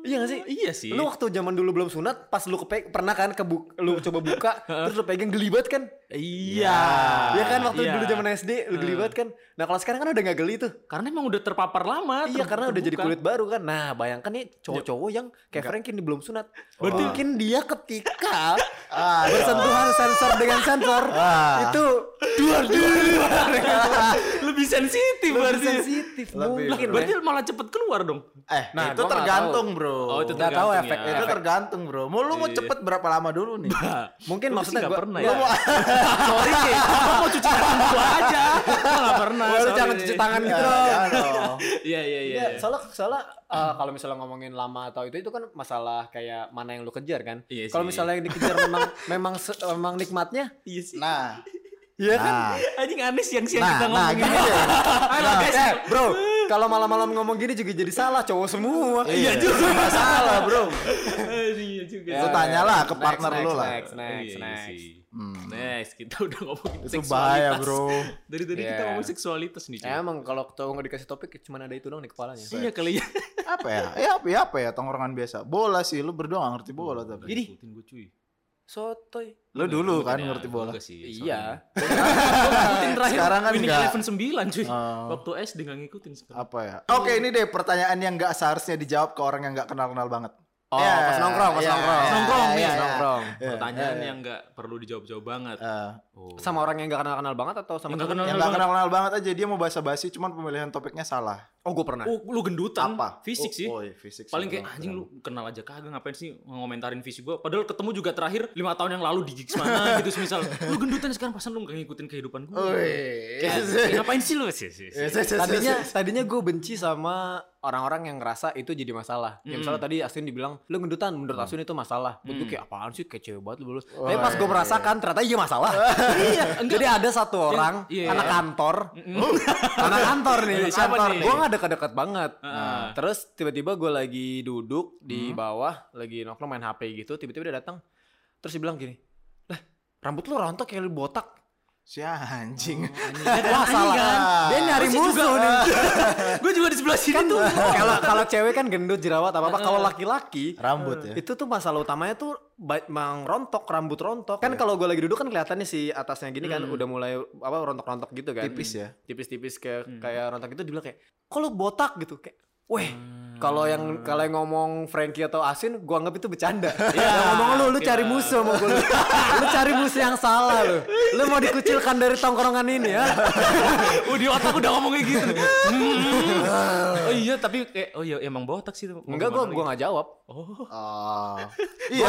[SPEAKER 4] Iya nggak sih?
[SPEAKER 3] Iya sih.
[SPEAKER 4] Lu waktu zaman dulu belum sunat, pas lu kepe- pernah kan ke
[SPEAKER 3] (laughs)
[SPEAKER 4] lu coba buka, terus lu pegang gelibat kan?
[SPEAKER 3] Iya.
[SPEAKER 4] Iya kan waktu
[SPEAKER 3] Iya. Hmm.
[SPEAKER 4] dulu zaman SD lu gelibat kan. Nah, kalau sekarang kan udah nggak geli tuh.
[SPEAKER 3] Karena emang udah terpapar lama. ter-
[SPEAKER 4] Iya karena udah jadi
[SPEAKER 3] terbuka.
[SPEAKER 4] kulit baru kan. Nah bayangkan nih cowok-cowok yang kayak Frankin ini belum sunat.
[SPEAKER 3] Berarti-
[SPEAKER 4] Mungkin dia
[SPEAKER 3] (laughs)
[SPEAKER 4] ketika
[SPEAKER 2] Ah,
[SPEAKER 4] bersentuhan sensor dengan sensor itu dua dua
[SPEAKER 3] Lebih sensitif
[SPEAKER 4] lebih
[SPEAKER 3] berarti.
[SPEAKER 4] sensitif ya.
[SPEAKER 2] Lebih,
[SPEAKER 4] mungkin.
[SPEAKER 2] bro.
[SPEAKER 3] Berarti malah cepet keluar dong.
[SPEAKER 2] eh,
[SPEAKER 4] Nah,
[SPEAKER 2] itu
[SPEAKER 4] gua nggak
[SPEAKER 2] tergantung, Bro.
[SPEAKER 3] Oh, itu
[SPEAKER 4] Nggak
[SPEAKER 3] tergantung
[SPEAKER 4] tahu
[SPEAKER 3] ya.
[SPEAKER 4] efeknya.
[SPEAKER 2] Itu tergantung, Bro. Mau lu mau
[SPEAKER 3] Iya.
[SPEAKER 2] cepet berapa lama dulu nih?
[SPEAKER 4] (laughs) Mungkin
[SPEAKER 3] Lu sih
[SPEAKER 4] maksudnya
[SPEAKER 3] nggak
[SPEAKER 4] gua
[SPEAKER 3] pernah
[SPEAKER 4] gua
[SPEAKER 3] ya?
[SPEAKER 4] mau-
[SPEAKER 3] (laughs) Sorry, Ki. Gua mau cuci tangan gua aja. Gua nggak pernah.
[SPEAKER 4] Wah, lu
[SPEAKER 3] sorry.
[SPEAKER 4] jangan cuci tangan gitu dong.
[SPEAKER 2] Jangan Ya, dong.
[SPEAKER 3] Iya iya iya.
[SPEAKER 4] Iya, soalnya soalnya eh, kalau misalnya ngomongin lama atau itu itu kan masalah kayak mana yang lu kejar kan.
[SPEAKER 3] Iya
[SPEAKER 4] kalau
[SPEAKER 3] sih.
[SPEAKER 4] misalnya yang dikejar memang (laughs) memang se- memang nikmatnya,
[SPEAKER 3] Iya sih.
[SPEAKER 2] Nah,
[SPEAKER 4] iya kan?
[SPEAKER 2] nah,
[SPEAKER 3] Anjing aneh siang-siang
[SPEAKER 2] nah,
[SPEAKER 3] kita
[SPEAKER 2] nah,
[SPEAKER 3] ngomongin.
[SPEAKER 4] gitu.
[SPEAKER 2] gini deh.
[SPEAKER 4] Nah, eh, bro, kalau malam-malam ngomong gini juga jadi salah cowok semua.
[SPEAKER 3] Iya juga.
[SPEAKER 2] Salah, Bro.
[SPEAKER 3] Iya juga.
[SPEAKER 2] Lu tanyalah ke
[SPEAKER 4] Next,
[SPEAKER 2] partner
[SPEAKER 4] next,
[SPEAKER 2] lu lah.
[SPEAKER 4] Next, next,
[SPEAKER 3] Iya, iya
[SPEAKER 4] next.
[SPEAKER 3] sih.
[SPEAKER 2] Hmm.
[SPEAKER 3] Next, kita udah ngomongin
[SPEAKER 2] Itu bahaya,
[SPEAKER 3] seksualitas.
[SPEAKER 2] Bro.
[SPEAKER 3] Dari tadi kita
[SPEAKER 4] Iya.
[SPEAKER 3] ngomongin seksualitas nih. cuy.
[SPEAKER 4] Ya, emang kalau cowok nggak dikasih topik cuma ada itu doang di kepalanya.
[SPEAKER 3] Iya kali ya.
[SPEAKER 2] Apa ya? Ya apa ya? Apa ya? Tongkrongan biasa. Bola sih, lu berdua gak ngerti bola tapi.
[SPEAKER 4] Jadi.
[SPEAKER 3] Ikutin gua, cuy.
[SPEAKER 4] Sotoy.
[SPEAKER 2] Lu dulu kan
[SPEAKER 3] Ya,
[SPEAKER 2] ngerti bola.
[SPEAKER 3] gua nggak sih, sorry.
[SPEAKER 4] Iya.
[SPEAKER 3] ngikutin terakhir
[SPEAKER 2] Sekarang
[SPEAKER 3] sekarang
[SPEAKER 2] kan
[SPEAKER 3] kan winning
[SPEAKER 2] nggak.
[SPEAKER 3] eleven sembilan cuy
[SPEAKER 2] Oh.
[SPEAKER 3] waktu SD nggak ngikutin sekarang
[SPEAKER 2] Apa ya? Oke, ini deh pertanyaan yang gak seharusnya dijawab ke orang yang gak kenal-kenal banget.
[SPEAKER 4] Oh,
[SPEAKER 2] Ya,
[SPEAKER 4] pas nongkrong, pas
[SPEAKER 2] ya,
[SPEAKER 4] nongkrong.
[SPEAKER 2] ya,
[SPEAKER 3] Nongkrong,
[SPEAKER 2] ya,
[SPEAKER 3] iya,
[SPEAKER 2] ya.
[SPEAKER 4] Nongkrong.
[SPEAKER 2] Iya,
[SPEAKER 3] pertanyaan
[SPEAKER 2] iya,
[SPEAKER 3] yang nggak perlu dijawab-jawab banget
[SPEAKER 2] Eh,
[SPEAKER 3] oh.
[SPEAKER 4] Sama orang yang nggak kenal-kenal banget atau
[SPEAKER 3] Yang
[SPEAKER 4] sama
[SPEAKER 3] nggak
[SPEAKER 4] temennya?
[SPEAKER 2] yang gak kenal-kenal banget aja dia mau basa-basi cuman pemilihan topiknya salah.
[SPEAKER 4] Oh, gue pernah.
[SPEAKER 3] Oh, lu gendutan
[SPEAKER 2] Apa?
[SPEAKER 3] fisik
[SPEAKER 2] Oh,
[SPEAKER 3] sih
[SPEAKER 2] oh, iya, fisik sih,
[SPEAKER 3] paling kayak
[SPEAKER 2] benar,
[SPEAKER 3] anjing
[SPEAKER 2] benar.
[SPEAKER 3] lu kenal aja kagak ngapain sih ngomentarin fisik gua padahal ketemu juga terakhir lima tahun yang lalu di gigs
[SPEAKER 2] (laughs)
[SPEAKER 3] mana gitu misal lu gendutan sekarang pasan lu nggak ngikutin kehidupan gua
[SPEAKER 2] (laughs)
[SPEAKER 3] Kayak,
[SPEAKER 2] Iya,
[SPEAKER 3] "Eh, ngapain sih lu sih sih, sih?"
[SPEAKER 4] Tadinya tadinya gue benci sama orang-orang yang ngerasa itu jadi masalah. Ya misalnya tadi Asun dibilang lu gendutan,
[SPEAKER 3] Mm.
[SPEAKER 4] menurut Asun itu masalah. Menurut gue kayak apaan sih kayak cewek banget lu lulus. Tapi pas gue merasakan ternyata iya
[SPEAKER 3] (laughs)
[SPEAKER 4] masalah. iya. Jadi ada satu orang
[SPEAKER 3] iya.
[SPEAKER 4] anak kantor.
[SPEAKER 3] Hmm.
[SPEAKER 4] anak kantor nih,
[SPEAKER 3] Anak siapa
[SPEAKER 4] kantor.
[SPEAKER 3] nih?
[SPEAKER 4] Gue nggak deket-deket banget. Nah,
[SPEAKER 3] Heeh.
[SPEAKER 4] Terus tiba-tiba gue lagi duduk di bawah, lagi nongkrong main HP gitu, tiba-tiba dia datang. Terus dia bilang gini, "Lah, rambut lu rontok kayak lu botak."
[SPEAKER 2] Si anjing.
[SPEAKER 4] Wah, salah.
[SPEAKER 3] kan?
[SPEAKER 4] Dia nyari musuh nih.
[SPEAKER 3] eh,
[SPEAKER 4] Kan
[SPEAKER 3] gua juga di sebelah
[SPEAKER 2] Kan-
[SPEAKER 3] sini tuh
[SPEAKER 4] kalau kalau cewek kan gendut jerawat apa apa kalau laki-laki
[SPEAKER 2] Rambut ya.
[SPEAKER 4] itu tuh masalah utamanya tuh ba- mang rontok rambut rontok kan kalau gue lagi duduk kan kelihatannya si atasnya gini kan udah mulai apa rontok-rontok gitu kan
[SPEAKER 2] Tipis ya.
[SPEAKER 4] tipis-tipis kayak
[SPEAKER 3] Hmm.
[SPEAKER 4] kayak rontok itu dibilang kayak kok lu botak gitu kayak weh
[SPEAKER 3] Hmm.
[SPEAKER 4] kalau yang kalau yang ngomong Frankie atau Asin gua anggap itu
[SPEAKER 3] (laughs)
[SPEAKER 4] bercanda.
[SPEAKER 3] Iya.
[SPEAKER 4] Yang ngomong lu lu cari musuh sama gua. Lu, Lu cari musuh yang salah lu. Lu mau dikucilkan dari tongkrongan ini ya.
[SPEAKER 3] (laughs) Oh di otak udah ngomongnya
[SPEAKER 2] (laughs)
[SPEAKER 3] gitu. Hmm. oh iya tapi kayak oh iya emang botak sih. (laughs) Mau
[SPEAKER 4] Enggak gua
[SPEAKER 3] gimana
[SPEAKER 4] gua
[SPEAKER 3] lagi?
[SPEAKER 4] nggak jawab.
[SPEAKER 3] Oh.
[SPEAKER 2] Oh. iya,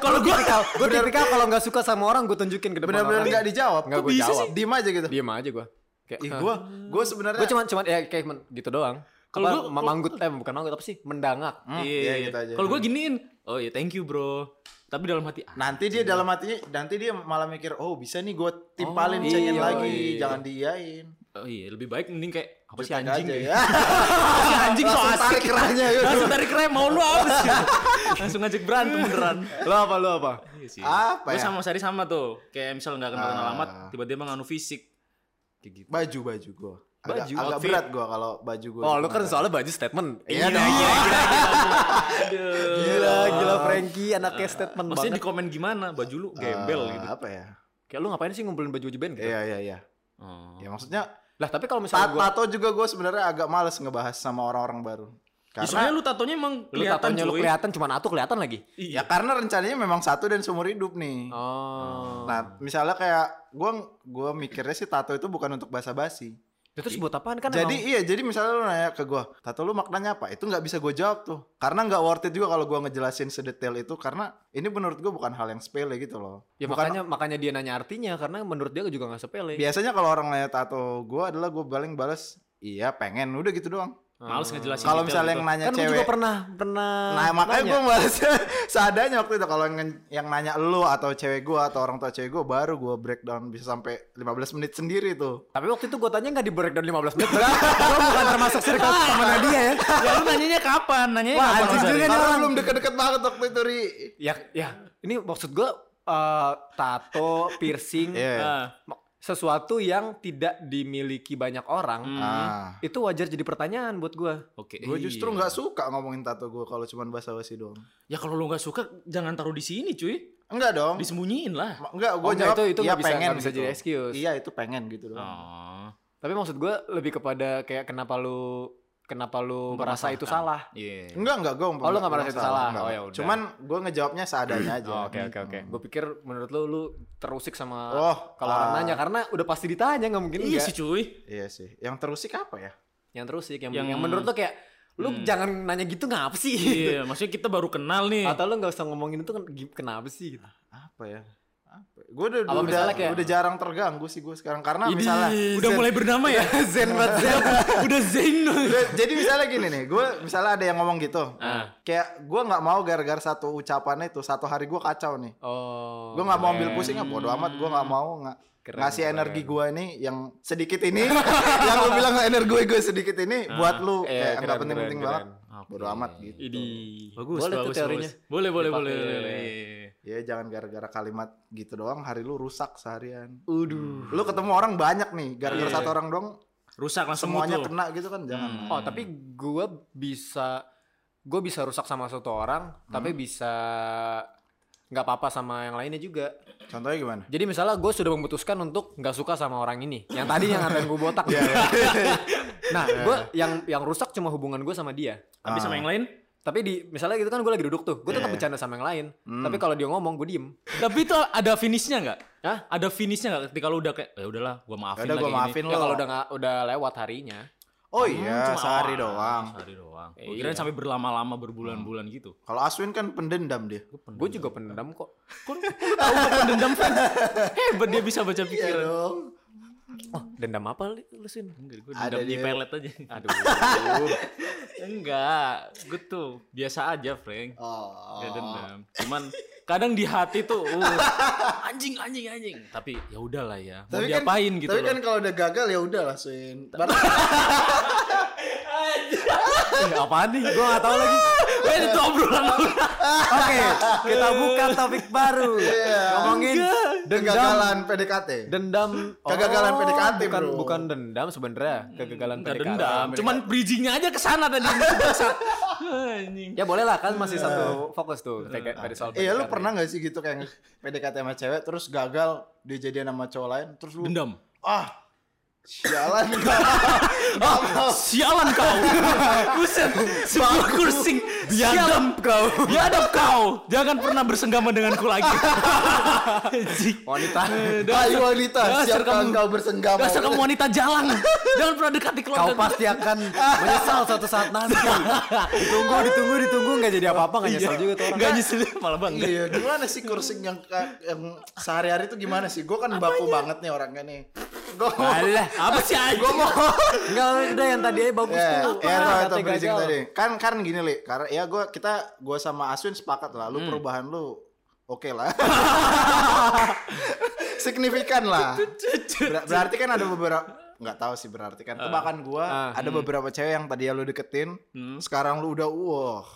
[SPEAKER 4] Kalau gue tipikal, gue tipikal kalau nggak suka sama orang gue tunjukin ke depan
[SPEAKER 2] benar-benar
[SPEAKER 4] orang.
[SPEAKER 2] enggak dijawab.
[SPEAKER 4] Nggak
[SPEAKER 2] Kok
[SPEAKER 4] gua
[SPEAKER 2] bisa
[SPEAKER 4] jawab.
[SPEAKER 2] sih? Diem aja gitu.
[SPEAKER 4] Diem aja gue. Kayak, "Eh,
[SPEAKER 2] Ih, gua gua sebenarnya
[SPEAKER 4] gue cuman cuman ya kayak men- gitu doang.
[SPEAKER 3] Kalau
[SPEAKER 4] Kalau
[SPEAKER 3] gua-
[SPEAKER 4] gue manggut, eh bukan manggut apa sih? Mendangak.
[SPEAKER 2] Hmm,
[SPEAKER 3] iya,
[SPEAKER 2] iya,
[SPEAKER 3] iya.
[SPEAKER 2] gitu aja.
[SPEAKER 3] Kalau gua giniin, oh iya thank you bro. Tapi dalam hati ah,
[SPEAKER 2] nanti dia dalam hatinya nanti dia malah mikir, "Oh, bisa nih gua timpalin
[SPEAKER 4] Oh,
[SPEAKER 2] cengin
[SPEAKER 4] iya,
[SPEAKER 2] lagi,
[SPEAKER 4] iya.
[SPEAKER 2] jangan diiyain."
[SPEAKER 3] oh iya lebih baik mending kayak apa sih
[SPEAKER 2] Cuek
[SPEAKER 3] anjing
[SPEAKER 2] aja
[SPEAKER 3] kayak-
[SPEAKER 2] (laughs) ya.
[SPEAKER 3] Apa sih anjing so
[SPEAKER 2] Langsung tarik
[SPEAKER 3] asik.
[SPEAKER 2] kerahnya, yuk.
[SPEAKER 3] Langsung tarik rem mau lu apa sih? Langsung ngajak berantem beneran.
[SPEAKER 4] Lo apa lo apa?
[SPEAKER 3] Iya sih.
[SPEAKER 2] Apa
[SPEAKER 3] Gua
[SPEAKER 2] ya?
[SPEAKER 3] sama Sari sama tuh. Kayak misal nggak kenal kenal
[SPEAKER 2] Ah.
[SPEAKER 3] amat, tiba-tiba nganu fisik. Kayak gitu.
[SPEAKER 2] Baju baju gua. Agak,
[SPEAKER 3] Baju,
[SPEAKER 2] agak
[SPEAKER 3] outfit.
[SPEAKER 2] berat gua kalau baju gua.
[SPEAKER 4] Oh lu kan soalnya baju statement.
[SPEAKER 2] Iya dong. Iya
[SPEAKER 3] Aduh.
[SPEAKER 4] Gila, gila Frankie Ah. anaknya statement
[SPEAKER 3] Maksudnya
[SPEAKER 4] banget.
[SPEAKER 3] di komen gimana baju lu gembel
[SPEAKER 2] Eh,
[SPEAKER 3] gitu.
[SPEAKER 2] Apa ya?
[SPEAKER 4] Kayak lu ngapain sih ngumpulin baju-baju band? gitu?
[SPEAKER 2] Iya iya iya.
[SPEAKER 3] Oh.
[SPEAKER 2] Ya maksudnya
[SPEAKER 4] Lah tapi kalau
[SPEAKER 2] Ta-
[SPEAKER 4] misalnya gue
[SPEAKER 2] tato juga gue sebenarnya agak males ngebahas sama orang-orang baru. Karena
[SPEAKER 3] Ya, soalnya lu tatonya emang
[SPEAKER 4] lu
[SPEAKER 3] kelihatan
[SPEAKER 4] tatonya lu
[SPEAKER 3] cuy.
[SPEAKER 4] kelihatan cuman atu kelihatan lagi.
[SPEAKER 2] ya
[SPEAKER 3] Iya.
[SPEAKER 2] karena rencananya memang satu dan seumur hidup nih.
[SPEAKER 4] Oh.
[SPEAKER 2] Nah, misalnya kayak gue gua mikirnya sih tato itu bukan untuk basa-basi.
[SPEAKER 4] Ya, terus buat apaan kan?
[SPEAKER 2] jadi
[SPEAKER 4] emang-
[SPEAKER 2] iya, jadi misalnya lu nanya ke gue, tato lu maknanya apa? Itu nggak bisa gue jawab tuh. Karena nggak worth it juga kalau gue ngejelasin sedetail itu karena ini menurut gue bukan hal yang sepele gitu loh.
[SPEAKER 4] ya
[SPEAKER 2] Bukan-
[SPEAKER 4] makanya makanya dia nanya artinya karena menurut dia juga nggak sepele.
[SPEAKER 2] biasanya kalau orang nanya tato gue adalah gue paling bales iya pengen udah gitu doang.
[SPEAKER 3] Males ngejelasin
[SPEAKER 2] Kalau
[SPEAKER 3] detail
[SPEAKER 2] misalnya yang
[SPEAKER 3] gitu.
[SPEAKER 2] nanya
[SPEAKER 4] kan gue
[SPEAKER 2] cewek
[SPEAKER 4] juga pernah pernah
[SPEAKER 2] Nah, makanya
[SPEAKER 4] nanya.
[SPEAKER 2] gue malas (laughs) seadanya waktu itu kalau yang, yang nanya lu atau cewek gue atau orang tua cewek gue baru gue breakdown bisa sampai 15 menit sendiri tuh.
[SPEAKER 4] Tapi waktu itu gue tanya nggak di breakdown 15 menit. (laughs) gue bukan termasuk circle (laughs) temennya dia ya.
[SPEAKER 3] (laughs) Ya lu nanyanya kapan? Nanyanya
[SPEAKER 4] Wah,
[SPEAKER 3] kapan?
[SPEAKER 4] anjing
[SPEAKER 3] Mas Ari?
[SPEAKER 4] juga nih.
[SPEAKER 2] Karena
[SPEAKER 4] orang.
[SPEAKER 2] belum deket-deket banget waktu itu Ri.
[SPEAKER 4] Ya, ya. Ini maksud gue eh, tato, piercing, eh,
[SPEAKER 2] Iya.
[SPEAKER 3] Ah.
[SPEAKER 4] ma- sesuatu yang tidak dimiliki banyak orang.
[SPEAKER 2] Ah.
[SPEAKER 4] Itu wajar jadi pertanyaan buat gue.
[SPEAKER 3] Oke.
[SPEAKER 2] Gue justru
[SPEAKER 3] iya.
[SPEAKER 2] nggak suka ngomongin tato gue kalau cuman bahasa basi doang.
[SPEAKER 3] Ya kalau lu nggak suka jangan taruh di sini, cuy.
[SPEAKER 2] Enggak dong.
[SPEAKER 3] Disembunyiin lah.
[SPEAKER 2] Ma- Enggak, gue
[SPEAKER 4] Oh, enggak,
[SPEAKER 2] jawab
[SPEAKER 4] itu- itu
[SPEAKER 2] "Iya,
[SPEAKER 4] nggak bisa-
[SPEAKER 2] pengen
[SPEAKER 4] nggak bisa
[SPEAKER 2] gitu."
[SPEAKER 4] jadi excuse.
[SPEAKER 2] Iya itu pengen gitu doang.
[SPEAKER 3] Oh.
[SPEAKER 4] Tapi maksud gue lebih kepada kayak kenapa lu kenapa lu merasa itu salah.
[SPEAKER 3] Iya.
[SPEAKER 2] Enggak, enggak gue.
[SPEAKER 4] Oh, lu nggak merasa itu salah? Oh, ya udah.
[SPEAKER 2] Cuman gue ngejawabnya seadanya aja.
[SPEAKER 4] Oh, Oke oke oke. Gue pikir menurut lu lu terusik sama
[SPEAKER 2] Oh,
[SPEAKER 4] kalau orang
[SPEAKER 2] ah.
[SPEAKER 4] nanya kan? karena udah pasti ditanya nggak mungkin
[SPEAKER 3] Iya
[SPEAKER 4] enggak.
[SPEAKER 3] sih, cuy.
[SPEAKER 2] Iya sih. Yang terusik apa ya?
[SPEAKER 4] Yang terusik yang, yang,
[SPEAKER 3] Yang-
[SPEAKER 4] menurut lu kayak lu
[SPEAKER 3] Hmm.
[SPEAKER 4] jangan nanya gitu ngapa sih?
[SPEAKER 3] Iya, maksudnya kita baru kenal nih.
[SPEAKER 4] (laughs) Atau lu nggak usah ngomongin itu kan gi- kenapa sih? Gitu.
[SPEAKER 2] Apa ya? Apa? Gue udah,
[SPEAKER 4] Apa
[SPEAKER 2] udah,
[SPEAKER 4] misalnya kayak-
[SPEAKER 2] udah jarang terganggu sih gue sekarang karena
[SPEAKER 3] Idih,
[SPEAKER 2] misalnya
[SPEAKER 3] udah mulai bernama ya?
[SPEAKER 4] Zen banget Zen.
[SPEAKER 3] (laughs) udah zen.
[SPEAKER 2] Udah- jadi misalnya gini nih, gue misalnya ada yang ngomong gitu,
[SPEAKER 3] Ah.
[SPEAKER 2] kayak gue nggak mau gara-gara satu ucapannya itu satu hari gue kacau nih.
[SPEAKER 4] Oh.
[SPEAKER 2] Gue nggak mau ambil pusingnya, bodo amat. Gue nggak mau nggak
[SPEAKER 4] Keren,
[SPEAKER 2] ngasih
[SPEAKER 4] keren.
[SPEAKER 2] energi gue ini yang sedikit ini, (laughs) yang lu bilang energi gue gue sedikit ini buat lu
[SPEAKER 4] Iya,
[SPEAKER 2] kayak nggak
[SPEAKER 4] keren,
[SPEAKER 2] penting-penting
[SPEAKER 4] keren,
[SPEAKER 2] banget.
[SPEAKER 3] keren.
[SPEAKER 2] Bodo
[SPEAKER 3] Oke.
[SPEAKER 2] amat gitu.
[SPEAKER 4] Idi.
[SPEAKER 3] Bagus,
[SPEAKER 4] Boleh tuh
[SPEAKER 3] bagus,
[SPEAKER 4] teorinya.
[SPEAKER 3] bagus. Boleh, boleh,
[SPEAKER 4] Dipakai.
[SPEAKER 3] boleh. boleh. Iya.
[SPEAKER 2] Ya jangan gara-gara kalimat gitu doang hari lu rusak seharian.
[SPEAKER 4] Uduh.
[SPEAKER 2] Lu ketemu orang banyak nih, gara-gara
[SPEAKER 3] Iya.
[SPEAKER 2] satu orang doang
[SPEAKER 3] Rusak langsung
[SPEAKER 2] semuanya
[SPEAKER 3] mood lu.
[SPEAKER 2] kena gitu kan jangan.
[SPEAKER 3] Hmm.
[SPEAKER 4] Oh, tapi gue bisa gue bisa rusak sama satu orang, tapi bisa nggak apa-apa sama yang lainnya juga.
[SPEAKER 2] Contohnya
[SPEAKER 3] (laughs)
[SPEAKER 2] gimana?
[SPEAKER 4] Jadi misalnya gue sudah memutuskan untuk nggak suka sama orang ini. Yang tadi yang ngatain gue (laughs) botak.
[SPEAKER 3] Iya,
[SPEAKER 4] nah, gue yang yang rusak cuma hubungan gue sama dia.
[SPEAKER 2] Ah,
[SPEAKER 3] Tapi sama
[SPEAKER 2] ya
[SPEAKER 3] yang lain?
[SPEAKER 4] Tapi di misalnya gitu kan gue lagi duduk tuh, gue tetap
[SPEAKER 2] Iya.
[SPEAKER 4] bercanda sama yang lain.
[SPEAKER 2] Hmm.
[SPEAKER 4] Tapi kalau dia ngomong gue diem. Ya
[SPEAKER 3] Tapi itu ada finishnya nggak?
[SPEAKER 4] Hah?
[SPEAKER 3] Ada finishnya nggak? Ketika lu udah kayak, ya udahlah, gua maafin
[SPEAKER 2] Yaudah,
[SPEAKER 3] lagi
[SPEAKER 2] gua
[SPEAKER 3] ini."
[SPEAKER 2] maafin
[SPEAKER 4] Ya
[SPEAKER 2] lo.
[SPEAKER 4] kalau udah nggak udah lewat harinya.
[SPEAKER 2] Oh
[SPEAKER 3] Hmm,
[SPEAKER 2] iya,
[SPEAKER 3] cuma
[SPEAKER 2] sehari
[SPEAKER 3] awal.
[SPEAKER 2] doang.
[SPEAKER 3] Sehari doang.
[SPEAKER 4] Eh,
[SPEAKER 3] Gua kirain
[SPEAKER 4] iya.
[SPEAKER 3] sampai berlama-lama berbulan-bulan gitu.
[SPEAKER 2] Kalau Aswin kan pendendam dia.
[SPEAKER 4] Gue juga pendam kok.
[SPEAKER 3] Kok lu tahu gua pendendam fans? Hebat dia bisa baca pikiran.
[SPEAKER 2] dong.
[SPEAKER 4] Oh, dendam apa li- lu sin?
[SPEAKER 3] Enggak, gue
[SPEAKER 2] Ada
[SPEAKER 3] dendam di
[SPEAKER 2] dia.
[SPEAKER 3] pelet aja.
[SPEAKER 4] Aduh.
[SPEAKER 3] (laughs) Enggak, gue tuh biasa aja, Frank.
[SPEAKER 2] Oh.
[SPEAKER 3] Gak dendam. Cuman kadang di hati tuh uh, anjing anjing anjing. Tapi ya udahlah ya. Mau
[SPEAKER 2] Tapi kan,
[SPEAKER 3] diapain gitu
[SPEAKER 2] tapi
[SPEAKER 3] loh. (laughs)
[SPEAKER 2] kan kalau udah gagal ya udah lah Swin. Bar-
[SPEAKER 4] Eh, apaan nih? Gue nggak tahu lagi.
[SPEAKER 3] Eh, itu obrolan obrolan.
[SPEAKER 4] Oke, kita buka topik baru.
[SPEAKER 3] Iya.
[SPEAKER 4] Ngomongin dendam
[SPEAKER 2] Kegagalan PDKT.
[SPEAKER 4] dendam
[SPEAKER 2] Kegagalan
[SPEAKER 4] Oh,
[SPEAKER 2] PDKT,
[SPEAKER 4] bukan,
[SPEAKER 2] bro.
[SPEAKER 4] bukan dendam sebenarnya kegagalan
[SPEAKER 3] (laughs) Enggak
[SPEAKER 4] PDKT.
[SPEAKER 3] Hmm.
[SPEAKER 4] Ya,
[SPEAKER 3] dendam, cuman bridgingnya aja ke sana tadi. anjing.
[SPEAKER 4] ya boleh lah kan masih satu fokus tuh PDKT dari soal
[SPEAKER 2] Iya lu
[SPEAKER 4] PDKT.
[SPEAKER 2] pernah gak sih gitu kayak PDKT sama cewek terus gagal dia jadian sama cowok lain terus lu
[SPEAKER 3] Dendam.
[SPEAKER 2] ah sialan Oh.
[SPEAKER 3] Ah, (laughs) sialan
[SPEAKER 2] (laughs)
[SPEAKER 3] kau. Buset, sebuah kursing. Sialan kau. Biadab kau. Jangan pernah bersenggama denganku lagi.
[SPEAKER 2] (laughs)
[SPEAKER 3] Anjing.
[SPEAKER 2] Oh,
[SPEAKER 4] wanita
[SPEAKER 2] Ayo wanita
[SPEAKER 3] (laughs) dasar
[SPEAKER 2] siapkan
[SPEAKER 3] kamu-
[SPEAKER 2] kau bersenggama
[SPEAKER 3] Dasar kamu wanita jalan. Jangan pernah dekati keluarga.
[SPEAKER 4] kau pasti akan (laughs) menyesal suatu saat nanti ditunggu ditunggu ditunggu nggak jadi apa-apa nggak nyesal juga tuh orang
[SPEAKER 3] Gak nyesel malah bang.
[SPEAKER 2] Iya, gimana sih kursing yang ka- yang sehari-hari tuh gimana sih? Gue kan baku banget nih orangnya nih. Gue
[SPEAKER 4] Alah,
[SPEAKER 3] Apa sih anjing?
[SPEAKER 2] gue mau
[SPEAKER 4] enggak udah yang tadi aja bagus
[SPEAKER 2] ya,
[SPEAKER 4] tuh.
[SPEAKER 2] ya tau
[SPEAKER 4] Apa? Kata
[SPEAKER 2] itu bridging
[SPEAKER 4] gagal.
[SPEAKER 2] tadi. Kan kan gini li, karena ya gue kita gue sama Aswin sepakat lah, lu
[SPEAKER 4] Hmm.
[SPEAKER 2] perubahan lu oke lah, (laughs) signifikan
[SPEAKER 4] (laughs)
[SPEAKER 2] lah. Ber- berarti kan ada beberapa nggak tahu sih berarti kan
[SPEAKER 4] Ah.
[SPEAKER 2] tebakan gue ada
[SPEAKER 4] Hmm.
[SPEAKER 2] beberapa cewek yang tadi lu deketin,
[SPEAKER 3] Hmm?
[SPEAKER 2] sekarang lu udah wow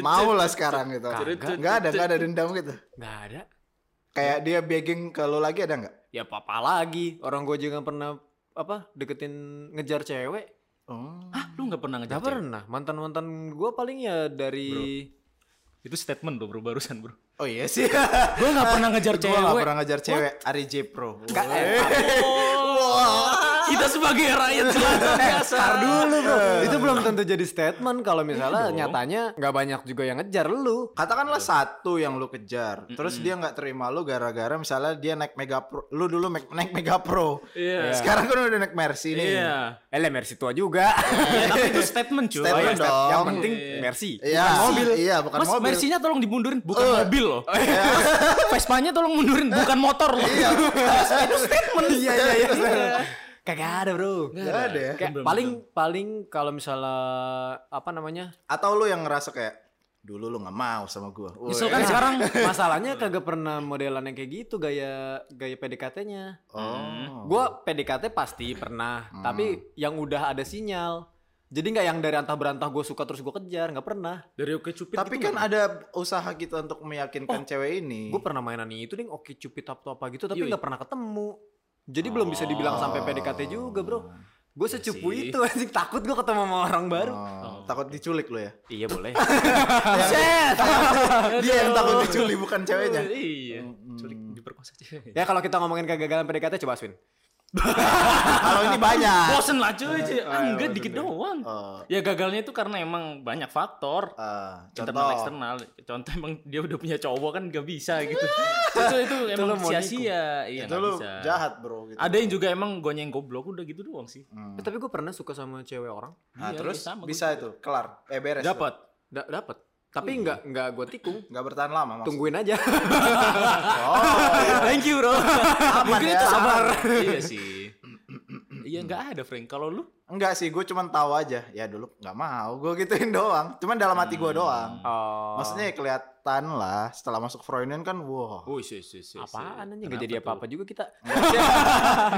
[SPEAKER 2] mau lah sekarang gitu. Nggak ada nggak ada dendam gitu.
[SPEAKER 4] nggak ada
[SPEAKER 2] Kayak dia begging ke lu lagi ada nggak?
[SPEAKER 4] ya apa-apa lagi orang gue juga pernah apa deketin ngejar cewek
[SPEAKER 2] Oh.
[SPEAKER 3] Hah, lu gak pernah ngejar
[SPEAKER 4] Gak
[SPEAKER 3] cewek?
[SPEAKER 4] pernah mantan mantan gue paling ya dari
[SPEAKER 3] Itu statement tuh bro barusan bro.
[SPEAKER 2] Oh iya sih.
[SPEAKER 3] Gue gak pernah ngejar
[SPEAKER 2] Gue gak
[SPEAKER 3] cewek.
[SPEAKER 2] pernah ngejar cewek. Ari J Pro.
[SPEAKER 4] Nggak, eh,
[SPEAKER 3] Kita sebagai rakyat
[SPEAKER 2] Iya.
[SPEAKER 3] selatan biasa.
[SPEAKER 4] dulu bro
[SPEAKER 3] Iya.
[SPEAKER 4] itu belum tentu jadi statement kalau misalnya nyatanya nggak banyak juga yang ngejar lu
[SPEAKER 2] Katakanlah satu yang lu kejar, terus dia nggak terima lu gara-gara misalnya dia naik Mega Pro, lu dulu naik, naik Mega Pro,
[SPEAKER 3] Iya.
[SPEAKER 2] (laughs) sekarang kan udah naik Mercy nih.
[SPEAKER 3] Iya.
[SPEAKER 4] eh lah, Mercy tua juga
[SPEAKER 3] Ya, tapi itu statement cuy.
[SPEAKER 2] Statement
[SPEAKER 3] Iya.
[SPEAKER 2] dong.
[SPEAKER 4] yang penting Mercy
[SPEAKER 2] Iya,
[SPEAKER 4] bukan mobil
[SPEAKER 2] mobil. Iya, bukan
[SPEAKER 3] Mas,
[SPEAKER 2] mobil. Eh. Oh, iya.
[SPEAKER 3] Mercy-nya tolong dimundurin, bukan mobil loh. Mas, Vespanya tolong mundurin, bukan motor loh.
[SPEAKER 2] Iya.
[SPEAKER 3] Itu statement.
[SPEAKER 2] iya, iya, iya.
[SPEAKER 4] Kagak ada, Bro.
[SPEAKER 2] Gak ada ya?
[SPEAKER 4] Kayak
[SPEAKER 3] Belum,
[SPEAKER 4] paling paling kalau misalnya apa namanya?
[SPEAKER 2] Atau lu yang ngerasa kayak dulu lu nggak mau sama gua. Woy.
[SPEAKER 3] Nyesel kan sekarang
[SPEAKER 4] Iya. Masalahnya kagak pernah modelan yang kayak gitu gaya gaya PDKT-nya.
[SPEAKER 2] Oh.
[SPEAKER 4] Gua PDKT pasti pernah,
[SPEAKER 3] Hmm.
[SPEAKER 4] tapi yang udah ada sinyal. Jadi nggak yang dari antah berantah gue suka terus gue kejar, nggak pernah.
[SPEAKER 3] dari Oke Cupid
[SPEAKER 2] Tapi
[SPEAKER 3] itu
[SPEAKER 2] kan
[SPEAKER 3] nggak-
[SPEAKER 2] ada usaha kita untuk meyakinkan cewek ini.
[SPEAKER 4] Gue pernah mainan itu ding, oke cupid apa apa gitu, tapi
[SPEAKER 3] Iya,
[SPEAKER 4] nggak pernah ketemu. Jadi belum bisa dibilang sampai PDKT juga, Bro. Gue secupu
[SPEAKER 3] sih.
[SPEAKER 4] itu, anjing takut gue ketemu sama orang baru.
[SPEAKER 2] Oh, takut diculik lu (laughs) ya?
[SPEAKER 4] Iya (laughs) boleh. (laughs)
[SPEAKER 2] Dia Iya, yang takut diculik bukan ceweknya.
[SPEAKER 3] Oh, Iya, culik diperkosa cewek.
[SPEAKER 4] ya kalau kita ngomongin kegagalan PDKT coba Aswin.
[SPEAKER 2] (laughs) Kalau ini banyak. (laughs)
[SPEAKER 3] Bosen lah cuy, cuy. Ah,
[SPEAKER 2] bosen
[SPEAKER 3] enggak dikit
[SPEAKER 2] deh.
[SPEAKER 3] doang.
[SPEAKER 2] Oh,
[SPEAKER 3] Ya gagalnya itu karena emang banyak faktor.
[SPEAKER 2] eh,
[SPEAKER 3] internal
[SPEAKER 2] contoh.
[SPEAKER 3] eksternal contoh emang dia udah punya cowok kan gak bisa gitu itu itu
[SPEAKER 4] lo
[SPEAKER 3] emang
[SPEAKER 4] mau
[SPEAKER 3] sia-sia iya
[SPEAKER 2] Itu
[SPEAKER 3] gak
[SPEAKER 2] lu
[SPEAKER 3] bisa
[SPEAKER 2] jahat bro gitu.
[SPEAKER 3] ada yang juga emang gonyeng goblok udah gitu doang sih
[SPEAKER 2] Hmm.
[SPEAKER 4] Eh, tapi gue pernah suka sama cewek orang.
[SPEAKER 2] Nah,
[SPEAKER 3] Iya,
[SPEAKER 2] terus
[SPEAKER 3] iya, sama, gua
[SPEAKER 2] bisa
[SPEAKER 3] juga.
[SPEAKER 2] itu kelar. Eh beres. tuh.
[SPEAKER 3] dapat
[SPEAKER 4] Da dapat. Tapi nggak nggak gue tikung.
[SPEAKER 2] Nggak bertahan lama maksud.
[SPEAKER 4] Tungguin (laughs) aja.
[SPEAKER 2] Oh,
[SPEAKER 3] thank you (laughs) bro
[SPEAKER 2] aman ya. Sabar.
[SPEAKER 3] iya sih iya nggak ada Frank kalau lu
[SPEAKER 2] Enggak Oh, sih, gue cuman tahu aja. Ya dulu nggak mau, gue gituin doang. Cuman dalam hati gue
[SPEAKER 3] Hmm.
[SPEAKER 2] doang.
[SPEAKER 4] Oh.
[SPEAKER 2] Maksudnya ya kelihatan lah. Setelah masuk Freudian kan, wow.
[SPEAKER 3] oh sih sih sih
[SPEAKER 4] (laughs) apaan anjing nggak jadi apa-apa juga kita.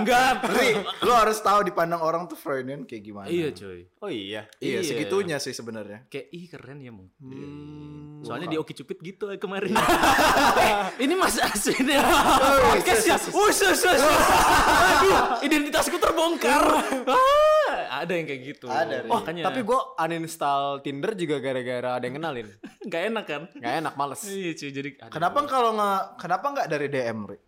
[SPEAKER 3] enggak
[SPEAKER 2] Ri, lu harus tahu dipandang orang tuh Freudian kayak gimana.
[SPEAKER 3] iya cuy
[SPEAKER 4] Oh iya.
[SPEAKER 2] Iya,
[SPEAKER 3] Iya.
[SPEAKER 2] segitunya sih sebenarnya.
[SPEAKER 3] kayak ih keren ya mau
[SPEAKER 4] Hmm.
[SPEAKER 3] soalnya di Oki Cupid gitu eh, kemarin Eh, (laughs) ini mas Asin ya podcast ya Wih, sus, sus, sus. aduh identitasku terbongkar Ah, ada yang kayak gitu
[SPEAKER 2] Ada, Ri.
[SPEAKER 3] oh,
[SPEAKER 4] Tapi gue uninstall Tinder juga gara-gara ada yang kenalin.
[SPEAKER 3] nggak enak kan
[SPEAKER 4] Gak enak, males.
[SPEAKER 3] iya cuy jadi aduh.
[SPEAKER 2] Kenapa kalau nggak kenapa nggak dari DM, Ri?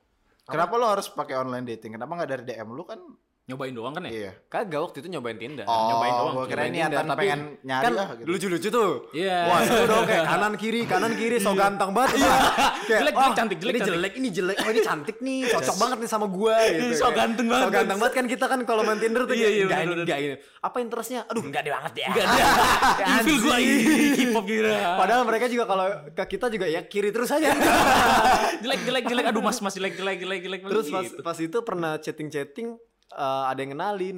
[SPEAKER 2] Kenapa lu harus pakai online dating? Kenapa nggak dari DM lu kan?
[SPEAKER 3] nyobain doang kan
[SPEAKER 2] Iya.
[SPEAKER 3] ya
[SPEAKER 4] Kagak waktu itu nyobain Tinder.
[SPEAKER 2] Oh,
[SPEAKER 3] nyobain doang,
[SPEAKER 2] Gue kira
[SPEAKER 4] nyobain
[SPEAKER 2] ini Atan
[SPEAKER 4] Tinder, tapi
[SPEAKER 2] pengen nyari
[SPEAKER 4] kan
[SPEAKER 2] lah gitu.
[SPEAKER 4] lucu-lucu tuh.
[SPEAKER 3] Iya.
[SPEAKER 4] Wah, seru dong kayak kanan kiri, kanan kiri so ganteng banget. Iya.
[SPEAKER 3] Jelek, jelek, cantik, jelek,
[SPEAKER 4] ini
[SPEAKER 3] cantik.
[SPEAKER 4] jelek, ini jelek. Oh, ini cantik (laughs) nih, cocok banget nih sama (laughs) gua gitu.
[SPEAKER 3] So ganteng banget.
[SPEAKER 4] So ganteng banget kan kita kan kalau main Tinder tuh
[SPEAKER 3] Iya, iya,
[SPEAKER 4] enggak ini,
[SPEAKER 3] bener-bener.
[SPEAKER 4] enggak ini. Apa interestnya? Aduh, enggak deh banget ya.
[SPEAKER 3] nggak ada evil gue ini K-pop kira
[SPEAKER 4] Padahal mereka juga kalau ke kita juga ya kiri terus aja.
[SPEAKER 3] jelek jelek jelek aduh mas mas jelek jelek jelek jelek
[SPEAKER 4] (laughs) terus pas,
[SPEAKER 3] Gitu.
[SPEAKER 4] pas itu pernah chatting-chatting eh, ada yang kenalin.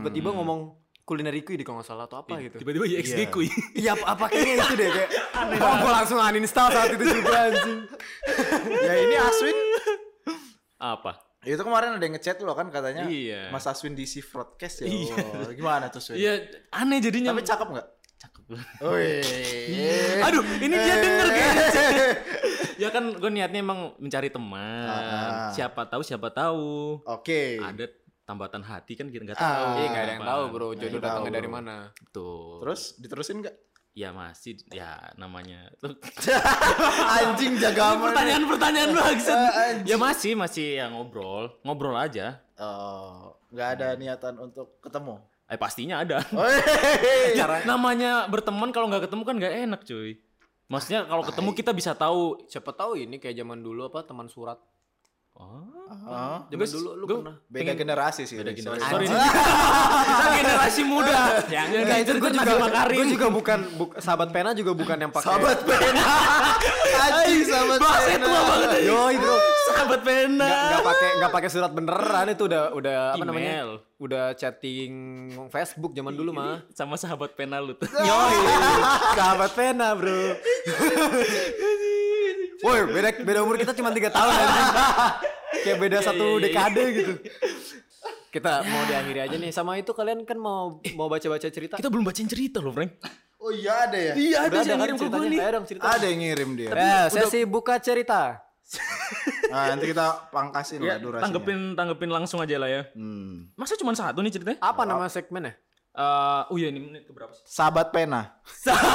[SPEAKER 4] Tiba-tiba ngomong kulineriku di kalau nggak salah atau apa gitu.
[SPEAKER 3] tiba-tiba ya XG ku ya.
[SPEAKER 4] Iya, apa kayaknya itu deh kayak. Oh, gue langsung uninstall saat itu juga anjing.
[SPEAKER 2] ya ini Aswin. Ya,
[SPEAKER 3] apa
[SPEAKER 2] Itu kemarin ada yang ngechat lo kan katanya
[SPEAKER 3] Iya.
[SPEAKER 2] Mas Aswin DC broadcast ya. Wah, Gimana tuh Swin?
[SPEAKER 3] iya Oh, aneh jadinya
[SPEAKER 2] Tapi cakep nggak?
[SPEAKER 3] cakep
[SPEAKER 2] Wih.
[SPEAKER 3] Aduh, ini dia denger
[SPEAKER 2] Eh.
[SPEAKER 3] kayaknya.
[SPEAKER 2] (laughs)
[SPEAKER 3] ya kan gue niatnya emang mencari teman.
[SPEAKER 2] Ah.
[SPEAKER 3] Siapa tahu siapa tahu.
[SPEAKER 2] Oke.
[SPEAKER 3] Ada tambatan hati kan kita nggak
[SPEAKER 2] Ah.
[SPEAKER 3] tahu.
[SPEAKER 4] Iya nggak ada yang tahu
[SPEAKER 2] Nggak
[SPEAKER 4] bro,
[SPEAKER 2] ada
[SPEAKER 4] jodoh
[SPEAKER 2] yang
[SPEAKER 4] datangnya
[SPEAKER 2] tahu.
[SPEAKER 4] dari mana.
[SPEAKER 3] Tuh.
[SPEAKER 2] Terus diterusin nggak?
[SPEAKER 3] Ya masih ya namanya.
[SPEAKER 2] (laughs) Anjing jaga aman. ya.
[SPEAKER 3] Pertanyaan-pertanyaan (laughs) maksud.
[SPEAKER 2] Eh,
[SPEAKER 3] ya masih masih ya ngobrol, ngobrol aja.
[SPEAKER 2] Oh, nggak ada niatan untuk
[SPEAKER 3] (laughs)
[SPEAKER 2] ketemu.
[SPEAKER 3] Eh pastinya
[SPEAKER 4] (laughs)
[SPEAKER 3] ada.
[SPEAKER 2] Wih.
[SPEAKER 4] Iya.
[SPEAKER 3] namanya berteman kalau nggak ketemu kan nggak enak cuy. Maksudnya kalau ketemu kita bisa tahu.
[SPEAKER 4] Siapa tahu ini kayak zaman dulu apa teman surat.
[SPEAKER 3] Oh,
[SPEAKER 2] Oh,
[SPEAKER 4] Zaman
[SPEAKER 3] Gua-
[SPEAKER 4] dulu lu
[SPEAKER 3] gua-
[SPEAKER 4] pernah.
[SPEAKER 2] beda generasi sih.
[SPEAKER 3] Beda
[SPEAKER 2] Rick.
[SPEAKER 3] generasi.
[SPEAKER 2] Sorry.
[SPEAKER 3] Sorry, nih. (laughs) kita generasi
[SPEAKER 4] (laughs)
[SPEAKER 3] muda. yang
[SPEAKER 4] Enggak, itu gue juga
[SPEAKER 3] makarin.
[SPEAKER 4] gue juga bukan bu- sahabat pena juga bukan yang pakai.
[SPEAKER 2] Sahabat
[SPEAKER 4] (laughs)
[SPEAKER 2] pena. Anjing sahabat
[SPEAKER 3] Bahasanya
[SPEAKER 2] pena.
[SPEAKER 3] tua banget ya.
[SPEAKER 4] Yoi bro.
[SPEAKER 3] Sahabat pena.
[SPEAKER 4] Nggak nggak pakai nggak pakai surat beneran itu udah udah apa
[SPEAKER 3] Email.
[SPEAKER 4] namanya? Udah chatting Facebook zaman dulu mah.
[SPEAKER 3] Sama sahabat pena lu tuh.
[SPEAKER 4] Yoi. (laughs) sahabat pena (laughs) bro. Woi, beda beda umur kita cuma 3 tahun anjing. Kayak beda satu dekade gitu. Kita mau diakhiri aja nih. Sama itu kalian kan mau mau baca-baca cerita.
[SPEAKER 3] (laughs) Kita belum bacain cerita loh, Frank.
[SPEAKER 2] Oh iya ada ya.
[SPEAKER 3] Iya,
[SPEAKER 4] Udah ada kan ceritanya? Ayo dong cerita.
[SPEAKER 2] Ada yang ngirim dia.
[SPEAKER 4] Eh, sesi buka cerita.
[SPEAKER 2] Nah, nanti kita pangkasin lah durasinya.
[SPEAKER 3] Iya, Tanggepin tanggepin langsung aja lah ya.
[SPEAKER 2] Hmm.
[SPEAKER 3] Masa cuma satu nih ceritanya?
[SPEAKER 4] Apa nama segmennya?
[SPEAKER 3] Eh, oh iya ini menit ke berapa sih?
[SPEAKER 2] Sahabat pena.
[SPEAKER 3] (laughs)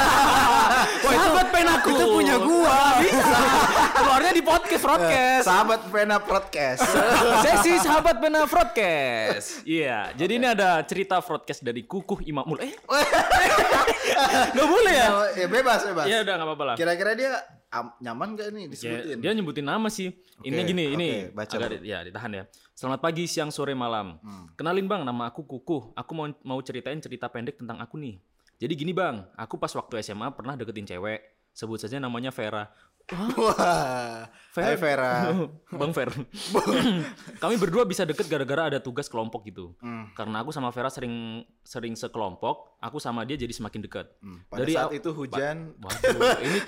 [SPEAKER 3] sahabat penaku. Itu
[SPEAKER 4] Ya,
[SPEAKER 3] punya
[SPEAKER 4] Oh,
[SPEAKER 3] gua. Bisa. Keluarnya di podcast podcast.
[SPEAKER 2] Sahabat pena
[SPEAKER 3] (laughs)
[SPEAKER 2] podcast.
[SPEAKER 3] Oh, Sesi sahabat pena podcast. Iya, jadi ini ada cerita podcast dari Kukuh Imamul. Eh, nggak boleh ya?
[SPEAKER 2] Oh, (laughs) ya bebas bebas.
[SPEAKER 3] Iya udah nggak apa-apa lah.
[SPEAKER 2] Kira-kira dia am- nyaman gak nih
[SPEAKER 3] Ya,
[SPEAKER 2] disebutin?
[SPEAKER 3] dia nyebutin nama sih. Ini
[SPEAKER 2] Oke,
[SPEAKER 3] gini,
[SPEAKER 2] oke,
[SPEAKER 3] ini
[SPEAKER 2] baca Hmm.
[SPEAKER 3] agak
[SPEAKER 2] dulu.
[SPEAKER 3] di- ya ditahan ya. Selamat pagi, siang, sore, malam. Kenalin Bang, nama aku Kukuh. Aku mau mau ceritain cerita pendek tentang aku nih. Jadi gini Bang, aku pas waktu SMA pernah deketin cewek. sebut saja namanya Vera.
[SPEAKER 2] (laughs) Wah. Hai Vera.
[SPEAKER 3] (laughs)
[SPEAKER 2] (laughs)
[SPEAKER 3] Bang Fer. Kami berdua bisa deket gara-gara ada tugas kelompok gitu.
[SPEAKER 2] Hmm.
[SPEAKER 3] Karena aku sama Vera sering sering sekelompok, aku sama dia jadi semakin dekat.
[SPEAKER 2] Hmm. Pada
[SPEAKER 3] Dari
[SPEAKER 2] saat
[SPEAKER 3] aw-
[SPEAKER 2] itu hujan.
[SPEAKER 3] Waduh, ini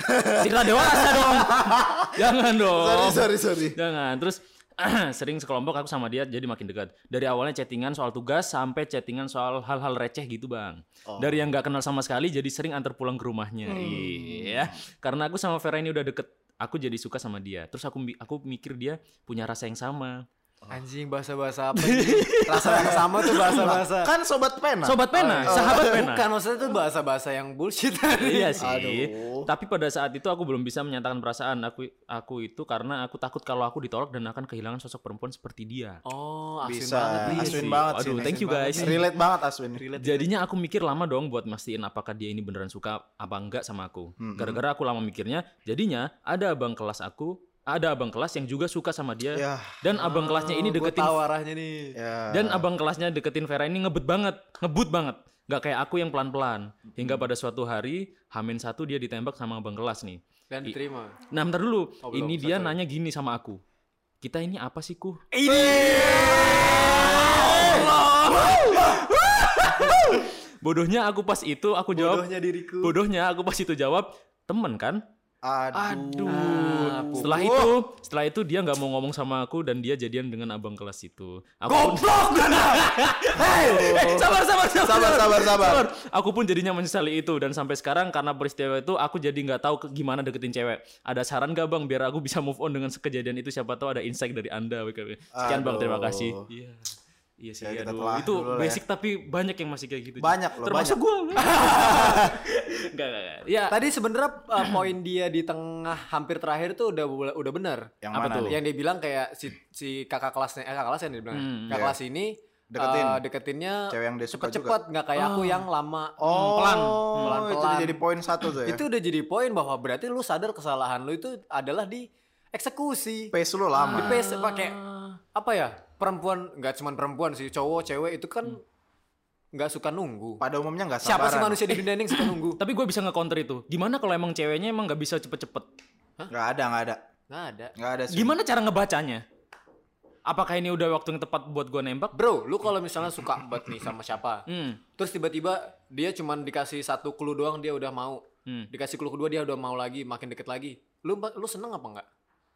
[SPEAKER 3] cerita dewasa
[SPEAKER 2] (laughs)
[SPEAKER 3] dong. Jangan dong.
[SPEAKER 2] Sorry sorry sorry.
[SPEAKER 3] Jangan. Terus (clears throat) sering sekelompok aku sama dia jadi makin dekat. Dari awalnya chattingan soal tugas sampai chattingan soal hal-hal receh gitu, Bang. Dari yang nggak kenal sama sekali jadi sering antar pulang ke rumahnya. Iya. Karena aku sama Vera ini udah deket, aku jadi suka sama dia. Terus aku mi- aku mikir dia punya rasa yang sama.
[SPEAKER 4] Anjing bahasa-bahasa apa ini? Rasa yang sama tuh bahasa-bahasa.
[SPEAKER 2] Kan sobat pena.
[SPEAKER 3] Sobat pena, sahabat pena.
[SPEAKER 4] Oh. (laughs) Bukan maksudnya tuh bahasa-bahasa yang (laughs) bullshit tadi.
[SPEAKER 3] Iya sih.
[SPEAKER 2] Aduh.
[SPEAKER 3] Tapi pada saat itu aku belum bisa menyatakan perasaan aku aku itu karena aku takut kalau aku ditolak dan akan kehilangan sosok perempuan seperti dia.
[SPEAKER 4] Oh, asli banget
[SPEAKER 2] Bisa. Aswin
[SPEAKER 4] nih.
[SPEAKER 3] Iya sih.
[SPEAKER 2] banget sih.
[SPEAKER 3] Aduh, thank you
[SPEAKER 4] Aswin
[SPEAKER 3] guys.
[SPEAKER 2] Relate banget Aswin.
[SPEAKER 4] gitu.
[SPEAKER 2] Iya,
[SPEAKER 3] Jadinya aku mikir lama dong buat mastiin apakah dia ini beneran suka apa enggak sama aku.
[SPEAKER 4] Hmm.
[SPEAKER 3] Gara-gara aku lama mikirnya, jadinya ada abang kelas aku, ada abang kelas yang juga suka sama dia
[SPEAKER 2] Ya.
[SPEAKER 3] dan abang kelasnya ini
[SPEAKER 4] Oh, gua
[SPEAKER 3] deketin
[SPEAKER 4] tahu arahnya nih.
[SPEAKER 2] Ya.
[SPEAKER 3] dan abang kelasnya deketin Vera ini ngebut banget, ngebut banget. Gak kayak aku yang pelan-pelan. Hingga
[SPEAKER 4] Hmm.
[SPEAKER 3] pada suatu hari, Hamin satu dia ditembak sama abang kelas nih.
[SPEAKER 4] Dan diterima.
[SPEAKER 3] Nah, bentar dulu.
[SPEAKER 4] Oh, belum,
[SPEAKER 3] ini dia
[SPEAKER 4] sorry.
[SPEAKER 3] nanya gini sama aku. Kita ini apa sih, Ku?
[SPEAKER 4] Ini.
[SPEAKER 3] Bodohnya aku pas itu aku jawab.
[SPEAKER 4] Bodohnya diriku.
[SPEAKER 3] Bodohnya aku pas itu jawab, "Temen kan?"
[SPEAKER 2] Aduh.
[SPEAKER 4] Ah,
[SPEAKER 3] Setelah itu, setelah itu dia nggak mau ngomong sama aku dan dia jadian dengan abang kelas itu. Aku
[SPEAKER 4] Goblok
[SPEAKER 3] Eh, sabar, sabar, sabar,
[SPEAKER 2] Sabar, sabar, sabar.
[SPEAKER 3] Aku pun jadinya menyesali itu dan sampai sekarang karena peristiwa itu aku jadi nggak tahu ke- gimana deketin cewek. Ada saran gak bang biar aku bisa move on dengan kejadian itu? Siapa tahu ada insight dari anda. WKW. Sekian bang, terima kasih.
[SPEAKER 2] Aduh.
[SPEAKER 3] Iya, iya sih.
[SPEAKER 2] Ya, kita
[SPEAKER 3] aduh.
[SPEAKER 2] telah
[SPEAKER 3] Itu
[SPEAKER 2] dulu lah ya.
[SPEAKER 3] basic tapi banyak yang masih kayak gitu.
[SPEAKER 2] Banyak loh,
[SPEAKER 3] Termasuk gue.
[SPEAKER 2] (laughs)
[SPEAKER 3] Enggak, enggak, enggak. Ya,
[SPEAKER 4] Tadi sebenarnya uh, poin dia di tengah hampir terakhir tuh udah udah benar.
[SPEAKER 2] Yang
[SPEAKER 3] Apa
[SPEAKER 2] mana
[SPEAKER 3] tuh?
[SPEAKER 2] nih?
[SPEAKER 4] Yang dia bilang kayak si si kakak kelasnya, eh kakak kelasnya yang dia bilang.
[SPEAKER 3] Hmm,
[SPEAKER 4] kakak
[SPEAKER 2] iya.
[SPEAKER 4] kelas ini
[SPEAKER 2] Deketin.
[SPEAKER 4] uh, deketinnya
[SPEAKER 2] Cewek yang dia suka juga.
[SPEAKER 4] cepet-cepet nggak kayak aku yang lama. Hmm,
[SPEAKER 2] Oh,
[SPEAKER 3] Pelan.
[SPEAKER 2] itu
[SPEAKER 4] Pelan-pelan.
[SPEAKER 2] udah jadi poin satu tuh ya.
[SPEAKER 4] Itu udah jadi poin bahwa berarti lu sadar kesalahan lu itu adalah di eksekusi.
[SPEAKER 2] pace lu
[SPEAKER 4] Di
[SPEAKER 2] lama.
[SPEAKER 4] pace pakai apa ya? Perempuan nggak cuman perempuan sih, cowok cewek itu kan nggak suka nunggu.
[SPEAKER 2] Pada umumnya nggak
[SPEAKER 4] Siapa
[SPEAKER 2] sabaran.
[SPEAKER 4] sih manusia di dunia ini yang suka nunggu?
[SPEAKER 3] tapi gue bisa nge-counter itu. Gimana kalau emang ceweknya emang nggak bisa cepet-cepet?
[SPEAKER 2] Nggak ada, nggak ada.
[SPEAKER 4] Nggak ada.
[SPEAKER 2] Nggak ada sih.
[SPEAKER 3] Gimana cara ngebacanya? Apakah ini udah waktu yang tepat buat gue nembak?
[SPEAKER 4] Bro, lu kalau misalnya suka banget nih sama siapa,
[SPEAKER 3] Hmm.
[SPEAKER 4] terus tiba-tiba dia cuman dikasih satu clue doang dia udah mau,
[SPEAKER 3] Hmm.
[SPEAKER 4] dikasih clue kedua dia udah mau lagi, makin deket lagi. Lu lu seneng apa enggak?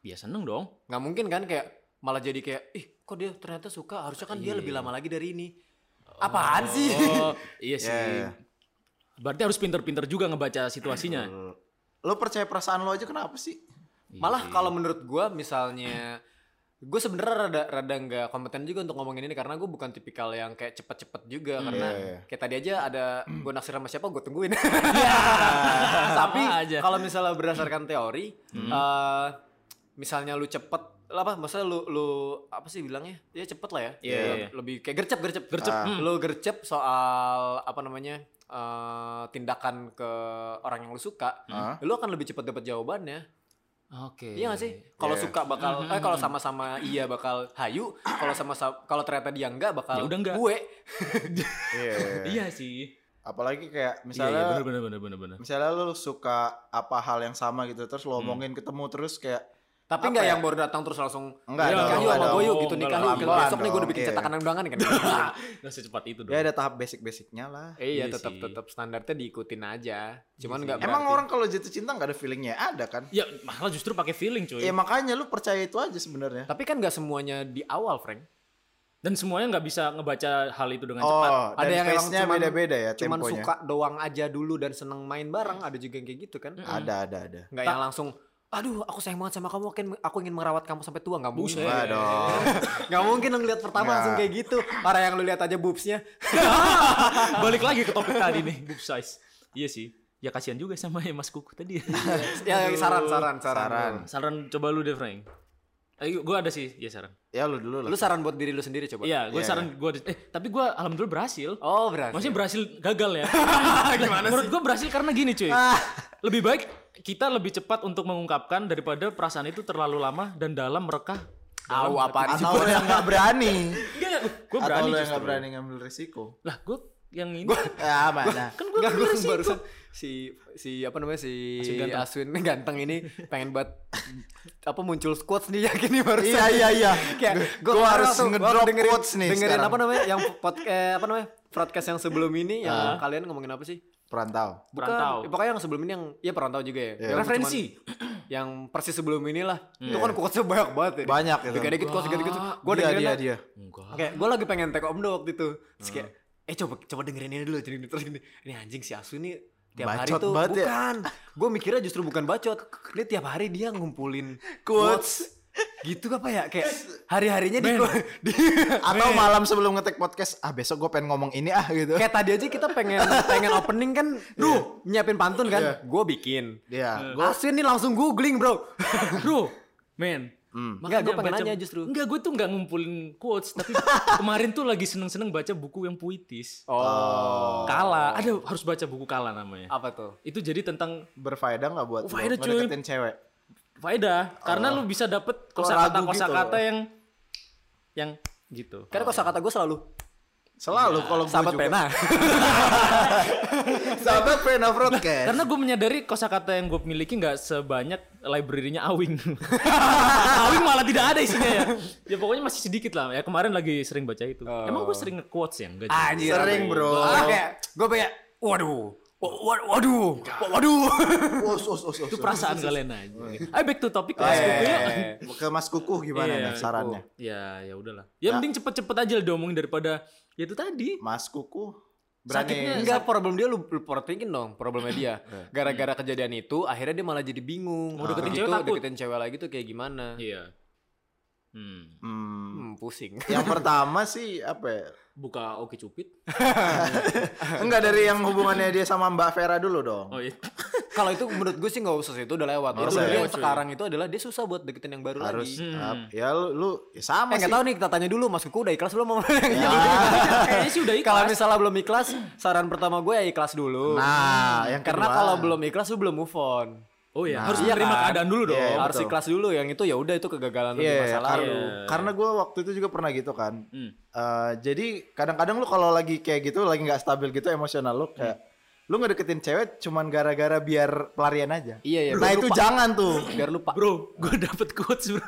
[SPEAKER 3] Ya seneng dong.
[SPEAKER 4] Nggak mungkin kan kayak malah jadi kayak, ih kok dia ternyata suka, harusnya kan dia lebih lama lagi dari ini. Apaan sih?
[SPEAKER 3] (laughs) Oh, iya sih.
[SPEAKER 2] Ya, ya.
[SPEAKER 3] Berarti harus pinter-pinter juga ngebaca situasinya.
[SPEAKER 2] Lo percaya perasaan lo aja kenapa sih?
[SPEAKER 4] Malah kalau menurut gua misalnya gue sebenarnya rada rada nggak kompeten juga untuk ngomongin ini karena gue bukan tipikal yang kayak cepet-cepet juga karena
[SPEAKER 2] iya, iya.
[SPEAKER 4] kayak tadi aja ada gue naksir sama siapa gue tungguin. (laughs) Tapi
[SPEAKER 3] Sama aja.
[SPEAKER 4] kalau misalnya berdasarkan teori, eh, misalnya lu cepet lah apa maksudnya lu lu apa sih bilangnya ya cepet lah ya
[SPEAKER 3] Iya,
[SPEAKER 4] Lebih-
[SPEAKER 3] iya, iya.
[SPEAKER 4] lebih kayak gercep gercep
[SPEAKER 3] Gercep,
[SPEAKER 4] Ah.
[SPEAKER 3] hmm.
[SPEAKER 4] lu gercep soal apa namanya eh, tindakan ke orang yang lu suka
[SPEAKER 2] Ah.
[SPEAKER 4] lu akan lebih cepet dapet jawabannya
[SPEAKER 3] Oke.
[SPEAKER 4] Iya gak sih? Kalau
[SPEAKER 2] Iya.
[SPEAKER 4] suka bakal
[SPEAKER 3] Mm-hmm.
[SPEAKER 4] eh kalau sama-sama iya bakal hayu, kalau sama kalau ternyata dia enggak bakal
[SPEAKER 3] Ya udah enggak.
[SPEAKER 4] gue.
[SPEAKER 2] Iya.
[SPEAKER 3] Iya sih.
[SPEAKER 2] Apalagi kayak
[SPEAKER 3] Iya,
[SPEAKER 2] misalnya
[SPEAKER 3] iya bener bener bener bener bener.
[SPEAKER 2] misalnya lo suka apa hal yang sama gitu terus
[SPEAKER 3] Hmm.
[SPEAKER 2] lo omongin ketemu terus kayak
[SPEAKER 4] Tapi enggak yang baru datang terus langsung
[SPEAKER 2] Enggak
[SPEAKER 4] nikah
[SPEAKER 2] ya? dong,
[SPEAKER 4] yuk
[SPEAKER 2] enggak
[SPEAKER 4] sama gue yuk
[SPEAKER 3] dong,
[SPEAKER 4] gitu
[SPEAKER 3] enggak
[SPEAKER 4] nikah
[SPEAKER 2] dong,
[SPEAKER 4] yuk.
[SPEAKER 2] pelan
[SPEAKER 4] Besok nih gue udah bikin
[SPEAKER 2] dong, iya.
[SPEAKER 4] cetakan undangan kan.
[SPEAKER 3] Nah secepat itu dong.
[SPEAKER 2] ya ada tahap basic-basicnya lah.
[SPEAKER 4] Eh, Iya
[SPEAKER 3] Iya
[SPEAKER 4] tetap
[SPEAKER 3] sih.
[SPEAKER 4] tetap standarnya diikutin aja. Cuman
[SPEAKER 3] Iya,
[SPEAKER 4] enggak
[SPEAKER 2] Iya Emang
[SPEAKER 4] berarti-
[SPEAKER 2] orang kalau jatuh cinta nggak ada feelingnya ada kan?
[SPEAKER 3] Ya malah justru pakai feeling cuy.
[SPEAKER 2] Ya makanya lu percaya itu aja sebenarnya.
[SPEAKER 4] tapi kan enggak semuanya di awal, Frank.
[SPEAKER 3] Dan semuanya nggak bisa ngebaca hal itu dengan (laughs) cepat.
[SPEAKER 2] Oh,
[SPEAKER 4] Ada yang emang
[SPEAKER 2] pace-nya
[SPEAKER 4] cuman-
[SPEAKER 2] beda-beda ya
[SPEAKER 4] Cuman
[SPEAKER 2] temponya.
[SPEAKER 4] suka doang aja dulu dan seneng main bareng, ada juga yang kayak gitu kan.
[SPEAKER 2] Ada, ada, ada.
[SPEAKER 4] Enggak yang langsung Aduh, aku sayang banget sama kamu. Aku ingin- Aku ingin merawat kamu sampai tua, nggak mungkin.
[SPEAKER 3] Buset.
[SPEAKER 2] Enggak
[SPEAKER 4] iya,
[SPEAKER 2] dong.
[SPEAKER 4] (laughs) Gak mungkin lu ngeliat pertama
[SPEAKER 2] Nggak.
[SPEAKER 4] langsung kayak gitu. Para yang lu lihat aja
[SPEAKER 2] (laughs)
[SPEAKER 4] boobsnya.
[SPEAKER 3] Balik lagi ke topik tadi nih, boob size. Iya sih. Ya kasihan juga sama ya Mas Kuku (laughs) tadi.
[SPEAKER 4] ya saran, saran, saran.
[SPEAKER 2] Saran.
[SPEAKER 3] saran coba lu deh, Frank. Ayo, gue ada sih, ya saran.
[SPEAKER 2] Ya lu dulu lah.
[SPEAKER 4] Lu saran buat diri lu sendiri coba.
[SPEAKER 3] Iya, gue
[SPEAKER 2] Iya.
[SPEAKER 3] saran gue. Eh, tapi gue alhamdulillah berhasil.
[SPEAKER 4] Oh berarti.
[SPEAKER 3] Maksudnya berhasil gagal ya? Gimana Menurut gue berhasil karena gini cuy. Lebih baik kita lebih cepat untuk mengungkapkan daripada perasaan itu terlalu lama dan dalam merekah.
[SPEAKER 4] Au apaan sih? (laughs)
[SPEAKER 2] Atau lu yang nggak berani.
[SPEAKER 3] Enggak, gue
[SPEAKER 2] Atau
[SPEAKER 3] berani
[SPEAKER 2] lu yang
[SPEAKER 3] justru.
[SPEAKER 2] nggak berani ngambil risiko.
[SPEAKER 3] Lah gue yang ini
[SPEAKER 2] ya
[SPEAKER 4] nah.
[SPEAKER 2] mana
[SPEAKER 3] kan gue
[SPEAKER 4] Enggak, gue (laughs) barusan si si apa namanya si
[SPEAKER 3] Aswin
[SPEAKER 4] Aswin,
[SPEAKER 3] ganteng.
[SPEAKER 4] ganteng ini pengen buat (laughs) apa muncul squats nih (laughs) yakin nih barusan.
[SPEAKER 2] (laughs) iya iya iya
[SPEAKER 4] Kayak
[SPEAKER 2] gue
[SPEAKER 4] kemarin
[SPEAKER 2] harus
[SPEAKER 4] waktu-
[SPEAKER 2] ngedrop
[SPEAKER 4] waktu dengerin,
[SPEAKER 2] quotes nih
[SPEAKER 4] dengerin
[SPEAKER 2] sekarang
[SPEAKER 4] apa namanya yang pod, eh, apa namanya podcast yang sebelum ini yang
[SPEAKER 2] Ah.
[SPEAKER 4] kalian ngomongin apa sih?
[SPEAKER 2] perantau
[SPEAKER 4] Bukan,
[SPEAKER 3] Perantau.
[SPEAKER 4] ya, pokoknya yang sebelum ini yang ya perantau juga ya.
[SPEAKER 2] Iya.
[SPEAKER 4] Yang
[SPEAKER 3] Referensi.
[SPEAKER 4] cuman- yang persis sebelum inilah. Itu kan quotesnya banyak banget ya.
[SPEAKER 2] Banyak itu.
[SPEAKER 4] Tiga dikit quotes, tiga dikit. Gue
[SPEAKER 2] gue dia
[SPEAKER 4] dengerin
[SPEAKER 2] dia
[SPEAKER 4] lah,
[SPEAKER 2] dia
[SPEAKER 3] enggak
[SPEAKER 4] Oke, gue lagi pengen take om waktu itu. Terus kayak,
[SPEAKER 2] Hmm.
[SPEAKER 4] eh coba coba dengerin ini dulu, jadi terus ini, ini anjing si Asu ini tiap hari
[SPEAKER 2] Bacot
[SPEAKER 4] tuh
[SPEAKER 2] banget ya.
[SPEAKER 4] bukan. Gue mikirnya justru bukan bacot. Dia tiap hari dia ngumpulin
[SPEAKER 2] Quotes.
[SPEAKER 4] quotes. gitu apa ya kayak hari-harinya di, (laughs) di
[SPEAKER 2] atau malam sebelum ngetek podcast ah besok gue pengen ngomong ini ah gitu
[SPEAKER 4] kayak tadi aja kita pengen pengen opening kan, duh nyiapin pantun kan,
[SPEAKER 2] Iya.
[SPEAKER 4] gue bikin.
[SPEAKER 2] Iya,
[SPEAKER 4] Gua... Asu ini langsung googling bro. (laughs)
[SPEAKER 3] bro men
[SPEAKER 2] Hmm.
[SPEAKER 4] Enggak, gue
[SPEAKER 3] Makanya
[SPEAKER 4] pengen
[SPEAKER 3] baca-
[SPEAKER 4] nanya justru.
[SPEAKER 3] Enggak, gue tuh enggak ngumpulin quotes. Tapi kemarin tuh lagi seneng-seneng baca buku yang puitis.
[SPEAKER 4] Oh.
[SPEAKER 3] Kala. Ada harus baca buku Kala namanya.
[SPEAKER 4] Apa tutuh?
[SPEAKER 3] Itu jadi tentang
[SPEAKER 2] berfaedah nggak buat
[SPEAKER 4] Oh,
[SPEAKER 2] lu
[SPEAKER 3] Faedah, cuy.
[SPEAKER 2] ngedeketin cewek
[SPEAKER 3] faedah. Karena lu bisa dapet
[SPEAKER 2] Kalau
[SPEAKER 3] kosakata
[SPEAKER 2] ragu gitu
[SPEAKER 3] kosakata
[SPEAKER 2] loh.
[SPEAKER 3] yang yang gitu.
[SPEAKER 4] Karena kosakata gue selalu
[SPEAKER 2] selalu kalau gue
[SPEAKER 4] Iya. sahabat ya.
[SPEAKER 2] juga
[SPEAKER 4] pena.
[SPEAKER 2] sahabat pena broadcast
[SPEAKER 3] Karena gue menyadari kosakata yang gue miliki nggak sebanyak library-nya Awing.
[SPEAKER 2] (laughs)
[SPEAKER 3] Awing malah tidak ada isinya ya. Ya pokoknya masih sedikit lah. Ya kemarin lagi sering baca itu.
[SPEAKER 2] Oh.
[SPEAKER 3] Emang gue sering nge-quotes ya? Enggak. juga.
[SPEAKER 4] Anjir.
[SPEAKER 2] Sering, bro.
[SPEAKER 4] Ah, kayak gue kayak waduh. wa- wa- Waduh. wa- Waduh.
[SPEAKER 2] Os, os, os, os,
[SPEAKER 3] Itu
[SPEAKER 2] os.
[SPEAKER 3] perasaan kalian aja. Ayo back to topic ya.
[SPEAKER 2] Eh,
[SPEAKER 3] lah.
[SPEAKER 2] ke Mas Kukuh gimana
[SPEAKER 3] Iya,
[SPEAKER 2] nih sarannya? Nah.
[SPEAKER 3] Ya, ya udahlah. Ya mending cepet-cepet aja lah diomongin daripada ya itu tadi.
[SPEAKER 2] Mas Kukuh
[SPEAKER 3] Sakitnya-
[SPEAKER 2] berani
[SPEAKER 4] Enggak problem dia lu lu portingin dong problemnya dia. Gara-gara kejadian itu akhirnya dia malah jadi bingung.
[SPEAKER 3] Mau deketin
[SPEAKER 4] Begitu
[SPEAKER 3] cewek takut.
[SPEAKER 4] Deketin cewek lagi tuh kayak gimana?
[SPEAKER 3] Iya. Hmm.
[SPEAKER 2] Hmm,
[SPEAKER 4] Hmm, pusing. (laughs)
[SPEAKER 2] yang pertama sih apa ya?
[SPEAKER 3] Buka Oke Cupid.
[SPEAKER 2] Enggak dari yang hubungannya dia sama Mbak Vera dulu dong.
[SPEAKER 3] Oh
[SPEAKER 2] (laughs)
[SPEAKER 3] iya.
[SPEAKER 4] Kalau itu menurut gue sih nggak usah sih itu udah lewat.
[SPEAKER 2] Nggak
[SPEAKER 4] Itu
[SPEAKER 2] usah
[SPEAKER 4] dia
[SPEAKER 2] ya.
[SPEAKER 4] yang sekarang itu adalah dia susah buat deketin yang baru
[SPEAKER 2] Harus
[SPEAKER 4] lagi.
[SPEAKER 2] up. ya lu, lu ya sama
[SPEAKER 4] Eh
[SPEAKER 2] sih.
[SPEAKER 4] nggak tahu nih kita tanya dulu Mas Kuku udah ikhlas belum sama yang ini?
[SPEAKER 3] Kayaknya sih udah
[SPEAKER 4] (laughs) Kalau
[SPEAKER 3] ikhlas.
[SPEAKER 4] misalnya belum ikhlas, saran pertama gue ya ikhlas dulu.
[SPEAKER 2] Nah,
[SPEAKER 4] (laughs)
[SPEAKER 2] yang
[SPEAKER 4] Iya. Karena
[SPEAKER 2] kedua. Nah,
[SPEAKER 4] kalau belum ikhlas lu belum move on.
[SPEAKER 3] Oh iya, harus
[SPEAKER 4] iya
[SPEAKER 3] menerima
[SPEAKER 4] kan?
[SPEAKER 3] keadaan dulu dong.
[SPEAKER 2] Iya,
[SPEAKER 4] harus
[SPEAKER 2] betul.
[SPEAKER 4] ikhlas dulu yang itu ya udah itu kegagalan lu di
[SPEAKER 2] Iya,
[SPEAKER 4] masa lalu.
[SPEAKER 2] karena, karena gue waktu itu juga pernah gitu kan.
[SPEAKER 3] Hmm.
[SPEAKER 2] Eh, jadi kadang-kadang lu kalau lagi kayak gitu, lagi nggak stabil gitu emosional lu kayak lu ngedeketin cewek cuman gara-gara biar pelarian aja.
[SPEAKER 4] Iya, iya,
[SPEAKER 2] Nah
[SPEAKER 4] biar
[SPEAKER 2] itu
[SPEAKER 4] lupa.
[SPEAKER 2] jangan tuh.
[SPEAKER 4] Biar lupa.
[SPEAKER 2] Iya,
[SPEAKER 3] Bro, gue dapet quotes bro.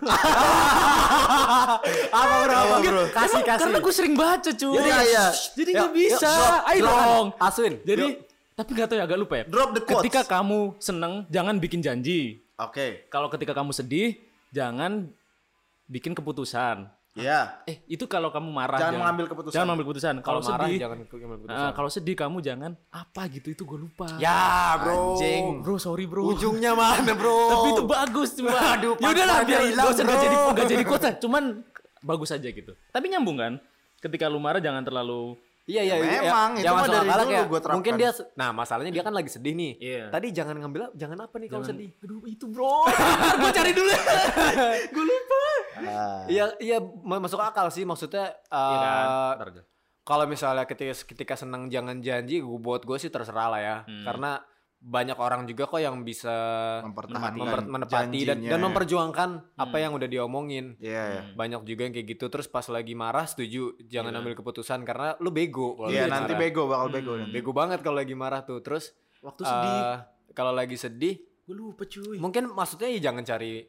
[SPEAKER 2] (laughs) apa bro? Apa bro?
[SPEAKER 4] (laughs) Kasih
[SPEAKER 3] Emang
[SPEAKER 4] kasih.
[SPEAKER 3] Karena gue sering baca cuy.
[SPEAKER 2] Iya, iya.
[SPEAKER 3] Jadi
[SPEAKER 4] Yuk,
[SPEAKER 3] nggak bisa.
[SPEAKER 4] yuk, drop.
[SPEAKER 3] Ayo
[SPEAKER 4] Silakan.
[SPEAKER 3] dong.
[SPEAKER 4] Aswin.
[SPEAKER 3] Jadi
[SPEAKER 4] Yuk.
[SPEAKER 3] tapi nggak tahu ya agak lupa ya.
[SPEAKER 2] Drop the quotes.
[SPEAKER 3] Ketika kamu seneng, jangan bikin janji.
[SPEAKER 2] Oke.
[SPEAKER 3] Kalau ketika kamu sedih, jangan bikin keputusan.
[SPEAKER 2] Iya.
[SPEAKER 3] Eh, itu kalau kamu marah
[SPEAKER 2] Jangan mengambil keputusan.
[SPEAKER 3] Jangan mengambil keputusan. Kalau
[SPEAKER 4] kalau marah
[SPEAKER 3] sedih,
[SPEAKER 4] jangan ngambil
[SPEAKER 3] eh,
[SPEAKER 4] keputusan.
[SPEAKER 3] kalau sedih kamu jangan apa gitu itu gue lupa.
[SPEAKER 4] ya,
[SPEAKER 2] Ah,
[SPEAKER 4] bro.
[SPEAKER 2] Anjing.
[SPEAKER 3] Bro, sorry bro.
[SPEAKER 4] Ujungnya mana, bro?
[SPEAKER 3] Tapi itu bagus cuma.
[SPEAKER 4] Waduh,
[SPEAKER 3] ya udahlah
[SPEAKER 4] pas-pasannya
[SPEAKER 3] biar
[SPEAKER 4] hilang,
[SPEAKER 3] gak usah gak
[SPEAKER 4] bro.
[SPEAKER 3] jadi gak jadi kota, cuman bagus aja gitu. Tapi nyambung kan? Ketika lu marah jangan terlalu
[SPEAKER 4] Iya iya iya.
[SPEAKER 2] Ya, Memang, itu
[SPEAKER 4] yang
[SPEAKER 2] mah
[SPEAKER 4] masuk
[SPEAKER 2] dari
[SPEAKER 4] akal
[SPEAKER 2] dulu
[SPEAKER 4] kayak,
[SPEAKER 2] gua terapkan.
[SPEAKER 4] Mungkin dia Nah, masalahnya dia kan lagi sedih nih.
[SPEAKER 3] Iya.
[SPEAKER 4] Tadi jangan ngambil jangan apa nih kalau sedih?
[SPEAKER 3] Aduh, itu
[SPEAKER 4] (laughs)
[SPEAKER 3] bro. gue cari dulu. gue lupa.
[SPEAKER 2] Ah.
[SPEAKER 4] Iya iya ma- masuk akal sih maksudnya
[SPEAKER 3] Iya kan?
[SPEAKER 4] eh,
[SPEAKER 3] Ntar aja.
[SPEAKER 4] kalau misalnya ketika ketika senang jangan janji gue buat gue sih terserah lah ya
[SPEAKER 3] Hmm.
[SPEAKER 4] karena banyak orang juga kok yang bisa
[SPEAKER 2] Mempertahankan
[SPEAKER 4] memper- menepati dan,
[SPEAKER 2] janjinya. ya.
[SPEAKER 4] dan memperjuangkan apa
[SPEAKER 3] Hmm.
[SPEAKER 4] yang udah diomongin
[SPEAKER 2] Iya, iya.
[SPEAKER 4] banyak juga yang kayak gitu terus pas lagi marah setuju
[SPEAKER 3] Iya.
[SPEAKER 4] jangan ambil keputusan karena lu bego kalau
[SPEAKER 2] Iya
[SPEAKER 4] lagi
[SPEAKER 2] nanti
[SPEAKER 4] marah.
[SPEAKER 2] bego bakal bego nanti.
[SPEAKER 4] bego banget kalau lagi marah tuh terus
[SPEAKER 3] Waktu sedih.
[SPEAKER 4] eh, kalau lagi sedih
[SPEAKER 3] Gue lupa cuy.
[SPEAKER 4] mungkin maksudnya ya jangan cari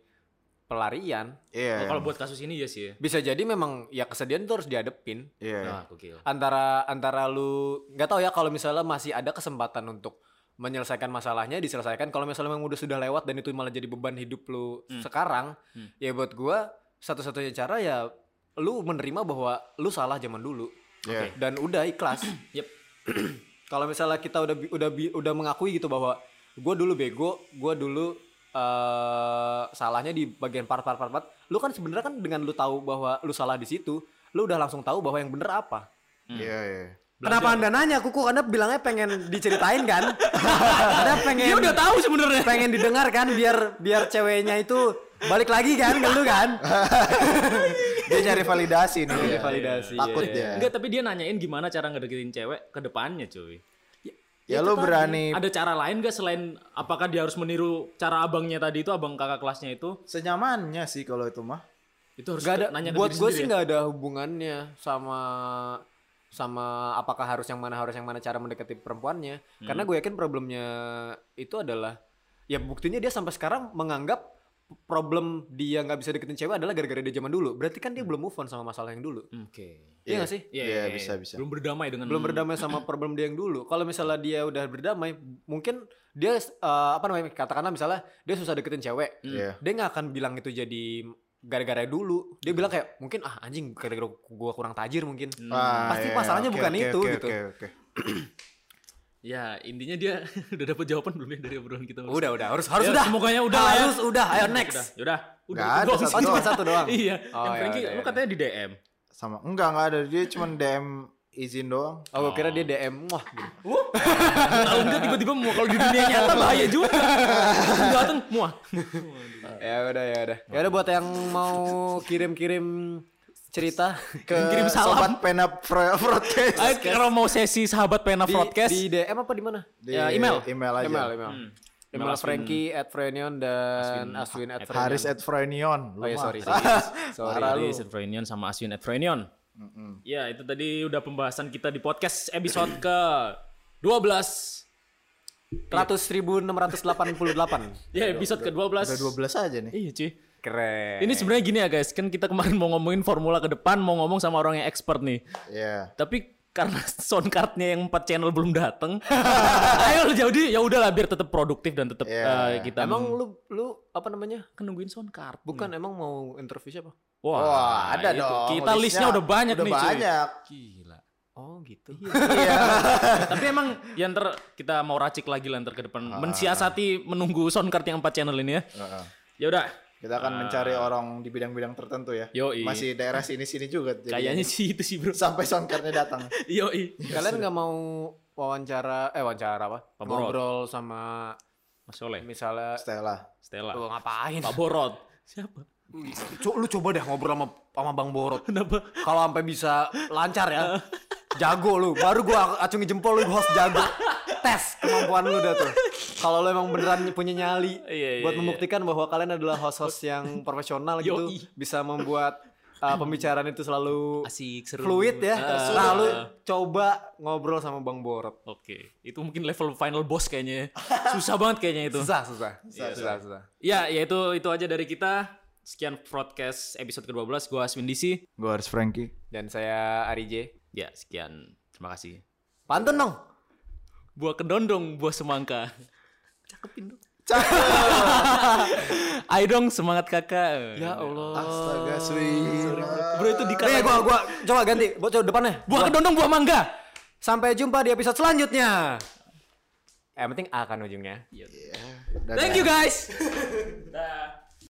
[SPEAKER 4] pelarian
[SPEAKER 2] Iya.
[SPEAKER 3] Kalau buat kasus ini ya sih ya.
[SPEAKER 4] bisa jadi memang ya kesedihan tuh harus dihadepin
[SPEAKER 2] Iya.
[SPEAKER 3] Nah, gokil.
[SPEAKER 4] antara antara lu nggak tahu ya kalau misalnya masih ada kesempatan untuk menyelesaikan masalahnya diselesaikan kalau misalnya memang udah sudah lewat dan itu malah jadi beban hidup lu sekarang
[SPEAKER 3] Hmm.
[SPEAKER 4] ya buat gua satu-satunya cara ya lu menerima bahwa lu salah zaman dulu
[SPEAKER 2] Iya.
[SPEAKER 3] Oke.
[SPEAKER 4] dan udah ikhlas
[SPEAKER 3] (clears throat) Yep.
[SPEAKER 4] (clears throat) kalau misalnya kita udah bi- udah bi- udah mengakui gitu bahwa gua dulu bego gua dulu eh salahnya di bagian part part part part lu kan sebenarnya kan dengan lu tahu bahwa lu salah di situ lu udah langsung tahu bahwa yang bener apa
[SPEAKER 2] Iya, iya.
[SPEAKER 4] Kenapa anda nanya kuku? Anda bilangnya pengen diceritain (laughs) kan? anda pengen
[SPEAKER 3] Dia udah tahu sebenarnya.
[SPEAKER 4] pengen didengar kan? Biar biar ceweknya itu balik lagi kan ke lu (laughs) kan?
[SPEAKER 2] Dia nyari validasi nih.
[SPEAKER 4] Jadi validasi.
[SPEAKER 2] Iya. Takut
[SPEAKER 4] ya.
[SPEAKER 2] dia.
[SPEAKER 3] Enggak, Iya, tapi dia nanyain gimana cara ngedeketin cewek ke depannya, cuy.
[SPEAKER 4] Iya.
[SPEAKER 2] Ya lu berani
[SPEAKER 3] Ada cara lain gak selain apakah dia harus meniru cara abangnya tadi itu, abang kakak kelasnya itu?
[SPEAKER 2] senyamannya sih kalau itu mah.
[SPEAKER 3] Itu harus
[SPEAKER 4] Gak ada.
[SPEAKER 3] nanya ke diri
[SPEAKER 4] buat
[SPEAKER 3] ya?
[SPEAKER 4] gue
[SPEAKER 3] sendiri
[SPEAKER 4] sih
[SPEAKER 3] ya.
[SPEAKER 4] nggak ada hubungannya sama sama apakah harus yang mana harus yang mana cara mendekati perempuannya
[SPEAKER 3] Hmm.
[SPEAKER 4] karena gue yakin problemnya itu adalah ya buktinya dia sampai sekarang menganggap problem dia nggak bisa deketin cewek adalah gara-gara dia zaman dulu berarti kan dia belum move on sama masalah yang dulu
[SPEAKER 3] Hmm, Oke.
[SPEAKER 4] iya nggak sih
[SPEAKER 3] Hmm. Iya,
[SPEAKER 2] Iya,
[SPEAKER 3] iya,
[SPEAKER 2] bisa,
[SPEAKER 3] iya.
[SPEAKER 2] bisa.
[SPEAKER 3] Belum berdamai dengan
[SPEAKER 4] belum berdamai sama problem dia yang dulu. Kalau misalnya dia udah berdamai, mungkin dia eh, apa namanya? Katakanlah misalnya dia susah deketin cewek,
[SPEAKER 3] Hmm.
[SPEAKER 2] Iya.
[SPEAKER 4] dia nggak akan bilang itu jadi gara-gara dulu.
[SPEAKER 3] Hmm.
[SPEAKER 4] Dia bilang kayak mungkin ah anjing gara-gara gua kurang tajir mungkin.
[SPEAKER 2] Ah,
[SPEAKER 4] Pasti
[SPEAKER 2] iya,
[SPEAKER 4] masalahnya
[SPEAKER 2] oke,
[SPEAKER 4] bukan
[SPEAKER 2] oke,
[SPEAKER 4] itu,
[SPEAKER 2] oke,
[SPEAKER 4] gitu.
[SPEAKER 2] oke, oke.
[SPEAKER 3] Ya, intinya dia (laughs) udah dapat jawaban belum ya dari obrolan kita.
[SPEAKER 4] Udah udah harus harus
[SPEAKER 3] Ya,
[SPEAKER 4] udah.
[SPEAKER 3] Semuanya udah lah ya.
[SPEAKER 4] harus udah. Ayo next.
[SPEAKER 3] Udah, yaudah. Udah.
[SPEAKER 2] Nggak
[SPEAKER 3] itu
[SPEAKER 2] ada,
[SPEAKER 3] doang
[SPEAKER 4] Oh,
[SPEAKER 2] satu
[SPEAKER 3] sih.
[SPEAKER 4] cuma satu doang.
[SPEAKER 3] (laughs) Iya.
[SPEAKER 4] Oh,
[SPEAKER 3] yang
[SPEAKER 4] ya
[SPEAKER 3] Frankie
[SPEAKER 4] udah, ya
[SPEAKER 3] lu katanya di DM.
[SPEAKER 2] Sama enggak enggak ada dia cuman DM izin doang.
[SPEAKER 4] Oh, gue kira dia DM. Wah, gitu.
[SPEAKER 3] Kalau enggak tiba-tiba mau kalau di dunia nyata bahaya juga. Datang muah.
[SPEAKER 4] (laughs) ya udah ya udah. Ya udah buat yang mau kirim-kirim cerita ke
[SPEAKER 3] Kirim salam.
[SPEAKER 2] Eh, Sobat pena (laughs) pro- broadcast.
[SPEAKER 3] Ayo kalau mau sesi sahabat pena
[SPEAKER 4] di,
[SPEAKER 3] podcast
[SPEAKER 4] di DM apa di mana?
[SPEAKER 2] Di
[SPEAKER 4] ya email.
[SPEAKER 2] email aja.
[SPEAKER 4] Email, email. Email
[SPEAKER 3] Email Aswin.
[SPEAKER 4] Frankie at Frenion dan Aswin, at Frenion.
[SPEAKER 2] Haris at Frenion.
[SPEAKER 4] Oh ya sorry.
[SPEAKER 2] Lu mah.
[SPEAKER 4] Sorry,
[SPEAKER 2] (laughs)
[SPEAKER 4] sorry.
[SPEAKER 3] Para lu. Frenion sama Aswin at Frenion. Ya itu tadi udah pembahasan kita di podcast episode ke 12
[SPEAKER 4] 100.688.
[SPEAKER 3] Ya episode ke 12
[SPEAKER 2] Udah 12 aja nih.
[SPEAKER 3] Iya cuy
[SPEAKER 4] Keren.
[SPEAKER 3] Ini sebenarnya gini ya guys Kan kita kemarin mau ngomongin formula ke depan Mau ngomong sama orang yang expert nih
[SPEAKER 2] Iya.
[SPEAKER 3] Tapi karena (laughs) sound cardnya yang 4 channel belum dateng (laughs) Ayo jadi ya udahlah biar tetap produktif dan tetap
[SPEAKER 2] Iya.
[SPEAKER 3] eh, kita
[SPEAKER 4] emang lu lu apa namanya?
[SPEAKER 3] kan nungguin sound card
[SPEAKER 4] Bukan emang mau interview siapa?
[SPEAKER 3] Wah,
[SPEAKER 2] Wah, ada
[SPEAKER 3] itu.
[SPEAKER 2] dong.
[SPEAKER 3] Kita listnya udah banyak
[SPEAKER 2] udah
[SPEAKER 3] nih cuy
[SPEAKER 2] banyak.
[SPEAKER 3] Gila (laughs)
[SPEAKER 4] Oh gitu.
[SPEAKER 3] Tapi emang ya ntar kita mau racik lagi lah ntar ke depan Mensiasati menunggu sound card yang 4 channel ini ya
[SPEAKER 2] Ah. Heeh.
[SPEAKER 3] Ya udah
[SPEAKER 2] Kita akan mencari orang di bidang-bidang tertentu ya.
[SPEAKER 3] Yoi.
[SPEAKER 2] Masih daerah sini-sini juga. jadi-
[SPEAKER 3] Kayaknya sih itu sih bro
[SPEAKER 2] sampai songkarnya datang.
[SPEAKER 3] (laughs) Yoi
[SPEAKER 4] Iya, Kalian nggak mau wawancara eh wawancara apa?
[SPEAKER 3] Pemborot.
[SPEAKER 4] Ngobrol sama
[SPEAKER 3] Mas Soleh
[SPEAKER 4] misalnya
[SPEAKER 2] Stella.
[SPEAKER 3] Stella
[SPEAKER 2] Oh.
[SPEAKER 4] lu ngapain?
[SPEAKER 3] Pak Borot Siapa?
[SPEAKER 4] Co- lu coba deh ngobrol sama sama Bang Borot.
[SPEAKER 3] Kenapa?
[SPEAKER 4] Kalau sampai bisa lancar ya. Jago lu. Baru gua acungi jempol lu host jago. Tes kemampuan lu dah tuh. Kalau lu emang beneran punya nyali
[SPEAKER 3] Iya, iya,
[SPEAKER 4] buat
[SPEAKER 3] iya.
[SPEAKER 4] membuktikan bahwa kalian adalah host-host yang profesional gitu,
[SPEAKER 3] Yoi.
[SPEAKER 4] bisa membuat uh, pembicaraan itu selalu
[SPEAKER 3] Asik seru
[SPEAKER 4] fluid ya.
[SPEAKER 3] Ah.
[SPEAKER 4] Lalu coba ngobrol sama Bang Borot.
[SPEAKER 3] Oke, itu mungkin level final boss kayaknya. ya. Susah banget kayaknya itu.
[SPEAKER 4] Susah, susah.
[SPEAKER 3] Iya,
[SPEAKER 4] Susah, susah, susah.
[SPEAKER 3] Ya, ya itu itu aja dari kita. Sekian podcast episode ke-12. Gua Aswin DC.
[SPEAKER 2] Gue harus Frankie.
[SPEAKER 4] Dan saya Ari J.
[SPEAKER 3] Ya, sekian. Terima kasih.
[SPEAKER 4] Pantun dong.
[SPEAKER 3] Buah kedondong, buah semangka. Cakepin dong. (laughs) Ayo dong semangat kakak.
[SPEAKER 4] Ya Allah.
[SPEAKER 2] Astaga,
[SPEAKER 3] Oh,
[SPEAKER 2] sweet.
[SPEAKER 3] Bro itu
[SPEAKER 4] Nih
[SPEAKER 3] dikata
[SPEAKER 4] gua gua coba ganti. Bocor depannya.
[SPEAKER 3] buah kedondong, buah mangga.
[SPEAKER 4] Sampai jumpa di episode selanjutnya. Eh, yang penting A kan ujungnya.
[SPEAKER 3] Thank you guys. Dah.